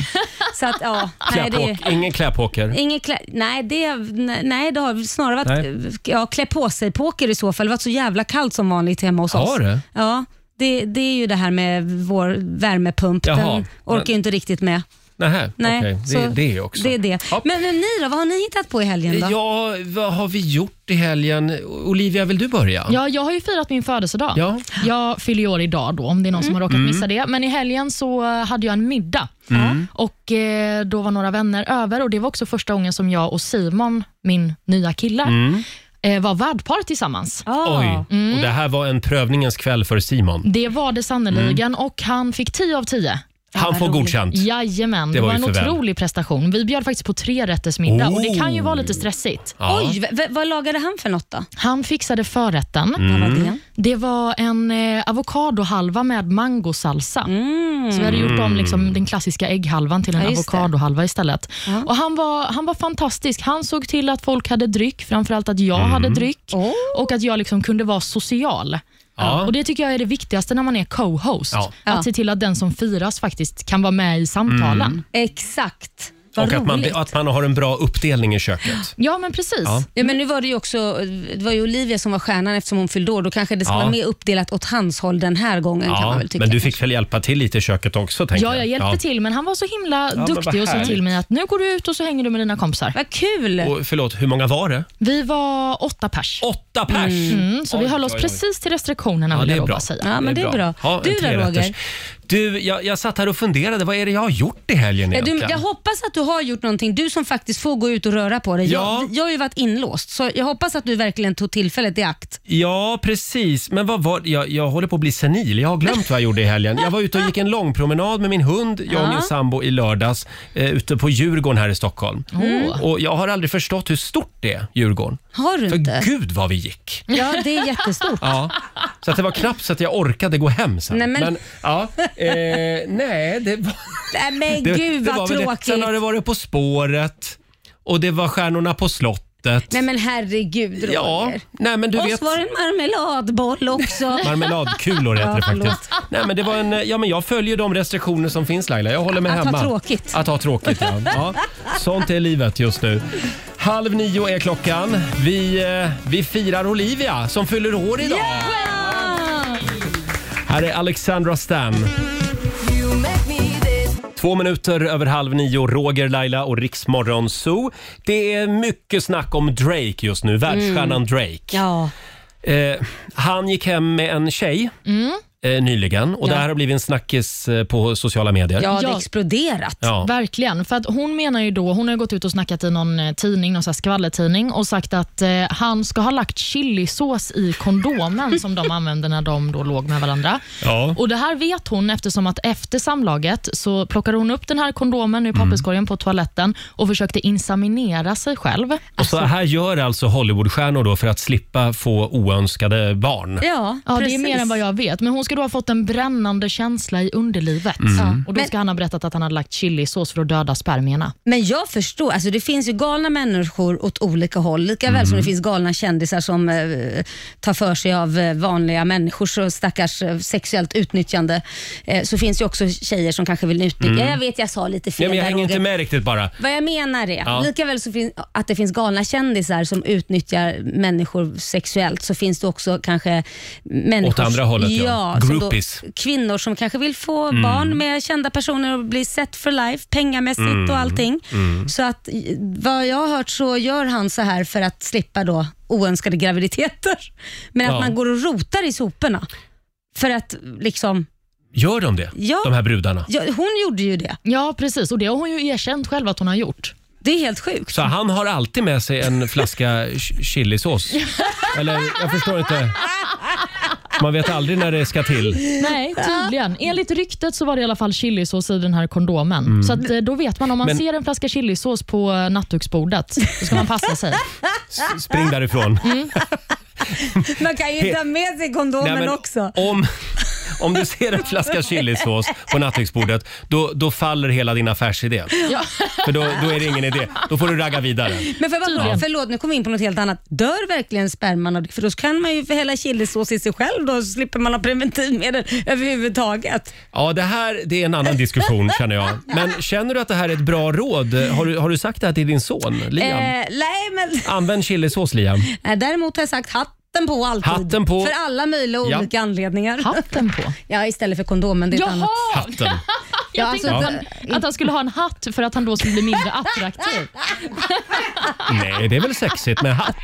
[SPEAKER 2] Så att ja, nej det,
[SPEAKER 1] Kläpåk, ingen kläpåker.
[SPEAKER 2] Ingen klä, nej, det, nej, det har snarare
[SPEAKER 1] Nej.
[SPEAKER 2] varit ja, klä på sig-poker i så fall. Det har varit så jävla kallt som vanligt hemma hos oss.
[SPEAKER 1] Har det?
[SPEAKER 2] Ja, det, det är ju det här med vår värmepump.
[SPEAKER 1] Jaha.
[SPEAKER 2] Den orkar ju inte riktigt med.
[SPEAKER 1] Nähä,
[SPEAKER 2] Nej,
[SPEAKER 1] Nej, det är
[SPEAKER 2] så
[SPEAKER 1] det också.
[SPEAKER 2] Det är det. Men, men ni då, vad har ni hittat på i helgen då?
[SPEAKER 1] Ja, vad har vi gjort i helgen? Olivia, vill du börja?
[SPEAKER 4] Ja, jag har ju firat min födelsedag.
[SPEAKER 1] Ja.
[SPEAKER 4] Jag fyller ju år idag då, om det är någon som har råkat
[SPEAKER 1] Mm.
[SPEAKER 4] missa det. Men i helgen så eh, hade jag en middag.
[SPEAKER 7] Mm.
[SPEAKER 4] Och eh, Då var några vänner över och det var också första gången som jag och Simon, min nya kille,
[SPEAKER 1] Mm.
[SPEAKER 4] eh, var värdpar tillsammans. Mm.
[SPEAKER 1] Oj, och det här var en prövningens kväll för
[SPEAKER 2] Mm.
[SPEAKER 1] Simon.
[SPEAKER 4] Det var det sannerligen och han fick 10 av 10.
[SPEAKER 1] Han får godkänt.
[SPEAKER 4] Jajamän, det,
[SPEAKER 1] Det var
[SPEAKER 4] var,
[SPEAKER 1] ju
[SPEAKER 4] en
[SPEAKER 1] för väl.
[SPEAKER 4] otrolig prestation. Vi bjöd faktiskt på trerättersmiddag och det kan ju
[SPEAKER 2] Oh.
[SPEAKER 4] vara lite stressigt.
[SPEAKER 2] Ja. Oj, v- vad lagade han för något då?
[SPEAKER 4] Han fixade förrätten.
[SPEAKER 2] Mm. Vad var det?
[SPEAKER 4] Det var en eh, avokadohalva med mangosalsa.
[SPEAKER 2] Mm.
[SPEAKER 4] Så vi hade gjort om liksom, den klassiska ägghalvan till en
[SPEAKER 7] Ja, just det.
[SPEAKER 4] avokadohalva istället. Och han, var, han var fantastisk. Han såg till att folk hade dryck, framförallt att jag
[SPEAKER 7] Mm.
[SPEAKER 4] hade dryck
[SPEAKER 2] Oh.
[SPEAKER 4] och att jag liksom kunde vara social.
[SPEAKER 7] Ja.
[SPEAKER 4] Och Det tycker jag är det viktigaste när man är co-host.
[SPEAKER 7] Ja.
[SPEAKER 4] Att
[SPEAKER 2] Ja.
[SPEAKER 4] se till att den som firas faktiskt kan vara med i samtalen.
[SPEAKER 2] Exakt. Vad
[SPEAKER 1] Mm. och att man,
[SPEAKER 2] roligt.
[SPEAKER 1] att man har en bra uppdelning i köket.
[SPEAKER 2] Ja, men precis.
[SPEAKER 1] Ja.
[SPEAKER 2] Ja. men nu var det ju också eh, det var ju Olivia som var stjärnan eftersom hon fyllde år. Då kanske det ska
[SPEAKER 1] Ja.
[SPEAKER 2] vara mer uppdelat åt hans håll den här gången kan man väl tycka.
[SPEAKER 1] men du fick väl hjälpa till lite i köket också? tänker
[SPEAKER 4] Ja, jag hjälpte till, men han var så himla
[SPEAKER 1] men vad
[SPEAKER 4] duktig och sa
[SPEAKER 1] härligt.
[SPEAKER 4] till mig att nu går du ut och så hänger du med dina kompisar.
[SPEAKER 2] Vad kul!
[SPEAKER 1] Och, förlåt, hur många var det?
[SPEAKER 4] Vi var åtta pers.
[SPEAKER 1] Åtta pers?
[SPEAKER 4] Mm, så
[SPEAKER 1] Oj,
[SPEAKER 4] vi höll oss
[SPEAKER 1] oj, oj.
[SPEAKER 4] precis till restriktionerna vill jag då bara säga.
[SPEAKER 1] Ja, en trerätters. Du, jag, jag satt här och funderade. Vad är det jag har gjort i helgen
[SPEAKER 2] Ja,
[SPEAKER 1] egentligen?
[SPEAKER 2] Du, jag hoppas att du har gjort någonting, du som faktiskt får gå ut och röra på dig.
[SPEAKER 1] Ja.
[SPEAKER 2] Jag, jag har ju varit inlåst, så jag hoppas att du verkligen tog tillfället i akt.
[SPEAKER 1] Ja, precis. Men vad var jag, jag håller på att bli senil. Jag har glömt vad jag gjorde i helgen. Jag var ute och gick en lång promenad med min hund, jag och
[SPEAKER 7] Ja.
[SPEAKER 1] min sambo, i lördags eh, ute på Djurgården här i Stockholm.
[SPEAKER 2] Mm.
[SPEAKER 1] Och jag har aldrig förstått hur stort det är, Djurgården.
[SPEAKER 2] Har du
[SPEAKER 1] För
[SPEAKER 2] inte?
[SPEAKER 1] gud vad vi gick!
[SPEAKER 2] Ja, det är jättestort. [LAUGHS]
[SPEAKER 1] Ja, så att det var knappt så att jag orkade gå hem sen.
[SPEAKER 2] Nej, men-
[SPEAKER 1] ja, eh, nej, det var...
[SPEAKER 2] Nej, men gud
[SPEAKER 1] det
[SPEAKER 2] vad
[SPEAKER 1] var väl det.
[SPEAKER 2] tråkigt.
[SPEAKER 1] Sen har det varit På spåret och det var Stjärnorna på slottet.
[SPEAKER 2] Nej men herregud Roger.
[SPEAKER 1] Ja, nej, men du
[SPEAKER 2] och
[SPEAKER 1] vet-
[SPEAKER 2] så var det marmeladboll också.
[SPEAKER 1] Marmeladkulor heter det
[SPEAKER 2] Ja, förlåt.
[SPEAKER 1] faktiskt. Nej, men det var en, ja, men jag följer de restriktioner som finns Laila. Jag håller mig
[SPEAKER 2] Att ha
[SPEAKER 1] hemma.
[SPEAKER 2] tråkigt.
[SPEAKER 1] Att ha tråkigt. Ja. Ja. Sånt är livet just nu. Halv nio är klockan. Vi, eh, vi firar Olivia som fyller år idag. Här är Alexandra Stan. Två minuter över halv nio, Roger, Laila och Riksmorgon Zoo. Det är mycket snack om Drake just nu, världsstjärnan
[SPEAKER 2] Mm.
[SPEAKER 1] Drake.
[SPEAKER 2] Ja.
[SPEAKER 1] Eh, han gick hem med en tjej
[SPEAKER 4] Mm.
[SPEAKER 1] eh, nyligen och
[SPEAKER 4] Ja.
[SPEAKER 1] det här har blivit en snackis eh, på sociala medier.
[SPEAKER 2] exploderat.
[SPEAKER 1] Ja.
[SPEAKER 4] Verkligen. För att hon menar ju då, hon har ju gått ut och snackat i någon eh, tidning, någon så här skvallertidning och sagt att eh, han ska ha lagt chilisås i kondomen som de använde när de då låg med varandra.
[SPEAKER 7] Ja.
[SPEAKER 4] Och Det här vet hon eftersom att efter samlaget så plockade hon upp den här kondomen
[SPEAKER 1] Mm.
[SPEAKER 4] ur papperskorgen på toaletten och försökte inseminera sig själv.
[SPEAKER 1] Och så här gör alltså Hollywoodstjärnor då för att slippa få oönskade barn.
[SPEAKER 2] Ja,
[SPEAKER 4] ja det är
[SPEAKER 2] precis.
[SPEAKER 4] mer än vad jag vet. Men hon ska då ha fått en brännande känsla i underlivet.
[SPEAKER 1] Mm. Ja.
[SPEAKER 4] Och Då ska han ha berättat att han hade lagt chilisås för att döda spermierna.
[SPEAKER 2] Men jag förstår, alltså det finns ju galna människor åt olika håll. Lika väl som
[SPEAKER 4] Mm.
[SPEAKER 2] det finns galna kändisar som eh, tar för sig av eh, vanliga människors och stackars eh, sexuellt utnyttjande. Eh, så finns ju också tjejer som kanske vill utnyttja.
[SPEAKER 1] Mm.
[SPEAKER 2] Ja, Jag vet jag sa lite fel
[SPEAKER 1] Nej, men jag
[SPEAKER 2] där,
[SPEAKER 1] hänger inte
[SPEAKER 2] Roger.
[SPEAKER 1] med riktigt bara.
[SPEAKER 2] Vad jag menar är,
[SPEAKER 1] Ja.
[SPEAKER 2] lika väl som fin- att det finns galna kändisar som utnyttjar människor sexuellt, så finns det också kanske människor...
[SPEAKER 1] Åt andra hållet, ja.
[SPEAKER 2] som
[SPEAKER 1] Groupies.
[SPEAKER 2] Då, kvinnor som kanske vill få
[SPEAKER 1] Mm.
[SPEAKER 2] barn med kända personer och bli sett for life, pengamässigt
[SPEAKER 1] Mm.
[SPEAKER 2] och allting.
[SPEAKER 1] Mm.
[SPEAKER 2] Så att i- vad jag har hört så gör han så här för att slippa då oönskade graviditeter. [LAUGHS] Men
[SPEAKER 1] Ja.
[SPEAKER 2] att man går och rotar i soporna. För att liksom...
[SPEAKER 1] Gör de det?
[SPEAKER 2] Ja.
[SPEAKER 1] De här brudarna?
[SPEAKER 2] Ja, hon gjorde ju det.
[SPEAKER 4] Ja, precis. Och det har hon ju erkänt själv att hon har gjort.
[SPEAKER 2] Det är helt sjukt.
[SPEAKER 1] Så han har alltid med sig en flaska ch- chilisås? Eller jag förstår inte. Man vet aldrig när det ska till.
[SPEAKER 4] Nej, tydligen. Enligt ryktet så var det i alla fall chilisås i den här kondomen.
[SPEAKER 1] Mm.
[SPEAKER 4] Så att, eh, då vet man om man
[SPEAKER 1] Men-
[SPEAKER 4] ser en flaska chilisås på eh, nattduksbordet, då ska man passa sig. Mm.
[SPEAKER 1] S- Spring därifrån.
[SPEAKER 2] [LAUGHS] Man kan ju inte ha med sig kondomen
[SPEAKER 1] Nej, men
[SPEAKER 2] också.
[SPEAKER 1] Om, om du ser en flaska chilisås på nattduksbordet, då, då faller hela din affärsidé.
[SPEAKER 2] Ja.
[SPEAKER 1] För då, då är det ingen idé. Då får du ragga vidare.
[SPEAKER 2] Men för bara,
[SPEAKER 1] Ja.
[SPEAKER 2] förlåt, nu kom vi in på något helt annat. Dör verkligen sperman av det? För då kan man ju hälla chilisås i sig själv då, så slipper man ha preventivmedel överhuvudtaget.
[SPEAKER 1] Ja, det här det är en annan diskussion känner jag. Men känner du att det här är ett bra råd? Har du, har du sagt det här till din son Liam?
[SPEAKER 2] Eh, nej, men
[SPEAKER 1] Använd chilisås Liam.
[SPEAKER 2] nej, däremot har jag sagt hatten på alltid.
[SPEAKER 1] Hatten på.
[SPEAKER 2] För alla möjliga och
[SPEAKER 1] Ja.
[SPEAKER 2] olika anledningar.
[SPEAKER 4] Hatten på?
[SPEAKER 2] [LAUGHS] Ja, istället för kondomen. Det är ett annat.
[SPEAKER 1] Hatten.
[SPEAKER 4] Jag
[SPEAKER 2] Ja,
[SPEAKER 4] tänkte
[SPEAKER 1] alltså-
[SPEAKER 4] att, han, att han skulle ha en hatt för att han då skulle bli mindre attraktiv.
[SPEAKER 1] Nej, det är väl sexigt med hatt?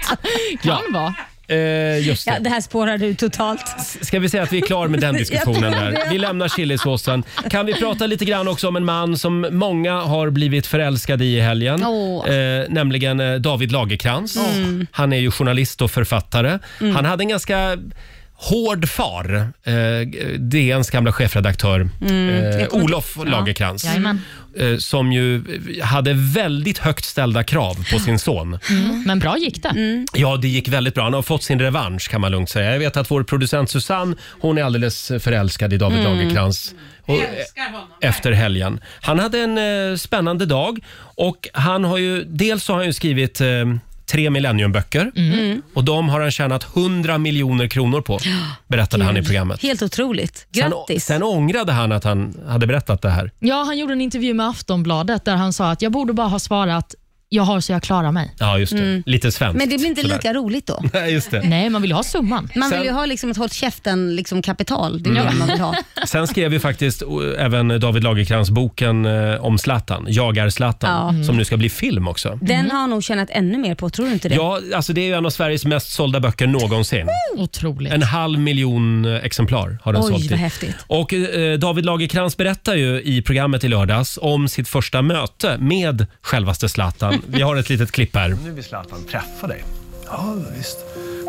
[SPEAKER 1] Ja.
[SPEAKER 4] Kan vara.
[SPEAKER 1] Eh, just
[SPEAKER 2] Ja,
[SPEAKER 1] det.
[SPEAKER 2] det här spårar du totalt.
[SPEAKER 1] Ska vi säga att vi är klara
[SPEAKER 7] [LAUGHS]
[SPEAKER 1] med den diskussionen?
[SPEAKER 2] Jag tror
[SPEAKER 1] Där.
[SPEAKER 2] det.
[SPEAKER 1] Vi lämnar chilisåsen. Kan vi prata lite grann också om en man som många har blivit förälskade i i helgen?
[SPEAKER 7] Åh.
[SPEAKER 1] Eh, nämligen eh, David Lagerkrans.
[SPEAKER 7] Mm.
[SPEAKER 1] Han är ju journalist och författare.
[SPEAKER 7] Mm.
[SPEAKER 1] Han hade en ganska hård far, eh, DNs gamla chefredaktör
[SPEAKER 7] Mm,
[SPEAKER 1] eh,
[SPEAKER 7] jag kommer-
[SPEAKER 1] Olof
[SPEAKER 7] Ja.
[SPEAKER 1] Lagerkrans.
[SPEAKER 7] Jajamän.
[SPEAKER 1] eh, som ju hade väldigt högt ställda krav på sin son.
[SPEAKER 4] Mm.
[SPEAKER 2] Mm.
[SPEAKER 4] Men bra gick det.
[SPEAKER 1] Ja, det gick väldigt bra. Han har fått sin revansch kan man lugnt säga. Jag vet att vår producent Susanne, hon är alldeles förälskad i David
[SPEAKER 7] Mm.
[SPEAKER 1] Lagercrantz. Och, eh, efter helgen. Han hade en eh, spännande dag och han har ju, dels så har han ju skrivit eh, tre Millenniumböcker.
[SPEAKER 2] Mm.
[SPEAKER 1] Och de har han tjänat 100 miljoner kronor på, berättade han i programmet.
[SPEAKER 2] Helt otroligt.
[SPEAKER 1] Sen,
[SPEAKER 2] Grattis.
[SPEAKER 1] sen ångrade han att han hade berättat det här.
[SPEAKER 4] Ja, han gjorde en intervju med Aftonbladet där han sa att jag borde bara ha svarat jag har så jag klarar mig.
[SPEAKER 1] Ja, just det.
[SPEAKER 4] Mm.
[SPEAKER 1] Lite svenskt.
[SPEAKER 2] Men det blir inte
[SPEAKER 1] sådär.
[SPEAKER 2] lika roligt då.
[SPEAKER 1] [LAUGHS] Nej, just det.
[SPEAKER 4] Nej, man vill ju ha summan.
[SPEAKER 2] Man
[SPEAKER 1] Sen-
[SPEAKER 2] vill ju ha liksom ett håll käften liksom kapital. Det är
[SPEAKER 1] Mm.
[SPEAKER 2] det man
[SPEAKER 4] [LAUGHS]
[SPEAKER 2] vill ha.
[SPEAKER 1] Sen skrev ju faktiskt eh, även David Lagercrantz boken eh, om Zlatan, Jagar
[SPEAKER 2] Ja.
[SPEAKER 1] Zlatan,
[SPEAKER 2] Mm.
[SPEAKER 1] som nu ska bli film också. Mm.
[SPEAKER 2] Den
[SPEAKER 4] Mm.
[SPEAKER 2] har han nog tjänat ännu mer på, tror du inte det?
[SPEAKER 1] Ja, alltså det är ju en av Sveriges mest sålda böcker någonsin.
[SPEAKER 4] Otroligt.
[SPEAKER 1] En halv miljon eh, exemplar har den
[SPEAKER 2] Oj,
[SPEAKER 1] sålt i.
[SPEAKER 2] vad häftigt.
[SPEAKER 1] Och eh, David Lagercrantz berättar ju i programmet i lördags om sitt första möte med självaste Zlatan. Vi har ett litet klipp här.
[SPEAKER 11] Nu vill Zlatan träffa dig. Ja, visst.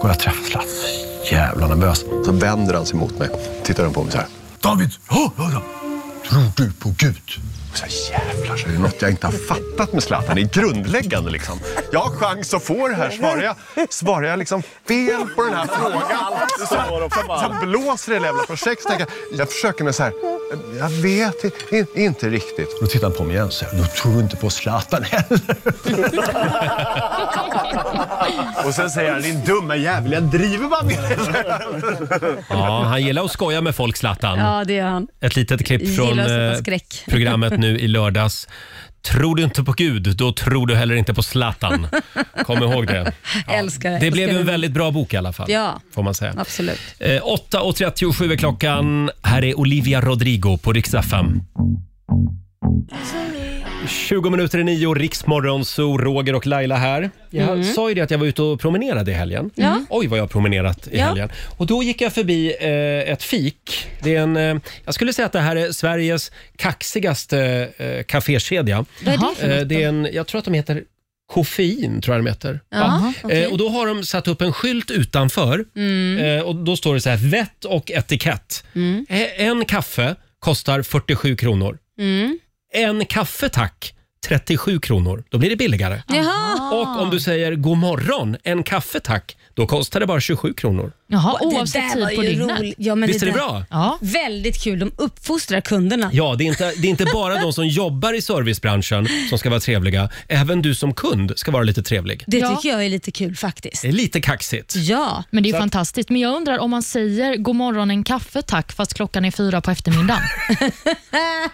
[SPEAKER 11] Går jag träffa Zlatan? Så Jävla nervös. Så vänder han sig mot mig. Tittar han på mig så här. David! Ja, ja, ja. Tror du på Gud?
[SPEAKER 9] Och så här, jävlar så är det något jag inte har fattat med Zlatan. Det är grundläggande liksom. Jag har chans att få det här. Svarar jag, svarar jag liksom fel på den här frågan så, så, så blåser det i det jävla projektet. Jag, jag försöker med så här. Jag vet i- i- inte riktigt.
[SPEAKER 11] Då tittar han på mig igen och säger, då tror du inte på Zlatan heller.
[SPEAKER 9] Och sen säger han, din dumma jävel, jag driver bara med dig.
[SPEAKER 1] Ja, han gillar att skoja med folk, Zlatan.
[SPEAKER 2] Ja, det gör han.
[SPEAKER 1] Ett litet klipp
[SPEAKER 2] Gillar
[SPEAKER 1] från
[SPEAKER 2] att sätta
[SPEAKER 1] eh,
[SPEAKER 2] skräck. [LAUGHS]
[SPEAKER 1] programmet nu i lördags. Tror du inte på Gud, då tror du heller inte på Zlatan. Kom ihåg det.
[SPEAKER 2] Eh, Älskar det.
[SPEAKER 1] Det blev ju
[SPEAKER 2] Älskar
[SPEAKER 1] en väldigt bra bok i alla fall.
[SPEAKER 2] Ja.
[SPEAKER 1] Får man säga.
[SPEAKER 2] Absolut.
[SPEAKER 1] Eh, 8.37 är klockan. Här är Olivia Rodrigo på riksdag 5. 20 minuter i nio, Riksmorgon, så Roger och Laila här. Jag
[SPEAKER 7] Mm.
[SPEAKER 1] sa ju det att jag var ute och promenerade i helgen.
[SPEAKER 7] Ja.
[SPEAKER 1] Oj, vad jag har promenerat i
[SPEAKER 7] Ja.
[SPEAKER 1] helgen. Och då gick jag förbi eh, ett fik. Det är en, eh, jag skulle säga att det här är Sveriges kaxigaste eh, kafékedja.
[SPEAKER 7] Vad är det för något
[SPEAKER 1] Eh, det är en, jag tror att de heter Koffein, tror jag de heter.
[SPEAKER 7] Jaha, okej.
[SPEAKER 1] eh, och då har de satt upp en skylt utanför
[SPEAKER 7] Mm.
[SPEAKER 1] eh, och då står det så här, vett och etikett.
[SPEAKER 7] Mm.
[SPEAKER 1] Eh, En kaffe kostar 47 kronor.
[SPEAKER 2] Mm.
[SPEAKER 1] En kaffe tack, 37 kronor. Då blir det billigare.
[SPEAKER 2] Jaha.
[SPEAKER 1] Och om du säger god morgon, en kaffe tack, då kostar det bara 27 kronor.
[SPEAKER 4] Jaha,
[SPEAKER 2] Och det
[SPEAKER 4] oavsett
[SPEAKER 2] där
[SPEAKER 4] tid
[SPEAKER 2] var
[SPEAKER 4] på
[SPEAKER 2] ju
[SPEAKER 4] dygnet.
[SPEAKER 2] roligt. Ja, men
[SPEAKER 1] Visst är det
[SPEAKER 2] där-
[SPEAKER 1] bra?
[SPEAKER 2] Väldigt kul. De uppfostrar kunderna.
[SPEAKER 1] Ja, det är, inte, det är inte bara de som jobbar i servicebranschen som ska vara trevliga. Även du som kund ska vara lite trevlig.
[SPEAKER 2] Det tycker jag är lite kul faktiskt.
[SPEAKER 1] Det är lite kaxigt.
[SPEAKER 2] Ja.
[SPEAKER 4] Men det är
[SPEAKER 1] Så
[SPEAKER 4] ju
[SPEAKER 1] att-
[SPEAKER 4] fantastiskt. Men jag undrar om man säger god morgon en kaffe tack fast klockan är fyra på
[SPEAKER 2] [LAUGHS]
[SPEAKER 4] eftermiddagen.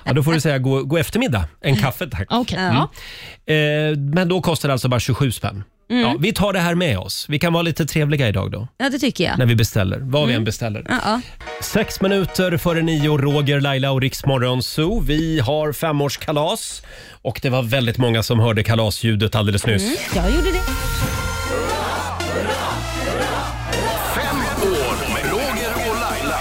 [SPEAKER 1] Ja, då får du säga god, god eftermiddag, en kaffe tack.
[SPEAKER 2] Ah,
[SPEAKER 1] Mm.
[SPEAKER 4] Okej, ja.
[SPEAKER 1] Eh, men då kostar det alltså bara 27 spänn.
[SPEAKER 2] Mm.
[SPEAKER 1] Ja, vi tar det här med oss. Vi kan vara lite trevliga idag då.
[SPEAKER 2] Ja, Mm. det tycker jag.
[SPEAKER 1] När vi beställer, vad vi än beställer.
[SPEAKER 2] Ja, ja.
[SPEAKER 1] Sex minuter före nio, Roger, Laila och Riksmorgon Zoo. Vi har femårskalas och det var väldigt många som hörde kalasljudet alldeles nyss.
[SPEAKER 2] Mm, jag gjorde det.
[SPEAKER 7] år med Roger och Laila.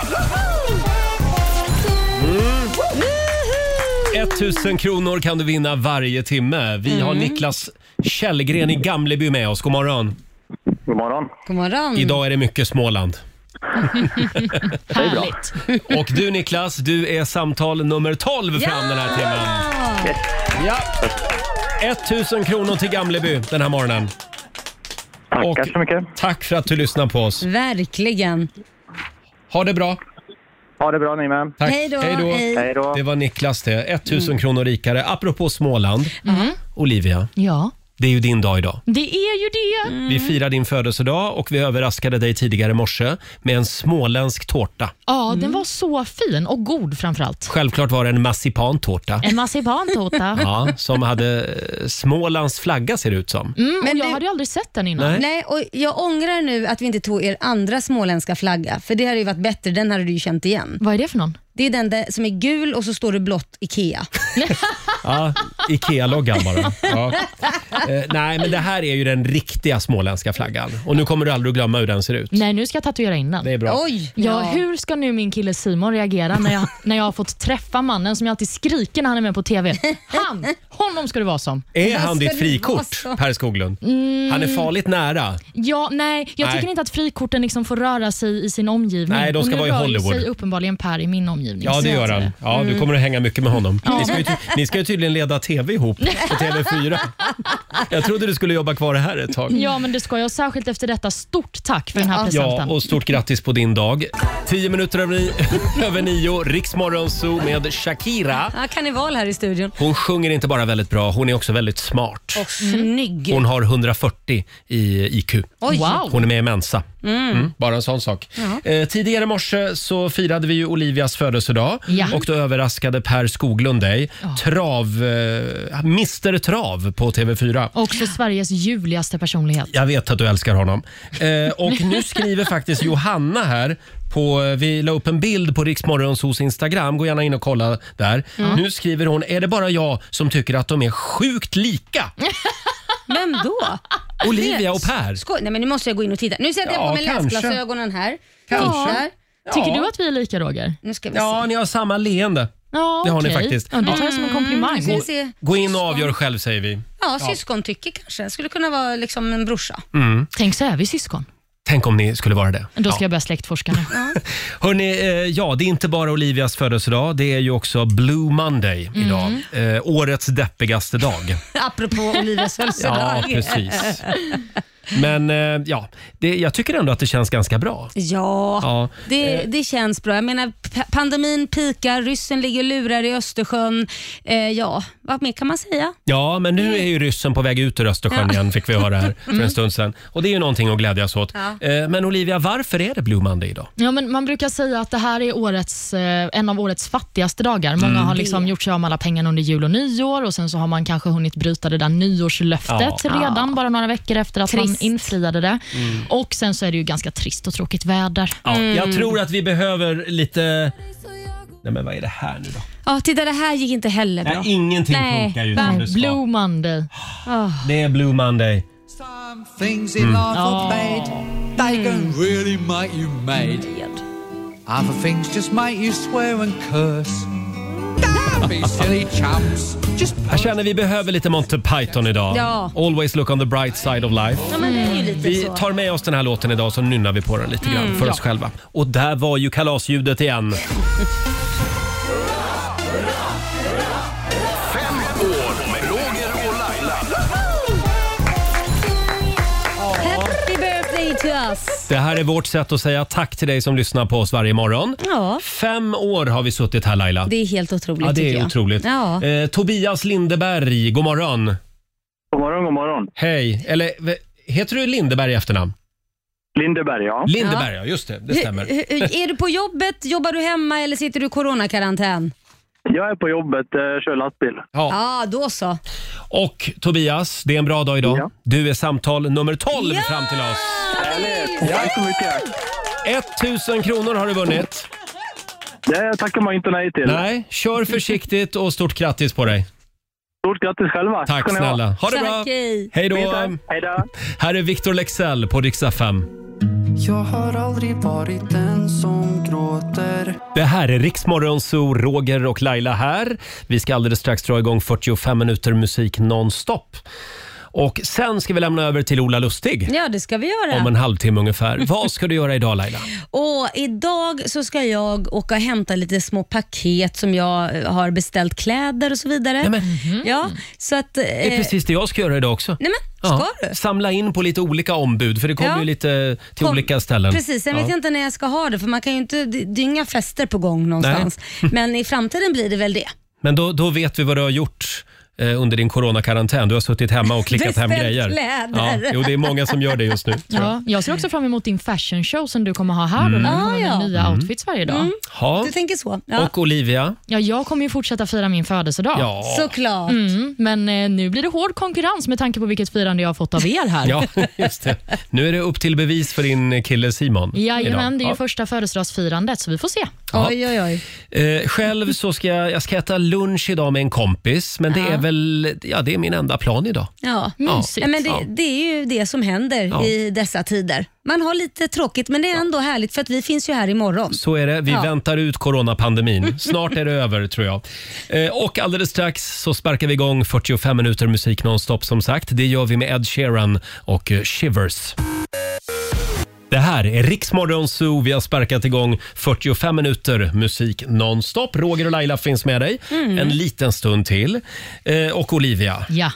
[SPEAKER 1] 1000 Mm. kronor kan du vinna varje timme. Vi har Niklas Källgren i Gamleby med oss. God morgon.
[SPEAKER 21] God morgon.
[SPEAKER 2] God morgon.
[SPEAKER 1] Idag är det mycket Småland.
[SPEAKER 2] Härligt. [LAUGHS]
[SPEAKER 1] Och du Niklas, du är samtal nummer 12 fram den här timmen. Ja. 1000 kronor till Gamleby den här morgonen. Tackar så mycket. Tack för att du lyssnar på oss.
[SPEAKER 2] Verkligen.
[SPEAKER 1] Ha det bra.
[SPEAKER 21] Ha det bra ni med.
[SPEAKER 1] Tack.
[SPEAKER 2] Hej då, hej.
[SPEAKER 21] Hej då.
[SPEAKER 1] Det var Niklas det. 1000 kronor rikare. Apropå Småland.
[SPEAKER 4] Mm.
[SPEAKER 1] Olivia,
[SPEAKER 4] Ja,
[SPEAKER 1] det är ju din dag idag.
[SPEAKER 4] det är ju det.
[SPEAKER 2] Mm.
[SPEAKER 1] Vi firar din födelsedag och vi överraskade dig tidigare i morse med en småländsk tårta.
[SPEAKER 4] Ja,
[SPEAKER 2] Mm.
[SPEAKER 4] den var så fin och god framförallt.
[SPEAKER 1] Självklart var det en marsipantårta.
[SPEAKER 4] En marsipantårta.
[SPEAKER 1] [LAUGHS] Ja, som hade eh, Smålands flagga ser det ut som.
[SPEAKER 4] Mm, men jag hade ju aldrig sett den innan.
[SPEAKER 1] Nej.
[SPEAKER 2] Nej, och jag ångrar nu att vi inte tog er andra småländska flagga, för det hade ju varit bättre. Den hade du ju känt igen.
[SPEAKER 4] Vad är det för någon?
[SPEAKER 2] Det är den där som är gul och så står det blått IKEA.
[SPEAKER 1] Ja, Ikea-loggan
[SPEAKER 2] [LAUGHS]
[SPEAKER 1] bara. Ja. Eh, nej, men det här är ju den riktiga småländska flaggan. Och nu kommer du aldrig att glömma hur den ser ut.
[SPEAKER 4] Nej, nu ska jag tatuera in den.
[SPEAKER 1] Det är bra.
[SPEAKER 2] Oj,
[SPEAKER 4] ja.
[SPEAKER 2] ja.
[SPEAKER 4] hur ska nu min kille Simon reagera när jag, när jag har fått träffa mannen som jag alltid skriker när han är med på TV? Han! Honom ska du vara som.
[SPEAKER 1] Är han ditt frikort, Per Skoglund?
[SPEAKER 4] Mm.
[SPEAKER 1] Han är farligt nära.
[SPEAKER 4] Ja, nej, jag
[SPEAKER 1] Nej.
[SPEAKER 4] tycker inte att frikorten liksom får röra sig i sin omgivning.
[SPEAKER 1] Nej, de ska
[SPEAKER 4] och nu
[SPEAKER 1] vara i
[SPEAKER 4] rör ju
[SPEAKER 1] Hollywood.
[SPEAKER 4] sig uppenbarligen Per i min omgivning.
[SPEAKER 1] Ja,
[SPEAKER 4] så
[SPEAKER 1] det
[SPEAKER 4] jag
[SPEAKER 1] gör
[SPEAKER 4] tror
[SPEAKER 1] han.
[SPEAKER 4] det.
[SPEAKER 1] Ja, du
[SPEAKER 4] Mm.
[SPEAKER 1] kommer att hänga mycket med honom.
[SPEAKER 4] Ja.
[SPEAKER 1] Ni ska ju, ty- ni ska ju tydligen leda TV ihop på TV4. Jag trodde du skulle jobba kvar här ett tag.
[SPEAKER 4] Ja, men det ska jag. Särskilt efter detta. Stort tack för den här
[SPEAKER 1] Ja,
[SPEAKER 4] presenten.
[SPEAKER 1] och stort grattis på din dag. 10 minuter över, ni- [LAUGHS] över nio, Riksmorgon Zoo med Shakira.
[SPEAKER 2] Ja, karneval här i studion.
[SPEAKER 1] Hon sjunger inte bara väldigt bra, hon är också väldigt smart.
[SPEAKER 2] Och snygg.
[SPEAKER 1] Mm. Hon har 140 i IQ.
[SPEAKER 2] Oj. Wow.
[SPEAKER 1] Hon är med i Mensa.
[SPEAKER 2] Mm.
[SPEAKER 1] Mm, bara en sån sak. Eh, tidigare i morse så firade vi ju Olivias födelsedag
[SPEAKER 7] Ja.
[SPEAKER 1] och då överraskade Per Skoglund dig. Trav, eh, Mr Trav på TV4.
[SPEAKER 4] Också Sveriges ljuvligaste personlighet.
[SPEAKER 1] Jag vet att du älskar honom. Eh, och nu skriver faktiskt Johanna här på, eh, vi la upp en bild på Riksmorgonsos Instagram. Gå gärna in och kolla där.
[SPEAKER 7] Mm.
[SPEAKER 1] Nu skriver hon, är det bara jag som tycker att de är sjukt lika?
[SPEAKER 2] Vem då?
[SPEAKER 1] Olivia och Per.
[SPEAKER 2] Skoj. Nej, men nu måste jag gå in och titta. Nu sätter jag
[SPEAKER 1] Ja,
[SPEAKER 2] på mig
[SPEAKER 1] kanske.
[SPEAKER 2] läsglasögonen här.
[SPEAKER 1] Kanske.
[SPEAKER 2] Tittar.
[SPEAKER 1] Ja. Tycker du att
[SPEAKER 4] vi är lika, Roger?
[SPEAKER 2] Nu ska vi
[SPEAKER 1] Ja,
[SPEAKER 2] se.
[SPEAKER 1] ni har samma leende.
[SPEAKER 2] Ja,
[SPEAKER 1] det har ni
[SPEAKER 2] okej.
[SPEAKER 1] faktiskt.
[SPEAKER 2] Ja, det tar jag som en komplimang. Mm, ska vi se.
[SPEAKER 1] Gå in och avgör själv säger vi.
[SPEAKER 2] Ja, syskontycke kanske. Skulle kunna vara liksom en brorsa.
[SPEAKER 1] Mm.
[SPEAKER 4] Tänk så är vi syskon.
[SPEAKER 1] Tänk om ni skulle vara det.
[SPEAKER 4] Då ska jag börja släktforska nu.
[SPEAKER 1] Hörrni, eh, ja, det är inte bara Olivias födelsedag, det är ju också Blue Monday
[SPEAKER 2] Mm.
[SPEAKER 1] idag. Eh, årets deppigaste dag.
[SPEAKER 2] [LAUGHS] Apropå Olivias födelsedag.
[SPEAKER 1] Ja, precis. Men eh, ja, det, jag tycker ändå att det känns ganska bra.
[SPEAKER 2] Ja,
[SPEAKER 1] Ja,
[SPEAKER 2] det,
[SPEAKER 1] eh.
[SPEAKER 2] det känns bra. Jag menar, p- pandemin pikar, ryssen ligger och lurar i Östersjön. Eh, ja, vad mer kan man säga?
[SPEAKER 1] Ja, men nu är ju ryssen på väg ut ur Östersjön
[SPEAKER 2] Ja.
[SPEAKER 1] igen, fick vi höra här för
[SPEAKER 4] Mm.
[SPEAKER 1] en stund sedan. Och det är ju någonting att glädjas åt.
[SPEAKER 4] Ja.
[SPEAKER 1] Eh, Men Olivia, varför är det Blue Monday idag?
[SPEAKER 4] Ja, men man brukar säga att det här är årets, eh, en av årets fattigaste dagar. Många
[SPEAKER 1] Mm.
[SPEAKER 4] har liksom gjort sig av med alla pengarna under jul och nyår och sen så har man kanske hunnit bryta det där nyårslöftet
[SPEAKER 7] Ja.
[SPEAKER 4] redan bara några veckor efter att man
[SPEAKER 7] Trist.
[SPEAKER 4] infriade det. Och sen så är det ju ganska trist och tråkigt väder.
[SPEAKER 1] Mm. Ja,
[SPEAKER 2] Mm.
[SPEAKER 1] Jag tror att vi behöver lite... Nej, men vad är det här nu då?
[SPEAKER 2] Ja, titta det här gick inte heller bra.
[SPEAKER 1] Nej, ingenting funkar ju som
[SPEAKER 2] va?
[SPEAKER 1] det ska. Blue
[SPEAKER 4] Monday.
[SPEAKER 2] Ah.
[SPEAKER 1] Det är Blue Monday.
[SPEAKER 3] Things
[SPEAKER 1] Mm.
[SPEAKER 3] in life
[SPEAKER 4] Oh.
[SPEAKER 3] are bad. They
[SPEAKER 2] Hmm.
[SPEAKER 3] can really make you mad. Other things just make you swear and curse. Don't be silly chumps. Just
[SPEAKER 1] Jag känner vi behöver lite Monty Python idag.
[SPEAKER 3] Ja.
[SPEAKER 1] Always look on the bright side of life.
[SPEAKER 2] Ja, men det är ju lite
[SPEAKER 1] Vi
[SPEAKER 2] så.
[SPEAKER 1] tar med oss den här låten idag så nynnar vi på den lite grann
[SPEAKER 2] Mm.
[SPEAKER 1] för oss
[SPEAKER 2] Ja.
[SPEAKER 1] själva. Och där var ju kalasljudet igen.
[SPEAKER 7] Fem år med Roger och Laila.
[SPEAKER 2] Happy birthday to us!
[SPEAKER 1] Det här är vårt sätt att säga tack till dig som lyssnar på oss varje morgon.
[SPEAKER 2] Ja,
[SPEAKER 1] Fem år har vi suttit här Laila.
[SPEAKER 2] det är helt otroligt
[SPEAKER 1] ja, det
[SPEAKER 2] tycker
[SPEAKER 1] är
[SPEAKER 2] jag.
[SPEAKER 1] otroligt.
[SPEAKER 2] Ja.
[SPEAKER 1] Eh, Tobias Lindeberg, god morgon.
[SPEAKER 22] God morgon, god morgon.
[SPEAKER 1] Hej. Eller v- heter du Lindeberg i efternamn?
[SPEAKER 22] Lindeberg, ja.
[SPEAKER 1] Lindeberg, ja. Just det, det stämmer.
[SPEAKER 2] Hur- hur- Är du på jobbet, jobbar du hemma eller sitter du i coronakarantän?
[SPEAKER 22] Jag är på jobbet, eh, kör lastbil.
[SPEAKER 1] Ja.
[SPEAKER 2] Ja, då så.
[SPEAKER 1] Och Tobias, det är en bra dag idag. Du är samtal nummer 12 fram till oss.
[SPEAKER 22] Tack så mycket.
[SPEAKER 1] 1000 kronor har du vunnit.
[SPEAKER 22] Det tackar man inte nej till.
[SPEAKER 1] Nej, kör försiktigt och stort grattis på dig.
[SPEAKER 22] Stort grattis själva.
[SPEAKER 1] Tack
[SPEAKER 22] ska ni ha.
[SPEAKER 1] snälla. Ha det bra.
[SPEAKER 22] Tack, hej.
[SPEAKER 1] Hej då.
[SPEAKER 22] Fint, tack. Hej då.
[SPEAKER 1] Här är Victor Lexell på riksdag 5.
[SPEAKER 13] Jag har aldrig varit den som gråter
[SPEAKER 1] Det här är Riksmorgon Zoo, Roger och Laila här. Vi ska alldeles strax dra igång 45 minuter musik nonstop. Och sen ska vi lämna över till Ola Lustig
[SPEAKER 2] Ja, det ska vi göra.
[SPEAKER 1] om en halvtimme ungefär. Vad ska du göra idag Laila?
[SPEAKER 2] Och idag så ska jag åka och hämta lite små paket som jag eh, har beställt kläder och så vidare. Ja, så att,
[SPEAKER 1] Det är precis det jag ska göra idag också.
[SPEAKER 2] Eh, Nej, men, ska du?
[SPEAKER 1] Samla in på lite olika ombud för det kommer
[SPEAKER 2] Ja.
[SPEAKER 1] ju lite till
[SPEAKER 2] Kom-
[SPEAKER 1] olika ställen.
[SPEAKER 2] Precis, sen vet jag inte när jag ska ha det för man kan ju inte, det det är inga fester på gång
[SPEAKER 1] [LAUGHS]
[SPEAKER 2] någonstans. Men i framtiden blir det väl det.
[SPEAKER 1] Men då, då vet vi vad du har gjort eh, under din coronakarantän. Du har suttit hemma
[SPEAKER 2] [LAUGHS]
[SPEAKER 1] och klickat hem
[SPEAKER 4] Beställt
[SPEAKER 1] grejer.
[SPEAKER 4] kläder.
[SPEAKER 1] Ja, jo, det är många som gör det just nu. tror jag.
[SPEAKER 4] Ja, jag ser också fram emot din fashion show som du kommer ha här
[SPEAKER 1] Mm.
[SPEAKER 4] och där du kommer
[SPEAKER 2] Ah,
[SPEAKER 4] ha
[SPEAKER 2] ja.
[SPEAKER 4] nya
[SPEAKER 1] Mm.
[SPEAKER 4] outfits varje dag.
[SPEAKER 1] Ja.
[SPEAKER 2] tänker så.
[SPEAKER 1] Och Olivia.
[SPEAKER 4] Ja, jag kommer ju fortsätta fira min födelsedag.
[SPEAKER 1] Ja.
[SPEAKER 2] Såklart.
[SPEAKER 4] Mm, men eh, nu blir det hård konkurrens med tanke på vilket firande jag har fått av er här.
[SPEAKER 1] [LAUGHS] Ja, just det. Nu är det upp till bevis för din kille Simon.
[SPEAKER 4] Jajamän,
[SPEAKER 1] idag.
[SPEAKER 4] det är ju
[SPEAKER 1] Ja.
[SPEAKER 4] första födelsedagsfirandet, så vi får se.
[SPEAKER 1] Ja. Oj,
[SPEAKER 2] oj.
[SPEAKER 1] Eh, själv så ska jag, jag ska äta lunch idag med en kompis, men det
[SPEAKER 2] Ja.
[SPEAKER 1] är väl ja, det är min enda plan idag.
[SPEAKER 2] Ja,
[SPEAKER 1] Ja. Mysigt.
[SPEAKER 2] Ja, men det,
[SPEAKER 1] Ja.
[SPEAKER 2] det är ju det som händer
[SPEAKER 1] Ja.
[SPEAKER 2] i dessa tider. Man har lite tråkigt men det är ändå härligt för att vi finns ju här imorgon.
[SPEAKER 1] Så är det. Vi
[SPEAKER 2] Ja.
[SPEAKER 1] väntar ut coronapandemin. Snart
[SPEAKER 4] [LAUGHS]
[SPEAKER 1] är det över, tror jag. Eh, och alldeles strax så sparkar vi igång 45 minuter musik nonstop, som sagt. Det gör vi med Ed Sheeran och eh, Shivers. Det Det här är Riksmorgon Zoo. Vi har sparkat igång 45 minuter musik nonstop. Roger och Laila finns med dig
[SPEAKER 4] Mm.
[SPEAKER 1] en liten stund till. Eh, och Olivia,
[SPEAKER 4] Ja.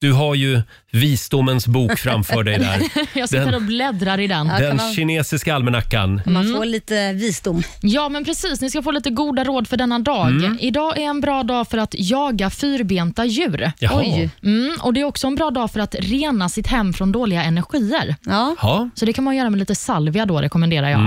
[SPEAKER 1] du har ju visdomens bok framför dig där.
[SPEAKER 4] [LAUGHS] jag sitter
[SPEAKER 1] Den-
[SPEAKER 4] och Mm. bläddrar i den.
[SPEAKER 1] Den kinesiska almanackan.
[SPEAKER 4] Man får lite visdom. Ja, men precis. Ni ska få lite goda råd för denna dag.
[SPEAKER 1] Mm.
[SPEAKER 4] Idag är en bra dag för att jaga fyrbenta djur.
[SPEAKER 1] Jaha. Oj.
[SPEAKER 4] Mm, och Det är också en bra dag för att rena sitt hem från dåliga energier. Ja.
[SPEAKER 1] Ja.
[SPEAKER 4] Så det kan man göra med lite salvia då, rekommenderar jag.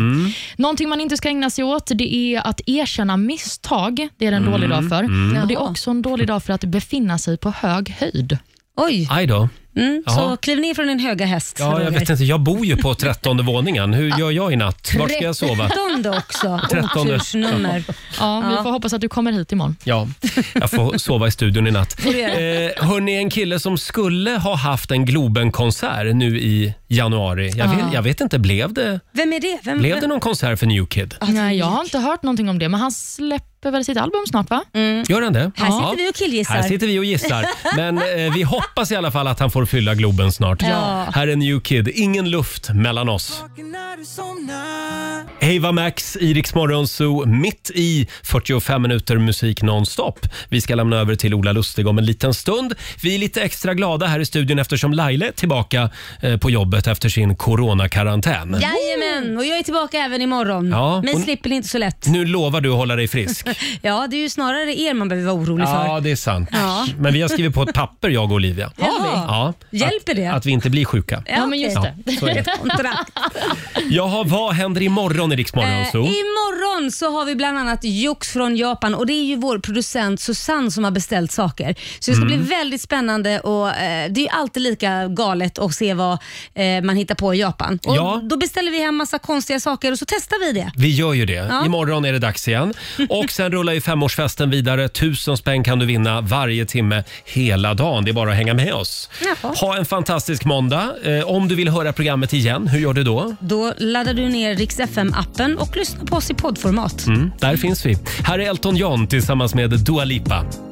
[SPEAKER 4] Någonting man inte ska ägna sig åt det är att erkänna misstag. Det är en
[SPEAKER 1] Mm.
[SPEAKER 4] dålig dag för.
[SPEAKER 1] Mm.
[SPEAKER 4] Och Det är också en dålig dag för att befinna sig på hög höjd.
[SPEAKER 2] Oj. Mm,
[SPEAKER 1] Aj då.
[SPEAKER 2] Så
[SPEAKER 1] Jaha.
[SPEAKER 2] kliv ner från din höga häst.
[SPEAKER 1] Ja, jag
[SPEAKER 2] Roger.
[SPEAKER 1] vet inte. Jag bor
[SPEAKER 4] [LAUGHS]
[SPEAKER 1] ju på trettonde våningen. Hur gör jag i natt? Var ska jag sova?
[SPEAKER 2] Trettonde också.
[SPEAKER 1] Trettonde.
[SPEAKER 2] Otursnummer.
[SPEAKER 4] Ja,
[SPEAKER 2] Ja.
[SPEAKER 4] Vi får hoppas att du kommer hit imorgon.
[SPEAKER 1] Ja, jag får sova i studion i natt.
[SPEAKER 4] Får du göra.
[SPEAKER 1] Eh, hörni, en kille som skulle ha haft en Globenkonsert nu i januari. Jag vet,
[SPEAKER 4] Ja.
[SPEAKER 1] jag vet inte, blev det,
[SPEAKER 4] Vem är det?
[SPEAKER 1] blev det någon konsert för New Kid?
[SPEAKER 4] Nej, jag har inte hört någonting om det, men han släpper väl sitt album snart, va?
[SPEAKER 1] Gör han det?
[SPEAKER 4] Här sitter vi och killgissar.
[SPEAKER 1] Här sitter vi och gissar. Men eh, vi hoppas i alla fall att han får fylla Globen snart.
[SPEAKER 7] Ja.
[SPEAKER 1] Här är New Kid, ingen luft mellan oss. Eva Max, Iriks morgonzoo, mitt i 45 minuter musik nonstop. Vi ska lämna över till Ola Lustig om en liten stund. Vi är lite extra glada här i studion eftersom Laila är tillbaka eh, på jobbet efter sin coronakarantän.
[SPEAKER 2] Jajamän, och jag är tillbaka även imorgon.
[SPEAKER 1] Ja,
[SPEAKER 2] Mig
[SPEAKER 1] och-
[SPEAKER 2] slipper ni inte så lätt. [LAUGHS]
[SPEAKER 1] Nu lovar du att hålla dig frisk.
[SPEAKER 2] ja, det är ju snarare er man behöver vara orolig
[SPEAKER 1] Ja,
[SPEAKER 2] för.
[SPEAKER 1] det är sant.
[SPEAKER 2] Ja.
[SPEAKER 1] Men vi har skrivit på ett papper, jag och Olivia.
[SPEAKER 2] Har vi?
[SPEAKER 1] Ja,
[SPEAKER 2] Hjälper
[SPEAKER 1] att,
[SPEAKER 2] det?
[SPEAKER 1] Att vi inte blir sjuka.
[SPEAKER 2] okej.
[SPEAKER 1] [LAUGHS] Ja, så är
[SPEAKER 2] [LAUGHS]
[SPEAKER 1] det.
[SPEAKER 2] Ett kontrakt.
[SPEAKER 1] Jaha, vad händer imorgon i Rix Morgon
[SPEAKER 2] Eh,
[SPEAKER 1] Zoo?
[SPEAKER 2] imorgon så har vi bland annat jox från Japan och det är ju vår producent Susanne som har beställt saker. Så det ska
[SPEAKER 5] Mm.
[SPEAKER 2] bli väldigt spännande och eh, det är ju alltid lika galet att se vad eh, man hittar på i Japan. Och
[SPEAKER 1] Ja.
[SPEAKER 2] Då beställer vi hem massa konstiga saker och så testar vi det.
[SPEAKER 1] Vi gör ju det.
[SPEAKER 2] Ja.
[SPEAKER 1] Imorgon är det dags igen. Och sen rullar ju femårsfesten vidare. Tusen spänn kan du vinna varje timme hela dagen. Det är bara att hänga med oss. Ha en fantastisk måndag. Eh, Om du vill höra programmet igen, hur gör du då?
[SPEAKER 2] Då laddar du ner Rix FM-appen och lyssnar på oss i poddformat.
[SPEAKER 1] Mm, där finns vi. Här är Elton John tillsammans med Dua Lipa.